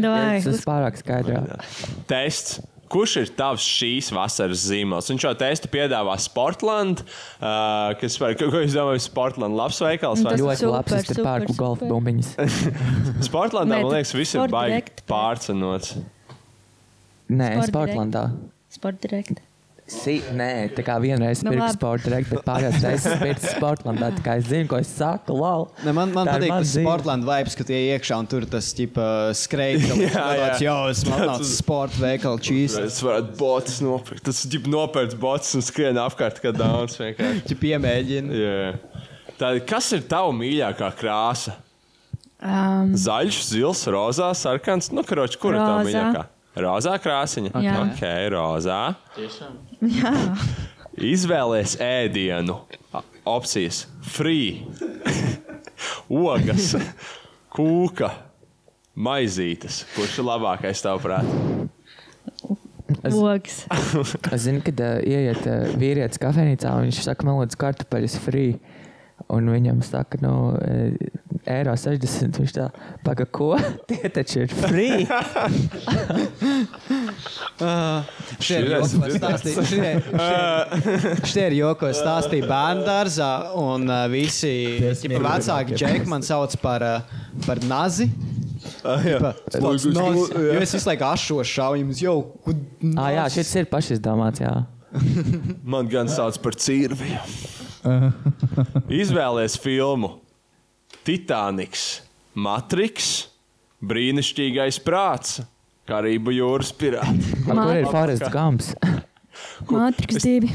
[SPEAKER 1] Davai.
[SPEAKER 4] Tas ir pārāk skaidrs.
[SPEAKER 9] viņai. Tests. Kurš ir tavs šīs vasaras zīmols? Un šo testu piedāvā Sportland. Uh, kas par ko ko jūs domājat? Sportland labs veikals vai
[SPEAKER 1] Tas ir
[SPEAKER 4] Ļoti
[SPEAKER 1] super,
[SPEAKER 4] labs. Es te
[SPEAKER 1] super,
[SPEAKER 4] pērku
[SPEAKER 1] super.
[SPEAKER 4] golfa bumbiņas.
[SPEAKER 1] Nē,
[SPEAKER 9] Sportlandā, man
[SPEAKER 1] tad
[SPEAKER 9] liekas, viss ir
[SPEAKER 1] Sport
[SPEAKER 9] baigi
[SPEAKER 1] Direct.
[SPEAKER 9] pārcenots.
[SPEAKER 4] Nē,
[SPEAKER 1] Sport
[SPEAKER 4] Sportlandā.
[SPEAKER 1] Sporta direkta.
[SPEAKER 4] Si, nē, tā kā vienreiz
[SPEAKER 1] Nu,
[SPEAKER 4] pirku
[SPEAKER 1] labi.
[SPEAKER 4] sporta direktu, bet pārējās reizes pirku Sportlandā. Tā kā es zinu, ko es saku, lol.
[SPEAKER 6] Ne, man man
[SPEAKER 4] Tā ir
[SPEAKER 6] patīk
[SPEAKER 4] mana
[SPEAKER 6] tas
[SPEAKER 4] dzīve.
[SPEAKER 6] Sportlands vibes, ka tie iekšā un tur tas ģipa skrejs. Jā, jā, jā. Man nav sporta veikala čīs.
[SPEAKER 9] Es varētu botus nopirkt. Tas ir ģip nopērts botus un skrien apkārt, kā daudz vienkārši.
[SPEAKER 6] Tu piemēģini.
[SPEAKER 9] Yeah. Tad, kas ir tava mīļākā krāsa?
[SPEAKER 1] Um,
[SPEAKER 9] Zaļš, zils, rozā, sarkans. Nu, karoči, kur ir tā
[SPEAKER 1] Rozā.
[SPEAKER 9] mīļākā? Rozā krāsiņa.
[SPEAKER 1] Jā.
[SPEAKER 9] Ok, rozā.
[SPEAKER 1] jā.
[SPEAKER 9] Izvēlēs ēdienu. A- Opcijas. Free. Ogas. Kūka. Maizītes. Kurš ir labākais tavuprāt?
[SPEAKER 1] Logs.
[SPEAKER 4] Es zinu, kad uh, ieiet uh, vīrietis kafejnīcā, un viņš saka, man lūdzu, kartupeļus free. Un viņam saka, nu, eh, eiro 60. Viņš tā, paga, ko? Tie taču ir free.
[SPEAKER 6] Šie ir joko,
[SPEAKER 9] Šis ir
[SPEAKER 6] ko stāstīja- šie- šie- Šie ir joko, ko stāstīja bērnu dārzā. Un uh, visi ķipa, vecāki džekļi man sauc par, uh, par nazi.
[SPEAKER 9] Ah,
[SPEAKER 6] Ķipa, tāds nozi-
[SPEAKER 9] Nu,
[SPEAKER 6] Jo es visu laiku ašos šaujumus jau.
[SPEAKER 4] ah, jā, šis ir pašizdomāts. Jā.
[SPEAKER 9] Man gan sauc par cīrvi. Izvēlēs filmu Titaniks, Matriks, Brīnišķīgais prāts, Karību jūras pirāti.
[SPEAKER 4] Ar Kur ir Forest Gumps?
[SPEAKER 1] Matriks divi.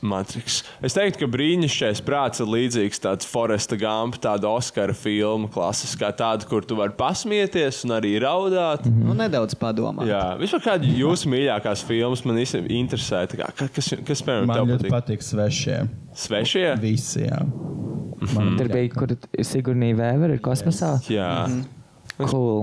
[SPEAKER 9] Matriks. Es teiktu, ka brīnišķīgais prāts ir līdzīgs tādam Foresta Gampa, tāda Oskara filma, klasiskā tāda, kur tu vari pasmieties un arī raudāt.
[SPEAKER 6] Nu, nedaudz padomā.
[SPEAKER 9] Jā, vispār kāda jūsu mīļākās filmas man īstenībā interesē. Tā kā, ka- Kas, kas piemēram,
[SPEAKER 8] Man
[SPEAKER 9] tev
[SPEAKER 8] ļoti
[SPEAKER 9] patīk? Pat...
[SPEAKER 8] patīk svešie.
[SPEAKER 9] Svešie?
[SPEAKER 8] Visi, jā.
[SPEAKER 9] Mhm.
[SPEAKER 6] Mhm.
[SPEAKER 4] Tur bija, kur Sigurnija Vēvera ir kosmosā.
[SPEAKER 9] Jā.
[SPEAKER 4] Cool.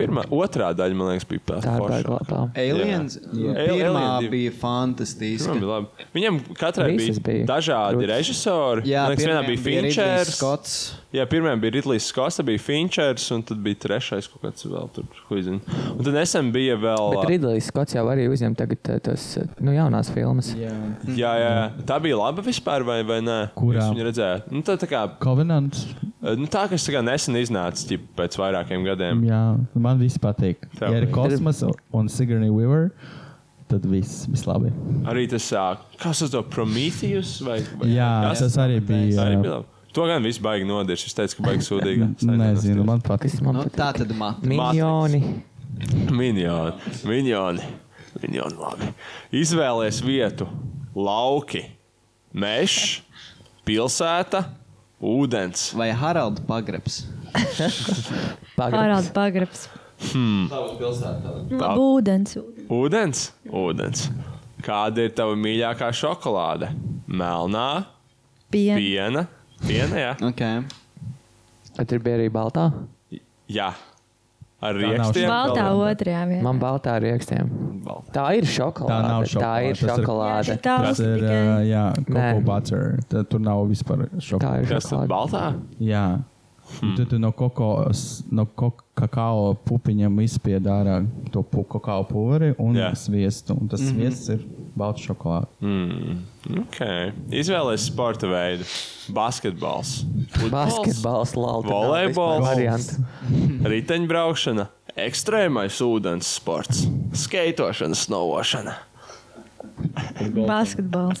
[SPEAKER 9] Pirmā, otrā daļa, man liekas, bija pats.
[SPEAKER 4] Tā ir baigi labā.
[SPEAKER 6] Aliens? Jā.
[SPEAKER 9] Jā.
[SPEAKER 6] Pirmā
[SPEAKER 9] Alien divi.
[SPEAKER 6] bija fantastiska.
[SPEAKER 9] Pirmā bija labi. Viņam katrai bija,
[SPEAKER 6] Visas
[SPEAKER 9] bija
[SPEAKER 6] bija.
[SPEAKER 9] dažādi
[SPEAKER 6] Krūtis.
[SPEAKER 9] Krūtis. režisori.
[SPEAKER 6] Jā,
[SPEAKER 9] Man liekas, vienā
[SPEAKER 6] pirmajam
[SPEAKER 9] bija
[SPEAKER 6] bija Ridley
[SPEAKER 9] Finčers.
[SPEAKER 6] Scotts.
[SPEAKER 9] Jā, pirmā bija Ridlis Skots, tad bija Finčers, un tad bija trešais kaut kāds vēl tur, ko zinu. Un tad nesen bija vēl.
[SPEAKER 4] Bet Ridlis Skots jau arī uzņem tagad eh, tos eh, nu, jaunās filmas.
[SPEAKER 9] Jā, jā, jā. Tā bija laba vispār, vai, vai nē?
[SPEAKER 8] Kurā?
[SPEAKER 9] Jūs Viņu redzējāt. Nu, tā, tā kā
[SPEAKER 8] Covenants.
[SPEAKER 9] Nu, tā kas tā kā nesen iznāca, ķip, pēc vairākiem gadiem.
[SPEAKER 8] Jā, man viss patīk.
[SPEAKER 9] Tev
[SPEAKER 8] Ja ir
[SPEAKER 9] patīk.
[SPEAKER 8] kosmos un Sigourney Weaver, tad viss, viss labi.
[SPEAKER 9] Arī tas, ā, kas tas ir Prometheus vai, vai
[SPEAKER 8] Jā,
[SPEAKER 9] kas?
[SPEAKER 8] tas arī bija,
[SPEAKER 9] Tā arī
[SPEAKER 8] jā.
[SPEAKER 9] bija labi. To gan viss baigi nodirst. Es teicu, ka baigi sūdīgi.
[SPEAKER 8] Nezinu, man patīk.
[SPEAKER 6] Nu, tā tad matra.
[SPEAKER 9] Minioni. Minioni. Minioni. Minioni labi. Izvēlies vietu. Lauki. Mežs. Pilsēta. Ūdens.
[SPEAKER 6] Vai Haralds pagrabs?
[SPEAKER 1] Pārāda pagrabs. Nu,
[SPEAKER 9] Hmm.
[SPEAKER 10] Tā būs pilsēta.
[SPEAKER 9] Tā-
[SPEAKER 1] Ūdens.
[SPEAKER 9] Ūdens, ūdens. Kāda ir tava mīļākā šokolāde? Melnā,
[SPEAKER 1] Piena.
[SPEAKER 9] piena, piena jā.
[SPEAKER 6] Okay.
[SPEAKER 4] Vai tur bija arī baltā?
[SPEAKER 9] jā. Ar
[SPEAKER 4] Tā nav
[SPEAKER 9] rīkstiem.
[SPEAKER 1] Baltā otrajā vietā.
[SPEAKER 4] Man baltā ar rīkstiem.
[SPEAKER 9] Baltā.
[SPEAKER 4] Tā ir šokolāde.
[SPEAKER 8] Tā nav
[SPEAKER 4] Tā ir
[SPEAKER 8] šokolāde.
[SPEAKER 4] šokolāde.
[SPEAKER 8] Tas ir uh, jā,
[SPEAKER 4] Nē.
[SPEAKER 8] cocoa butter. Tā, tur nav vispār šokolādes.
[SPEAKER 9] Kas tad baltā?
[SPEAKER 8] Jā. Hmm. Tad tu no, koko, no kok- kakao pupiņiem izspied ārā to pu, kakao pulveri un yeah. sviestu. Un tas mm
[SPEAKER 9] Mhm.
[SPEAKER 8] -hmm. sviests ir balts šokolāde.
[SPEAKER 9] Mm. Okay. Izvēlēties sporta veidu. Basketbols, futbols,
[SPEAKER 4] Basketbols, lauta nav vispār
[SPEAKER 9] volejbols,
[SPEAKER 4] variantu.
[SPEAKER 9] riteņbraukšana, ekstrēmais ūdens sports, skeitošana, snovošana.
[SPEAKER 1] Basketbols.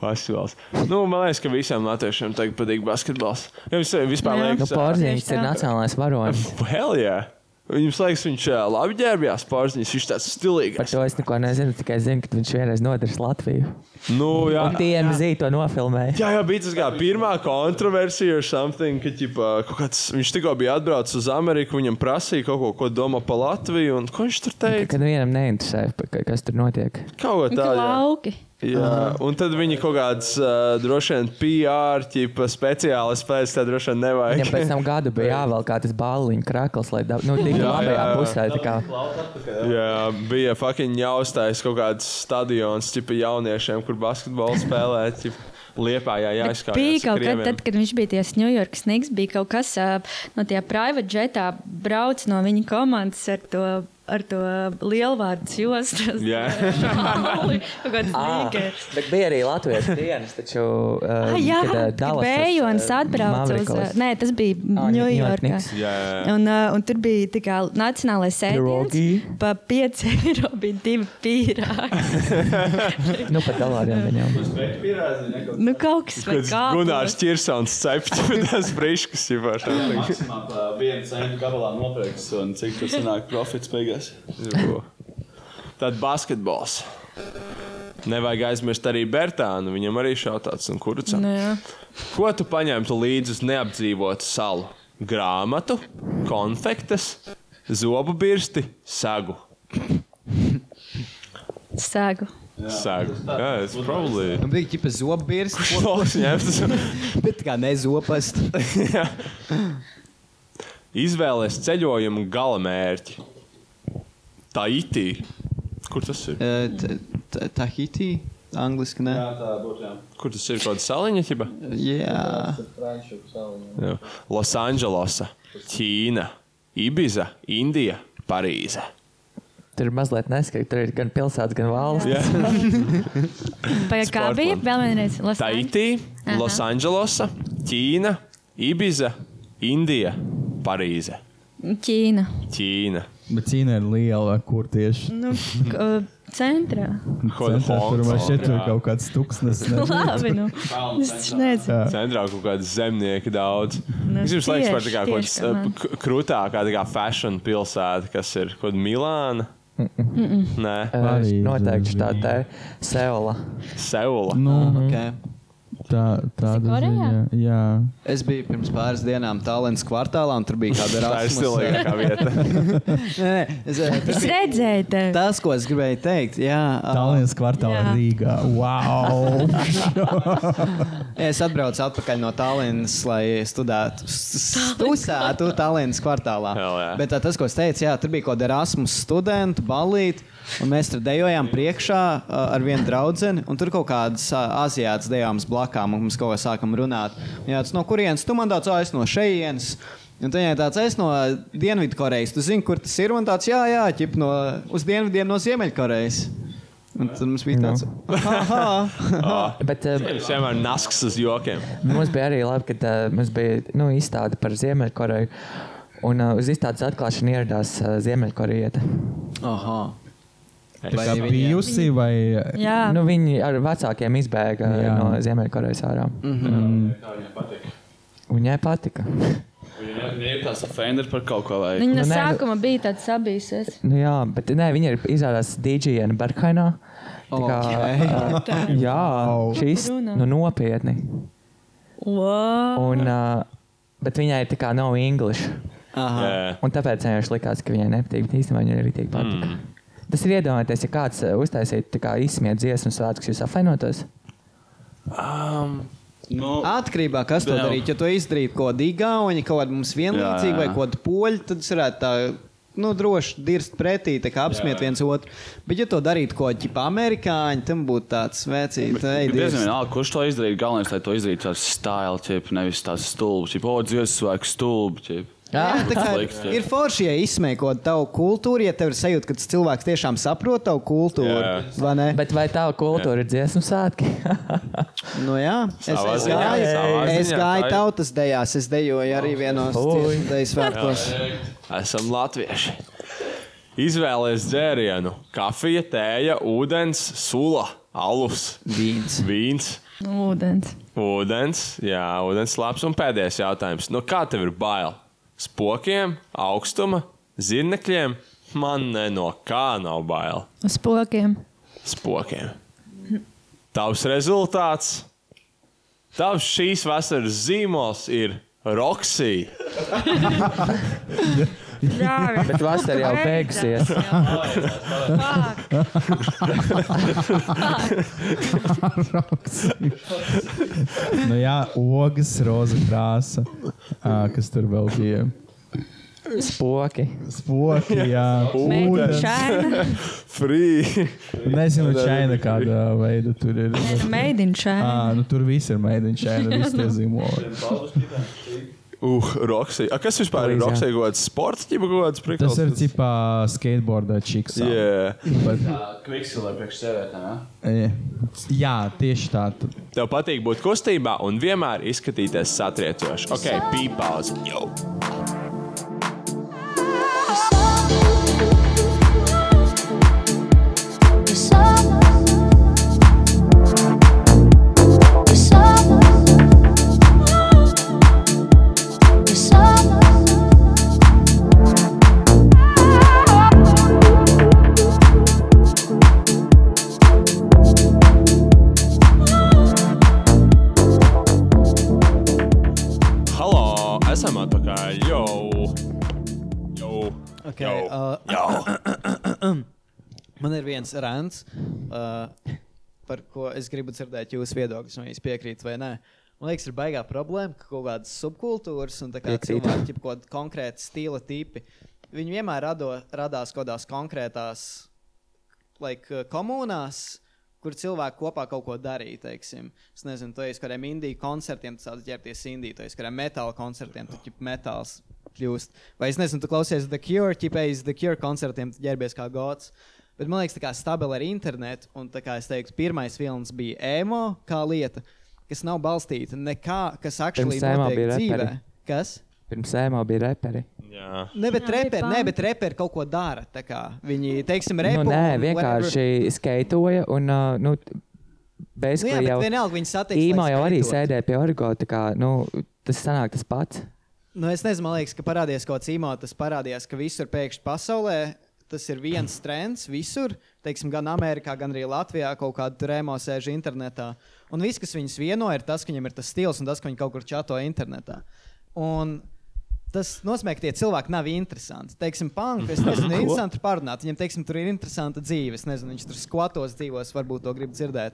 [SPEAKER 9] Basketbols. Nu, man liekas, ka visiem latviešiem tagad patīk basketbols. Jums eh, vispār
[SPEAKER 4] Jā.
[SPEAKER 9] liekas,
[SPEAKER 4] Nu, Porziņš ir nacionālais varonis.
[SPEAKER 9] Hell, jā. Jums liekas, viņš eh, labi ģērbjās pārziņas, viņš tāds stilīgs.
[SPEAKER 4] Par to es neko nezinu, tikai zinu, ka viņš vienreiz nodarīs Latviju.
[SPEAKER 9] Nu, jā.
[SPEAKER 4] Un TMZ to nofilmēja.
[SPEAKER 9] Jā, jā, bija tas kā pirmā kontroversija, or something, ka ķipa, kaut kāds, viņš tikko bija atbraucis uz Ameriku, viņam prasīja kaut ko, ko domā par Latviju. Un, ko viņš tur teica?
[SPEAKER 4] Kad nu vienam neinteresē, pa- ka- kas tur notiek.
[SPEAKER 9] Kaut kā tā. jā.
[SPEAKER 1] Lauki.
[SPEAKER 9] Jā, un tad viņi kaut kāds uh, droši vien PR ķipa, speciālists pēc tam droši vien nevajag.
[SPEAKER 4] Viņam pēc tam gadu bija jāvelk kā tas bāliņu krakls, lai dab- nu, tiktu
[SPEAKER 9] Jā,
[SPEAKER 4] labajā
[SPEAKER 9] jā.
[SPEAKER 4] pusē. tā kā.
[SPEAKER 9] Jā, bija fucking jāuztais kaut kāds stadions, tipa jauniešiem, kur basketbolu spēlē. ķipa, Liepā jā, jāizskatās.
[SPEAKER 1] Bija kaut kad, tad, kad viņš bija tiesa New York Snigs, bija kaut kas ā, no tie private jetā brauc no viņa komandas ar to, ar to lielvārdu jostu.
[SPEAKER 9] Jā.
[SPEAKER 1] Kaut kāds
[SPEAKER 4] Ā,
[SPEAKER 1] nīgers.
[SPEAKER 4] Bet bija arī Latvijas dienas, taču. Uh,
[SPEAKER 1] Ah, jā,
[SPEAKER 4] kad, uh,
[SPEAKER 1] kad
[SPEAKER 4] Dallasas,
[SPEAKER 1] Bējons
[SPEAKER 4] uh,
[SPEAKER 1] atbrauca uz...
[SPEAKER 4] Mavericks. Ah,
[SPEAKER 1] ā, Nē, tas bija Ņujorkā.
[SPEAKER 4] Knicks. Jā, jā, jā.
[SPEAKER 1] Un, uh, un tur bija tā kā nacionālais sēdes.
[SPEAKER 4] Pierogi.
[SPEAKER 1] Pa 5 eiro bija divi pīrāgi.
[SPEAKER 4] Nu, pat dolāriem viņam.
[SPEAKER 1] nu, kaut kas vai
[SPEAKER 9] Kāds
[SPEAKER 1] kā.
[SPEAKER 9] Gunārs Čirsons cepts, bet tas brīškas jau var.
[SPEAKER 11] Maksimā pa vienu centu gabalā nopirks, un cik tur sanāk profits beigās.
[SPEAKER 9] Tad basketbols. Nevajag aizmirst arī Bertānu. Viņam arī šautāts un kurcā.
[SPEAKER 1] Nu, jā.
[SPEAKER 9] Ko tu paņemtu līdzi uz neapdzīvotu salu? Grāmatu, konfektes, zobu birsti, sagu.
[SPEAKER 1] Sēgu.
[SPEAKER 9] Sagu. Jā, es probably.
[SPEAKER 6] Nu, bija ģipa zobirs.
[SPEAKER 9] Šloks ņemts.
[SPEAKER 6] Bet kā nezopast.
[SPEAKER 9] Izvēlēs ceļojumu gala mērķi. Tā itī. Kur tas ir?
[SPEAKER 8] Eh,
[SPEAKER 6] Tahiti. Angliski, ne?
[SPEAKER 10] Jā, tā būtu jā.
[SPEAKER 9] Kur tas ir? Kaut kāda saliņa, ķipa?
[SPEAKER 6] Jā.
[SPEAKER 9] Jā. Losandželosa, Ķīna, Ibiza, Indija, Parīze.
[SPEAKER 4] Tur ir mazliet neskaidrs, tur ir gan pilsēta, gan valsts.
[SPEAKER 9] Jā.
[SPEAKER 1] Pagaid, kā bija?
[SPEAKER 9] Sportland.
[SPEAKER 1] Vēl vienreiz. Los
[SPEAKER 9] Taitī,
[SPEAKER 1] Aha.
[SPEAKER 9] Losandželosa, Ķīna, Ibiza, Indija, Parīze.
[SPEAKER 1] Ķīna.
[SPEAKER 9] Ķīna.
[SPEAKER 8] Bet cīņa ir liela, kur tieši.
[SPEAKER 1] Nu, k- uh, centrā.
[SPEAKER 8] Centrā tur vai šeit tur
[SPEAKER 9] Jā.
[SPEAKER 8] kaut kāds tuksnes. nezinu.
[SPEAKER 1] Labi, nu. Es nezinu.
[SPEAKER 9] Centrā kaut kāda zemnieka daudz.
[SPEAKER 1] Nu,
[SPEAKER 9] Es jums liekas, par tā kā
[SPEAKER 1] tieši,
[SPEAKER 9] kaut
[SPEAKER 1] tieši, ka man.
[SPEAKER 9] kāda krūtākā tā kā fashion pilsēta, kas ir kaut kāda Milāna. Nē,
[SPEAKER 4] Eh, Noteikti tā tā ir Seola.
[SPEAKER 9] Seula.
[SPEAKER 8] Nu,
[SPEAKER 6] Okay.
[SPEAKER 13] Tā, tāda
[SPEAKER 1] Korejā?
[SPEAKER 13] ziņa, Jā.
[SPEAKER 8] Es biju pirms pāris dienām Tallinas kvartālā, un tur bija kāda
[SPEAKER 9] Tā ir stilīgākā vieta.
[SPEAKER 8] nē, nē, es,
[SPEAKER 1] Es redzēju, te.
[SPEAKER 8] tas, ko es gribēju teikt, jā. ā,
[SPEAKER 13] Tallinas kvartālā
[SPEAKER 1] Jā.
[SPEAKER 13] Rīgā. Wow!
[SPEAKER 8] Es atbraucu atpakaļ no Tallinas, lai studētu, studētu Tallinas kvartālā.
[SPEAKER 9] jā.
[SPEAKER 8] Bet tā, tas, ko es teicu, jā, tur bija kaut kāda Erasmus studenta balīti, un mēs tur dejojām priekšā uh, ar vienu draugu, un tur kaut kādas uh, azijātas dejojām blakām, un mēs kaut kā sākam runāt. Un Jā, tas no kurienes tu man tāds aiz no šejienes. Un tā ir tāds, es no Dienvidkorejas, tu zini, kur tas ir. Un tāds, jā, jā, ķip no, uz dienvidiem no Ziemeļkorejas. Un tad mums bija tāds,
[SPEAKER 4] Bet, eh,
[SPEAKER 9] Es vienmēr nasks uz jokiem.
[SPEAKER 4] Mums bija arī labi, ka uh, mums bija nu, izstāde par Ziemeļkoreju. Un uh, uz izstādes atklāšanu ieradās uh, Ziemeļkorejieta.
[SPEAKER 8] ah,
[SPEAKER 13] Tā kā bijusi vai
[SPEAKER 1] Jā.
[SPEAKER 4] Nu, viņi ar vecākiem izbēga
[SPEAKER 13] Jā.
[SPEAKER 4] Jā. no Ziemeļkorejas ārā. Mm.
[SPEAKER 14] Kā viņam patīk?
[SPEAKER 4] Viņai patika.
[SPEAKER 11] Viņai ir tās offender par kaut ko vai.
[SPEAKER 1] Viņa no
[SPEAKER 4] Nu, nē, nu-
[SPEAKER 1] sākuma bija tāda sabīsies.
[SPEAKER 4] Nu, jā, bet nē, viņa ir izrādās DJ un Berkhainā. Tā kā,
[SPEAKER 8] Ok.
[SPEAKER 4] uh, jā, šīs
[SPEAKER 1] Runā.
[SPEAKER 4] nu, nopietni.
[SPEAKER 1] Wow.
[SPEAKER 4] Un, uh, bet viņai tā kā nav English.
[SPEAKER 8] ah,
[SPEAKER 9] Jā.
[SPEAKER 4] Un tāpēc viņai vienkārši likās, ka viņai nepatīk. bet Īstenībā viņai arī patīk. Mm. Tas ir iedomājieties, ja kāds uh, uztaisītu tā kā izsmiet dziesmu svētkus, jūs apvainotos.
[SPEAKER 11] Nu,
[SPEAKER 8] Atkarībā no tā, kas to
[SPEAKER 11] Vēl.
[SPEAKER 8] darītu. Ja to izdarītu kaut kāda īgauni, kaut kāda mums
[SPEAKER 11] Jā,
[SPEAKER 8] vienlīdzīga,
[SPEAKER 11] jā.
[SPEAKER 8] vai kaut kāda poļa, tad es varētu tā nu, droši dirst pretī, tā kā apsmiet viens otru. Bet, ja to darītu kaut kāda ķipa amerikāņa, tam būtu tāds vecīts,
[SPEAKER 11] Ir diezgan
[SPEAKER 8] veids.
[SPEAKER 11] vienalga, kurš to izdarīja. Galvenais, lai to izdarītu tāds stila, tip, nevis tāds stulbs, tip, oh, dziesmas, stulbs. tip.
[SPEAKER 8] tā kā
[SPEAKER 11] Slikti, jā.
[SPEAKER 8] ir forši, ja izsmēko tavu kultūru, ja tev ir sajūta, ka tas cilvēks tiešām saprot tavu kultūru. Jā.
[SPEAKER 9] Jā.
[SPEAKER 8] Vai ne? Bet,
[SPEAKER 4] Bet vai tā kultūra ir dziesmu svētki?
[SPEAKER 8] nu, jā, es,
[SPEAKER 9] Savā
[SPEAKER 8] es
[SPEAKER 9] ziņā,
[SPEAKER 8] gāju,
[SPEAKER 9] savā
[SPEAKER 8] es
[SPEAKER 9] ziņā,
[SPEAKER 8] gāju
[SPEAKER 9] tā ir.
[SPEAKER 8] tautas dejās, es dejoju arī vienos
[SPEAKER 4] Oi.
[SPEAKER 8] deju svētkos.
[SPEAKER 9] Esam latvieši. Izvēlēties dzērienu. Kafija, tēja, ūdens, sula, alus,
[SPEAKER 8] Vīns.
[SPEAKER 9] vīns.
[SPEAKER 1] Ūdens.
[SPEAKER 9] Ūdens, jā, ūdens slāpes. Un pēdējais jautājums. No kā tev ir bail? Spokiem, augstuma, zirnekļiem? Man ne no kā nav bail.
[SPEAKER 1] Uz pokiem.
[SPEAKER 9] Spokiem. Tavs rezultāts, tavs šīs vasaras zīmols ir Roksija.
[SPEAKER 1] Jā,
[SPEAKER 4] Bet vasarā jau beigusies.
[SPEAKER 13] nu, jā, ogas, roza krāsa, ā, kas tur vēl bija.
[SPEAKER 4] Spoki.
[SPEAKER 13] Spoki, jā, ūdens.
[SPEAKER 1] Meidinšaina.
[SPEAKER 9] Free!
[SPEAKER 13] Nezinu, čaina kāda veida tur ir.
[SPEAKER 4] Ah.
[SPEAKER 1] Meidinšaina.
[SPEAKER 13] À, nu, tur viss ir mēdīņš, jau tādā zīmolā.
[SPEAKER 9] Uh, Roksija. Kas vispār ir
[SPEAKER 4] Palīdz, jā.
[SPEAKER 9] Roksija? Gods sports, ģiba gods,
[SPEAKER 13] Tas
[SPEAKER 9] prikals.
[SPEAKER 13] ir tipā skateboardā čiks.
[SPEAKER 9] Yeah.
[SPEAKER 14] Kviksela priekš sievietēm. ja?
[SPEAKER 13] Jā, tieši tā. Tad
[SPEAKER 9] Tev patīk būt kustībā un vienmēr izskatīties satriecoši. Ok, pīpāzi. Jau. Halo, esam atpakaļ. Jau. Jau.
[SPEAKER 8] Ok,
[SPEAKER 9] Jau.
[SPEAKER 8] uh,
[SPEAKER 9] Jau.
[SPEAKER 8] Man ir viens rants, uh, par ko es gribu dzirdēt jūsu viedokli, vai jūs piekrītat vai nē. Man liekas, ir baigā problēma, ka kaut kādas subkultūras un tā kā
[SPEAKER 4] Piekrītu.
[SPEAKER 8] cilvēki, kaut kāda konkrēta stila tipi, viņi vienmēr rado, radās kaut kādās konkrētās like, uh, komunās. Kur cilvēki kopā kaut ko darīja, teiksim, es nezinu, to jāsaka, kādiem indiju koncertiem, tas tāds ģērbties indiju, to jāsaka, metāla koncertiem, tad jau metāls kļūst. Vai es nezinu, tu klausies The Cure, ķipējas The Cure koncertiem, tad ģērbies kā gods. Bet man liekas, tā kā stabili ar internetu, un tā kā es teiktu, pirmais vilnis bija emo kā lieta, kas nav balstīta nekā, kas aktuāli
[SPEAKER 4] Pirms emo bija
[SPEAKER 8] notiek dzīvē.
[SPEAKER 4] reperi.
[SPEAKER 8] Kas?
[SPEAKER 4] Pirms ēmā bija reperi.
[SPEAKER 9] Jā.
[SPEAKER 8] Ne, bet
[SPEAKER 1] Jā, bija
[SPEAKER 8] reperi,
[SPEAKER 1] punk.
[SPEAKER 8] ne, bet reperi kaut ko dara. tā kā. Viņi, teiksim,
[SPEAKER 4] Nu,
[SPEAKER 8] repo,
[SPEAKER 4] nē,
[SPEAKER 8] un whatever.
[SPEAKER 4] vienkārši skaitoja. Un, uh, nu,
[SPEAKER 8] Nu, jā,
[SPEAKER 4] basically
[SPEAKER 8] bet
[SPEAKER 4] jau
[SPEAKER 8] vienalga viņi satiek.
[SPEAKER 4] īmā jau arī sēdēja pie orgo. tā Kā, nu, tas sanāk tas pats.
[SPEAKER 8] Nu, es nezinu, man liekas, ka parādījās kaut kāds īmā, tas parādījās, ka visur pēkšņi pasaulē tas ir viens trends, visur, teiksim, gan Amerikā, gan arī Latvijā, kaut kāda rēmo sēž internetā. Un viss, kas viņus vieno, ir tas, ka viņam ir tas stils un tas, ka viņi kaut kur čato internetā. Un Tas nozīmē, ka tie cilvēki nav interesanti. Teiksim, punkts, es nezinu,
[SPEAKER 15] Ko?
[SPEAKER 8] interesanti ir parunāt. Viņam, teiksim, tur ir interesanta dzīve. Es nezinu, viņš tur skatos dzīvos, varbūt to grib dzirdēt.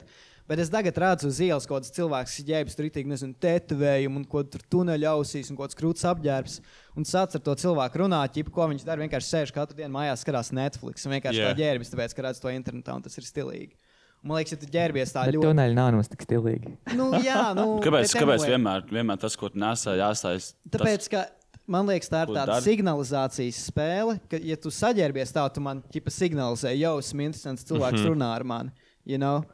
[SPEAKER 8] Bet es tagad redzu uz ielas kaut kāds cilvēks, kas ģērbjas tur rītīgi, nezinu, tetovējumu, un ko tur tuneļa ausīs, un kaut kāds krūts apģērbs. Un sāc ar to cilvēku runāt, jeb ko viņš dara. Vienkārši sēž katru dienu mājās, skatās Netflix, un vienkārši
[SPEAKER 4] Jā.
[SPEAKER 8] yeah. tā ģērbjas, tāpēc, ka redz to internetā, un tas ir stilīgi. Un, Man liekas, ja tu ģērbies tā
[SPEAKER 4] Bet
[SPEAKER 8] ļoti.
[SPEAKER 4] tuneļi nav nemaz tik stilīgi.
[SPEAKER 8] Nu, jā, nu,
[SPEAKER 11] Kāpēc,
[SPEAKER 8] bet
[SPEAKER 11] kāpēc
[SPEAKER 8] anyway.
[SPEAKER 11] vienmēr, vienmēr tas, ko nesā jāstājas?
[SPEAKER 8] Tāpēc, ka man liekas, tā ir
[SPEAKER 11] Ko
[SPEAKER 8] tāda
[SPEAKER 11] dari?
[SPEAKER 8] signalizācijas spēle, ka, ja tu saģērbies tā, tu man ķipa signalizē, jau esmu interesants cilvēks,
[SPEAKER 11] Mhm.
[SPEAKER 8] runā ar mani. You know?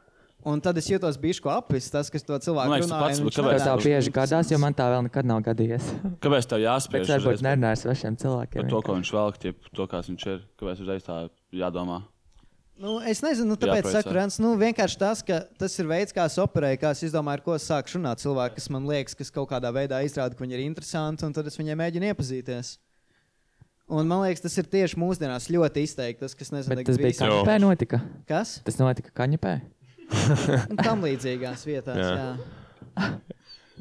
[SPEAKER 8] Un tad es jūtos bijuši apvis, tas, kas to cilvēku nu
[SPEAKER 11] Man liekas, tu pats-
[SPEAKER 8] runāja.
[SPEAKER 11] kāpēc
[SPEAKER 4] Kāpēc tā
[SPEAKER 11] tu-
[SPEAKER 4] bieži gadās, jo man tā vēl nekad nav gadījies.
[SPEAKER 11] Kāpēc tev jāspēj?
[SPEAKER 4] Bet varbūt nerunāju ar svešiem cilvēkiem.
[SPEAKER 11] Par to, ko viņš velk, tie, to, kāds viņš ir. Kāpēc uzreiz tā jādomā?
[SPEAKER 8] Nu, es nezinu, nu, tāpēc
[SPEAKER 11] Jāpriecā.
[SPEAKER 8] saku, Rens, nu, vienkārši tas, ka tas ir veids, kā es operēju, kā es izdomāju, ar ko sāk runāt cilvēki, kas man liekas, kas kaut kādā veidā izrāda, ka viņi ir interesanti, un tad es viņiem mēģinu iepazīties. Un man liekas, tas ir tieši mūsdienās ļoti izteikti. Tas, kas nezinu,
[SPEAKER 4] Bet tas bija
[SPEAKER 8] Grieķijā.
[SPEAKER 4] kaņepē notika.
[SPEAKER 8] Kas?
[SPEAKER 4] Tas notika kaņepē.
[SPEAKER 8] Un tam līdzīgās vietās.
[SPEAKER 4] Jā.
[SPEAKER 8] jā.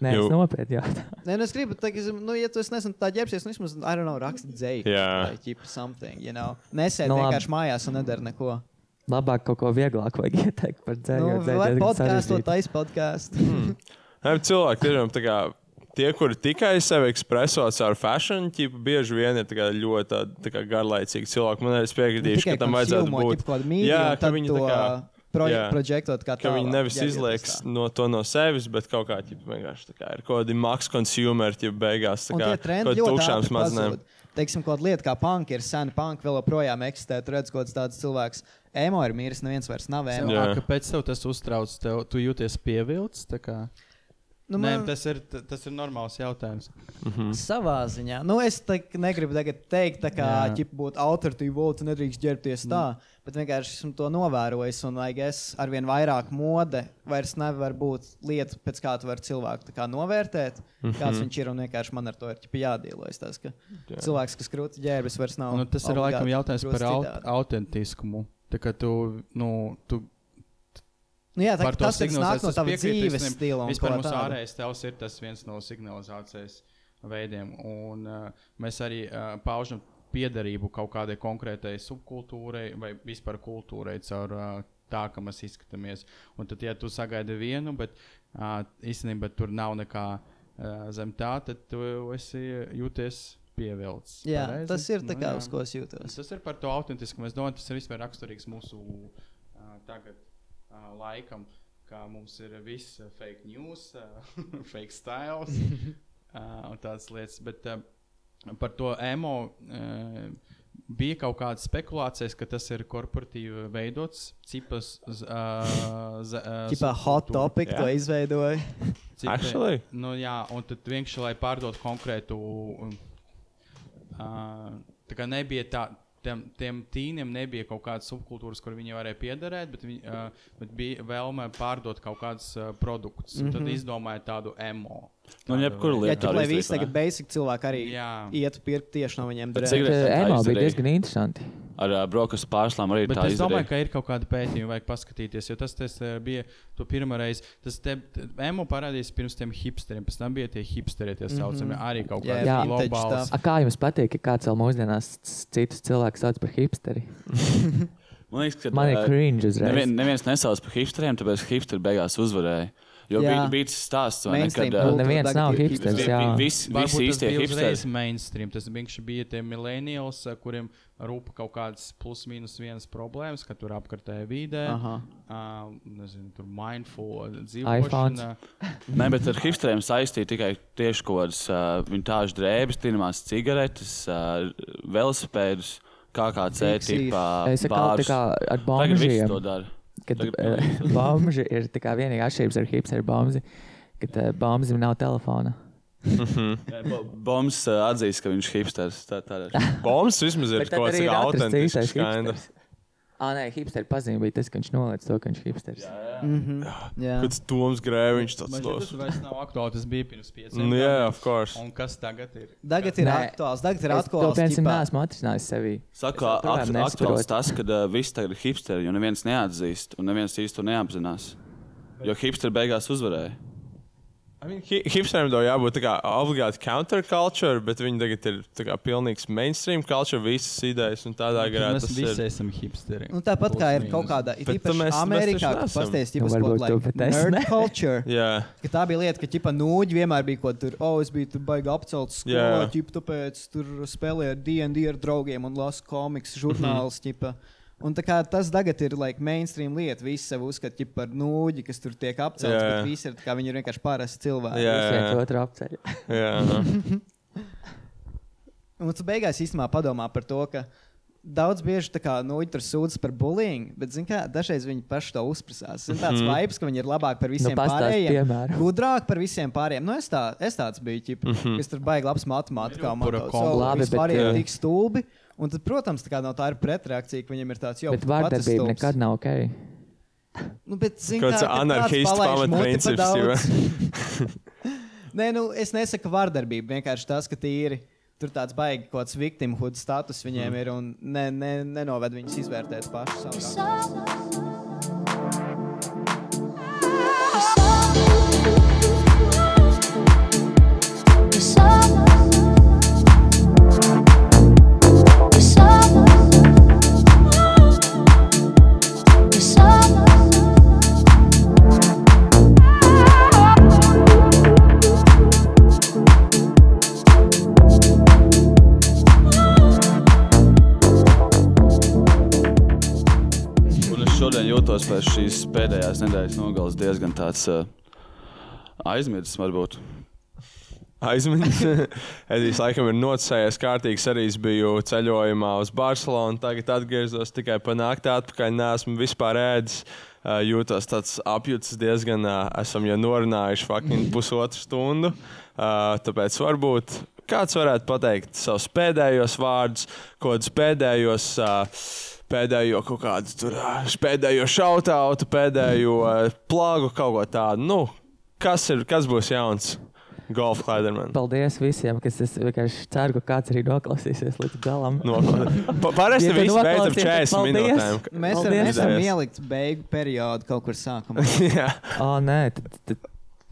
[SPEAKER 4] Nē,
[SPEAKER 9] Jū.
[SPEAKER 4] es nopietni jautāju.
[SPEAKER 8] Nē, nu es gribu, tā, nu, ja tu esi nesen tā ģērbsies, nu, vismaz, I don't know, raksta dzēju.
[SPEAKER 4] Jā.
[SPEAKER 8] Vai ķipa something, you know. Nesēd
[SPEAKER 4] Nu,
[SPEAKER 8] no,
[SPEAKER 4] labi.
[SPEAKER 8] vienkārši mājās un nedara neko.
[SPEAKER 4] Labāk kaut ko vieglāk vajag ieteikt par
[SPEAKER 8] Nu,
[SPEAKER 4] dzērienu.
[SPEAKER 8] vai podkāstu, taisa podkāstu.
[SPEAKER 9] Hmm, Nē, bet cilvēki tiešām tā kā. Tie, kuri tikai sevi ekspreso caur fashion, ķipa, bieži vien ir tā kā ļoti tādi, tā kā garlaicīgi cilvēki. Man arī es piekritīšu,
[SPEAKER 8] Tikai
[SPEAKER 9] ka tam
[SPEAKER 8] kaut
[SPEAKER 9] vajadzētu
[SPEAKER 8] filmo,
[SPEAKER 9] būt
[SPEAKER 8] ķipa, kaut kādu mīdiju, un tad
[SPEAKER 9] viņi
[SPEAKER 8] to,
[SPEAKER 9] tā
[SPEAKER 8] uh, proje-
[SPEAKER 9] jā.
[SPEAKER 8] projektot kā
[SPEAKER 9] Ka viņi
[SPEAKER 8] tālāk,
[SPEAKER 9] nevis
[SPEAKER 8] jā,
[SPEAKER 9] izlieks no to no sevis, bet kaut kā ķipa, vienkārši tā kā ir kaut kādi maks konsumeri, ja beigās tā
[SPEAKER 8] Un
[SPEAKER 9] kā
[SPEAKER 8] tie trendi
[SPEAKER 9] kaut
[SPEAKER 8] ļoti
[SPEAKER 9] tukšām
[SPEAKER 8] ātri
[SPEAKER 9] smadzenēm.
[SPEAKER 8] pazūd. Teiksim, kaut lieta kā punk ir sena, punk vēl joprojām eksistē. Tur redz, kaut kāds tāds cilvēks. Emo ir miris, neviens vairs nav
[SPEAKER 16] Tev,
[SPEAKER 8] emo.
[SPEAKER 16] ā, Kāpēc tev tas uztrauc? Tev, tu jūties pievilcis? tā kā?
[SPEAKER 8] Nu,
[SPEAKER 16] Nē,
[SPEAKER 8] man-
[SPEAKER 16] tas ir, t- tas ir normāls jautājums.
[SPEAKER 8] Savā ziņā. Nu, es tā, kā negribu tagad teikt, tā kā
[SPEAKER 16] Jā.
[SPEAKER 8] ķip, būt autoritīvam, būtu nedrīkst ģērbties tā, mm. bet vienkārši esmu to novērojis. Un, lai es arvien vairāk mode vairs nevar būt lieta, pēc kā tu vari cilvēku tā kā novērtēt, mm
[SPEAKER 16] Mhm.
[SPEAKER 8] -hmm. kāds viņš ir. Un vienkārši man ar to ir ķip, jādīlojas. Tas, ka
[SPEAKER 16] Jā.
[SPEAKER 8] Jā. cilvēks, kas krūti ģērbjas, vairs nav.
[SPEAKER 16] Nu, tas ir
[SPEAKER 8] obligāti
[SPEAKER 16] laikam jautājums
[SPEAKER 8] krūts
[SPEAKER 16] par aut
[SPEAKER 8] citādi.
[SPEAKER 16] autentiskumu. Tā kā tu, nu, tu
[SPEAKER 8] Nu jā, tā
[SPEAKER 16] par
[SPEAKER 8] kā
[SPEAKER 16] to
[SPEAKER 8] tas, kas
[SPEAKER 16] signalizēsi,
[SPEAKER 8] nāk no
[SPEAKER 16] es
[SPEAKER 8] tava
[SPEAKER 16] piekrītu
[SPEAKER 8] dzīves
[SPEAKER 16] visiem.
[SPEAKER 8] stila un
[SPEAKER 16] Vispār
[SPEAKER 8] ko
[SPEAKER 16] mums
[SPEAKER 8] tādu.
[SPEAKER 16] ārējais tevs ir tas viens no signalizācijas veidiem, un uh, mēs arī uh, paužam piederību kaut kādai konkrētai subkultūrai vai vispār kultūrai caur uh, tā, kā mēs izskatāmies. Un tad, ja tu sagaidi vienu, bet uh, īstenībā tur nav nekā uh, zem tā, tad tu esi jūties pievilcis.
[SPEAKER 8] Jā,
[SPEAKER 16] Pareizi? Nu
[SPEAKER 8] tas ir tā kā,
[SPEAKER 16] jā.
[SPEAKER 8] uz ko es jūtos.
[SPEAKER 16] Tas ir par to autentiskumu. Es domāju, tas ir vispār raksturīgs mūsu uh, tagad uh, laikam, kā mums ir viss uh, fake news, uh, fake styles uh, un tādas lietas. Bet uh, par to emo uh, bija kaut kādas spekulācijas, ka tas ir korporatīvi veidots, cipas. z- Uh, z- uh,
[SPEAKER 8] Ķipā hot
[SPEAKER 16] subkultūra.
[SPEAKER 8] topic to izveidoja.
[SPEAKER 16] Cipa-
[SPEAKER 9] Actually?
[SPEAKER 16] Nu, jā, un tad vienkārši, lai pārdotu konkrētu. um, ā, Tā kā nebija tā, tiem, tiem tīniem nebija kaut kādas subkultūras, kur viņi varēja piederēt, bet, viņi, uh, bet bija vēlme pārdot kaut kādus uh, produktus. Mm -hmm. Tad
[SPEAKER 8] Mhm.
[SPEAKER 16] izdomāja tādu emo.
[SPEAKER 11] Nu, jebkuru
[SPEAKER 8] Jā,
[SPEAKER 11] lietu
[SPEAKER 8] tur
[SPEAKER 11] tādu
[SPEAKER 8] lai
[SPEAKER 11] izdarīt,
[SPEAKER 8] visi
[SPEAKER 11] vai ne?
[SPEAKER 8] tagad basic cilvēki arī iet pirkt tieši no viņiem.
[SPEAKER 11] Bet
[SPEAKER 8] drēbes.
[SPEAKER 11] cigaretes
[SPEAKER 4] Bet,
[SPEAKER 11] tā
[SPEAKER 4] emo bija
[SPEAKER 11] izdarīja.
[SPEAKER 4] diezgan interesanti.
[SPEAKER 11] Ar uh, brokastu pārslām arī
[SPEAKER 16] Bet
[SPEAKER 11] tā
[SPEAKER 16] es domāju,
[SPEAKER 11] izdarīja.
[SPEAKER 16] ka ir kaut kāda pētījuma, vajag paskatīties. Jo tas, tas eh, bija to pirmā reize. Tas te emo parādījās pirms tiem hipsteriem. Pēc tam bija tie hipsteri,
[SPEAKER 8] Mhm.
[SPEAKER 16] tie saucamie, mm -hmm. arī kaut kādi globāli.
[SPEAKER 4] A, kā jums patīk, ja kāds vēl mūsdienās c- citus cilvēkus sauc par hipsteri?
[SPEAKER 11] Man liekas, ka
[SPEAKER 4] Man ir
[SPEAKER 11] ā,
[SPEAKER 4] cringe uzreiz.
[SPEAKER 11] Nevien, neviens nesauc par hipsteriem, tāpēc hipsteri beigās uzvarēja. Jo
[SPEAKER 4] Jā.
[SPEAKER 11] bija, bija tas stāsts, vai ne?
[SPEAKER 4] Mainstream
[SPEAKER 11] kad, ā,
[SPEAKER 4] kultūra Neviens tagad nav ir hipsters,
[SPEAKER 11] Vi- vi-
[SPEAKER 4] jā.
[SPEAKER 11] Visi,
[SPEAKER 16] Varbūt
[SPEAKER 11] visi
[SPEAKER 16] tas
[SPEAKER 11] īstie
[SPEAKER 16] bija uzreiz
[SPEAKER 11] hipsteri.
[SPEAKER 16] mainstream. Tas vienkārši bija tie millennials, eh, kuriem rūp kaut kādas plus-minus vienas problēmas, ka tur apkārtējā vidē,
[SPEAKER 11] Aha.
[SPEAKER 16] uh, nezinu, tur mindful
[SPEAKER 11] iPhones.
[SPEAKER 16] dzīvošana.
[SPEAKER 11] Nē, bet ar hipsteriem saistīja tikai tieši kaut kādas uh, vintāžas drēbes, tinamās cigaretes, uh, velosipēdus, kā kāds
[SPEAKER 4] Piksīši.
[SPEAKER 11] ētipā.
[SPEAKER 4] Es atkal tā kā ar bombžiem.
[SPEAKER 11] to dara.
[SPEAKER 4] Kad
[SPEAKER 11] Tagad
[SPEAKER 4] eh, bombži ir tā kā vienīgā atšķirības ar hipsteru bombzi, kad eh, bombzim nav telefona.
[SPEAKER 11] Nē, bo- Bombs uh, atzīst, ka viņš ir hipsters. Tā, tā ir.
[SPEAKER 9] Bombs vismaz ir
[SPEAKER 4] Bet tad
[SPEAKER 9] kaut
[SPEAKER 4] arī
[SPEAKER 9] kāds
[SPEAKER 4] ir atrasts
[SPEAKER 9] autentisks.
[SPEAKER 4] īstais
[SPEAKER 9] kinda.
[SPEAKER 4] Ah, nē, hipsteru pazīme bija tas, ka viņš noliec to, ka viņš ir hipsters.
[SPEAKER 8] Mhm. Jā.
[SPEAKER 9] Kāds Toms Grēviņš tāds
[SPEAKER 16] Man šķiet, Tas
[SPEAKER 9] tos.
[SPEAKER 16] vairs nav aktuāli. Tas bija pirms pieciem
[SPEAKER 9] Nu, jā,
[SPEAKER 16] gadiem.
[SPEAKER 9] of course.
[SPEAKER 16] Un kas tagad ir?
[SPEAKER 8] Tagad ir aktuāls, tagad ir aktuāls.
[SPEAKER 4] Es to piemēram
[SPEAKER 8] ķipā.
[SPEAKER 4] neesmu atrisinājis sevī.
[SPEAKER 11] Saku,
[SPEAKER 4] Es joprojām
[SPEAKER 11] akt-
[SPEAKER 4] nesaprotu.
[SPEAKER 11] aktuāls tas, ka uh, viss tagad ir hipsteri, jo neviens neatzīst un neviens īsti to neapzinās. Jo hipsteri beigās uzvarēja.
[SPEAKER 9] I mean, hi- Hipsteriem tam jābūt tā kā obligāti counterculture, bet viņi tagad ir tā kā pilnīgs mainstream culture, visas idejas un tādā
[SPEAKER 17] Nu,
[SPEAKER 9] garā.
[SPEAKER 17] mēs
[SPEAKER 9] tas
[SPEAKER 17] visi
[SPEAKER 9] ir.
[SPEAKER 17] esam hipsteri.
[SPEAKER 8] Nu, tāpat kā ir kaut kāda
[SPEAKER 9] Bet
[SPEAKER 8] īpaši
[SPEAKER 9] mēs- mēs
[SPEAKER 8] Amerikā,
[SPEAKER 9] taču
[SPEAKER 8] kas
[SPEAKER 9] neesam.
[SPEAKER 8] pastāstīja,
[SPEAKER 9] Nu,
[SPEAKER 8] ka
[SPEAKER 9] varbūt
[SPEAKER 8] tas
[SPEAKER 9] tu,
[SPEAKER 8] ir
[SPEAKER 9] bet es
[SPEAKER 8] nerd
[SPEAKER 9] ne.
[SPEAKER 8] culture.
[SPEAKER 9] Jā.
[SPEAKER 8] Ka tā bija lieta, ka ķipa nūģi vienmēr bija kaut kur, oh, es biju tur baigi apcelts skolā,
[SPEAKER 9] Jā.
[SPEAKER 8] ķipa, tāpēc tur spēlēju ar D&D ar draugiem un lasu komiks, žurnāls,
[SPEAKER 16] Mhm.
[SPEAKER 8] ķipa. Un tā kā tas tagad ir like, mainstream lieta, visi sev uzskata ķipa, par nūģi, kas tur tiek apcelts,
[SPEAKER 9] Jā.
[SPEAKER 8] bet visi ir, tā kā, viņi ir vienkārši pārējais cilvēki.
[SPEAKER 4] Visi iet otru apceļu.
[SPEAKER 9] Jā.
[SPEAKER 8] Un tu beigās īstenībā padomā par to, ka daudz bieži tā kā nu, viņi tur sūdzas par bullying, bet zin kā, dažreiz viņi paši to uzprasās. Ir tāds
[SPEAKER 4] Mhm.
[SPEAKER 8] vibes, ka viņi ir labāki par
[SPEAKER 4] Nu,
[SPEAKER 8] visiem
[SPEAKER 4] pastāsti
[SPEAKER 8] pārējiem.
[SPEAKER 4] piemēru.
[SPEAKER 8] Gudrāk par visiem pārējiem. Nu, es, tā, es tāds biju, ķipa,
[SPEAKER 4] Mhm.
[SPEAKER 8] kas tur baigi labs matemātikā. Man
[SPEAKER 4] pura
[SPEAKER 8] tāds,
[SPEAKER 4] komba.
[SPEAKER 8] "O,
[SPEAKER 4] Labi,
[SPEAKER 8] visi
[SPEAKER 4] bet, eh,
[SPEAKER 8] pārējie
[SPEAKER 4] jā.
[SPEAKER 8] ir tik stulbi. Un tad, protams, tā kā no tā ir pretreakcija, ka viņam ir tāds jau
[SPEAKER 4] Bet vārdarbība nekad nav ok.
[SPEAKER 8] Nu, bet, zin,
[SPEAKER 9] Kāds
[SPEAKER 8] kā, kad kāds
[SPEAKER 9] anarchists
[SPEAKER 8] palaiž muti
[SPEAKER 9] pamatprincips,
[SPEAKER 8] pa
[SPEAKER 9] jo.
[SPEAKER 8] daudz- Nē, nu, es nesaku vardarbību, vienkārši tas, ka tīri. Tur tāds baigi, kaut kāds victimhood status viņiem ir un ne, ne, nenoved viņus izvērtēt pašu savu.
[SPEAKER 11] Un es šodien jūtos pēc šīs pēdējās nedēļas nogales diezgan tāds uh, aizmirsts, varbūt.
[SPEAKER 9] Aizmirst. Edijs laikam ir nocēlies kārtīgs. Arī es biju ceļojumā uz Barcelonu. Tagad atgriezos tikai pa nakti atpakaļ. Nesmu vispār ēdis. Uh, Jūtos tāds apjūts diezgan. Uh, esam jau norunājuši fucking pusotru stundu. Uh, tāpēc varbūt kāds varētu pateikt savus pēdējos vārdus, kodus pēdējos. Uh, Pēdējo kaut kādu tur, ā, pēdējo šautautu, pēdējo ā, plāgu, kaut ko tādu. Nu, kas, ir, kas būs jauns? Golf Klaiderman.
[SPEAKER 4] Paldies visiem, kas es vienkārši ceru, ka kāds arī noklausīsies līdz galam.
[SPEAKER 9] Noklausīsies. Nu, Pa-
[SPEAKER 4] Ja
[SPEAKER 9] parasti
[SPEAKER 4] tu
[SPEAKER 9] visi beidzam
[SPEAKER 4] noklausies,
[SPEAKER 9] 40
[SPEAKER 4] tad paldies.
[SPEAKER 9] minūtēm.
[SPEAKER 8] Mēs varam
[SPEAKER 4] Paldies.
[SPEAKER 8] esam ielikt beigu periodu kaut kur sākumā.
[SPEAKER 9] Jā.
[SPEAKER 4] O, nē, tad, tad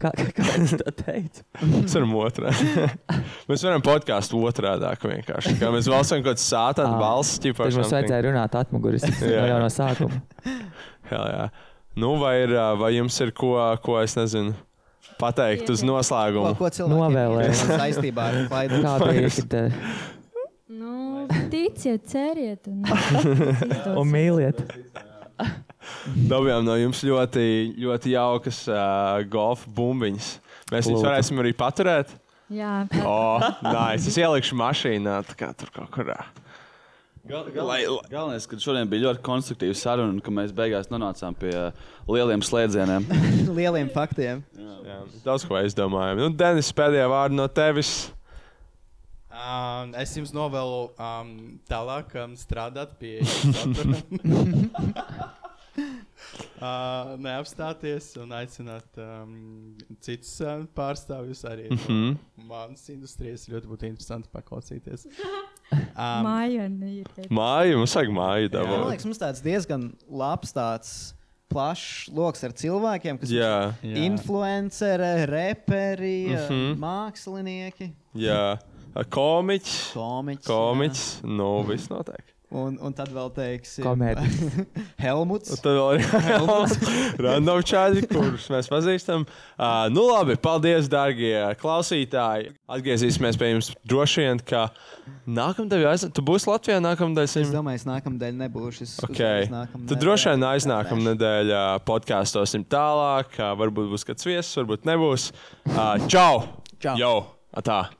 [SPEAKER 4] kā, kā, kā es to teicu?
[SPEAKER 9] Mēs varam otrādi. mēs varam podkāstu otrādi vienkārši. Kā mēs valstam kaut kādu
[SPEAKER 4] Ah,
[SPEAKER 9] sātānu balsi. ķipa,
[SPEAKER 4] Tad mums
[SPEAKER 9] something.
[SPEAKER 4] vajadzēja runāt atmuguris
[SPEAKER 9] Jā.
[SPEAKER 4] no jau no sākuma.
[SPEAKER 9] Jā, jā. Nu, vai, ir, ā, vai jums ir ko, ko es nezinu, pateikt uz noslēgumu?
[SPEAKER 8] Ko, ko cilvēkiem ir saistībā ar klaidu?
[SPEAKER 4] Kā bija, kad eh,
[SPEAKER 1] Nu, ticiet, ceriet. Un,
[SPEAKER 4] un mīliet.
[SPEAKER 9] Dabījām no jums ļoti, ļoti jaukas uh, golfa bumbiņas. Mēs
[SPEAKER 4] Lūdzu.
[SPEAKER 9] viņus varēsim arī paturēt.
[SPEAKER 1] jā,
[SPEAKER 9] O, nē, es ielikšu mašīnā, tā kā tur kaut kurā.
[SPEAKER 11] Gal, gal, lai, lai. Galvenais, ka šodien bija ļoti konstruktīva saruna, un ka mēs beigās nonācām pie ā, lieliem slēdzieniem.
[SPEAKER 8] Lieliem faktiem.
[SPEAKER 9] Daudz ko aizdomājam. Nu, Denis, pēdējā vārda no tevis.
[SPEAKER 17] Um, es jums novēlu um, tālāk um, strādāt pie satura. uh, neapstāties un aicināt um, citus um, pārstāvjus arī. no
[SPEAKER 9] Mhm.
[SPEAKER 17] Manas industrijas ļoti būtu interesanti paklausīties.
[SPEAKER 1] um,
[SPEAKER 17] Um,
[SPEAKER 1] māja ir.
[SPEAKER 9] Māja, mums vajag māju
[SPEAKER 8] Jā, man
[SPEAKER 9] dabūt.
[SPEAKER 8] liekas, mums tāds diezgan labs, tāds plašs lokus ar cilvēkiem, kas
[SPEAKER 9] Jā.
[SPEAKER 8] ir
[SPEAKER 9] Jā.
[SPEAKER 8] influenceri, reperi, mm
[SPEAKER 9] Mhm.
[SPEAKER 8] -hmm. mākslinieki.
[SPEAKER 9] Jā, A, komiķis.
[SPEAKER 8] Komiķis.
[SPEAKER 9] Komiķis. Nu, viss notiek.
[SPEAKER 8] Un, un tad vēl teiksim,
[SPEAKER 9] Komēdijas.
[SPEAKER 8] Helmuts.
[SPEAKER 9] Un Nu, tad vēl ir random čādi, kurus mēs pazīstam. Uh, nu, labi, paldies, dārgie klausītāji. Atgriezīsimies pie jums droši vien, ka nākamdēļ aiznāk. Tu būsi Latvijā nākamdēļ.
[SPEAKER 8] Es domāju, es nākamdēļ nebūšu. Es
[SPEAKER 9] Okay.
[SPEAKER 8] uzreiz nākamnedēļ.
[SPEAKER 9] Tad droši vien aiznākamā nedēļā podkāstosim tālāk. Varbūt būs kāds viesis, varbūt nebūs. Ā, Čau! Čau! Jau! Atā!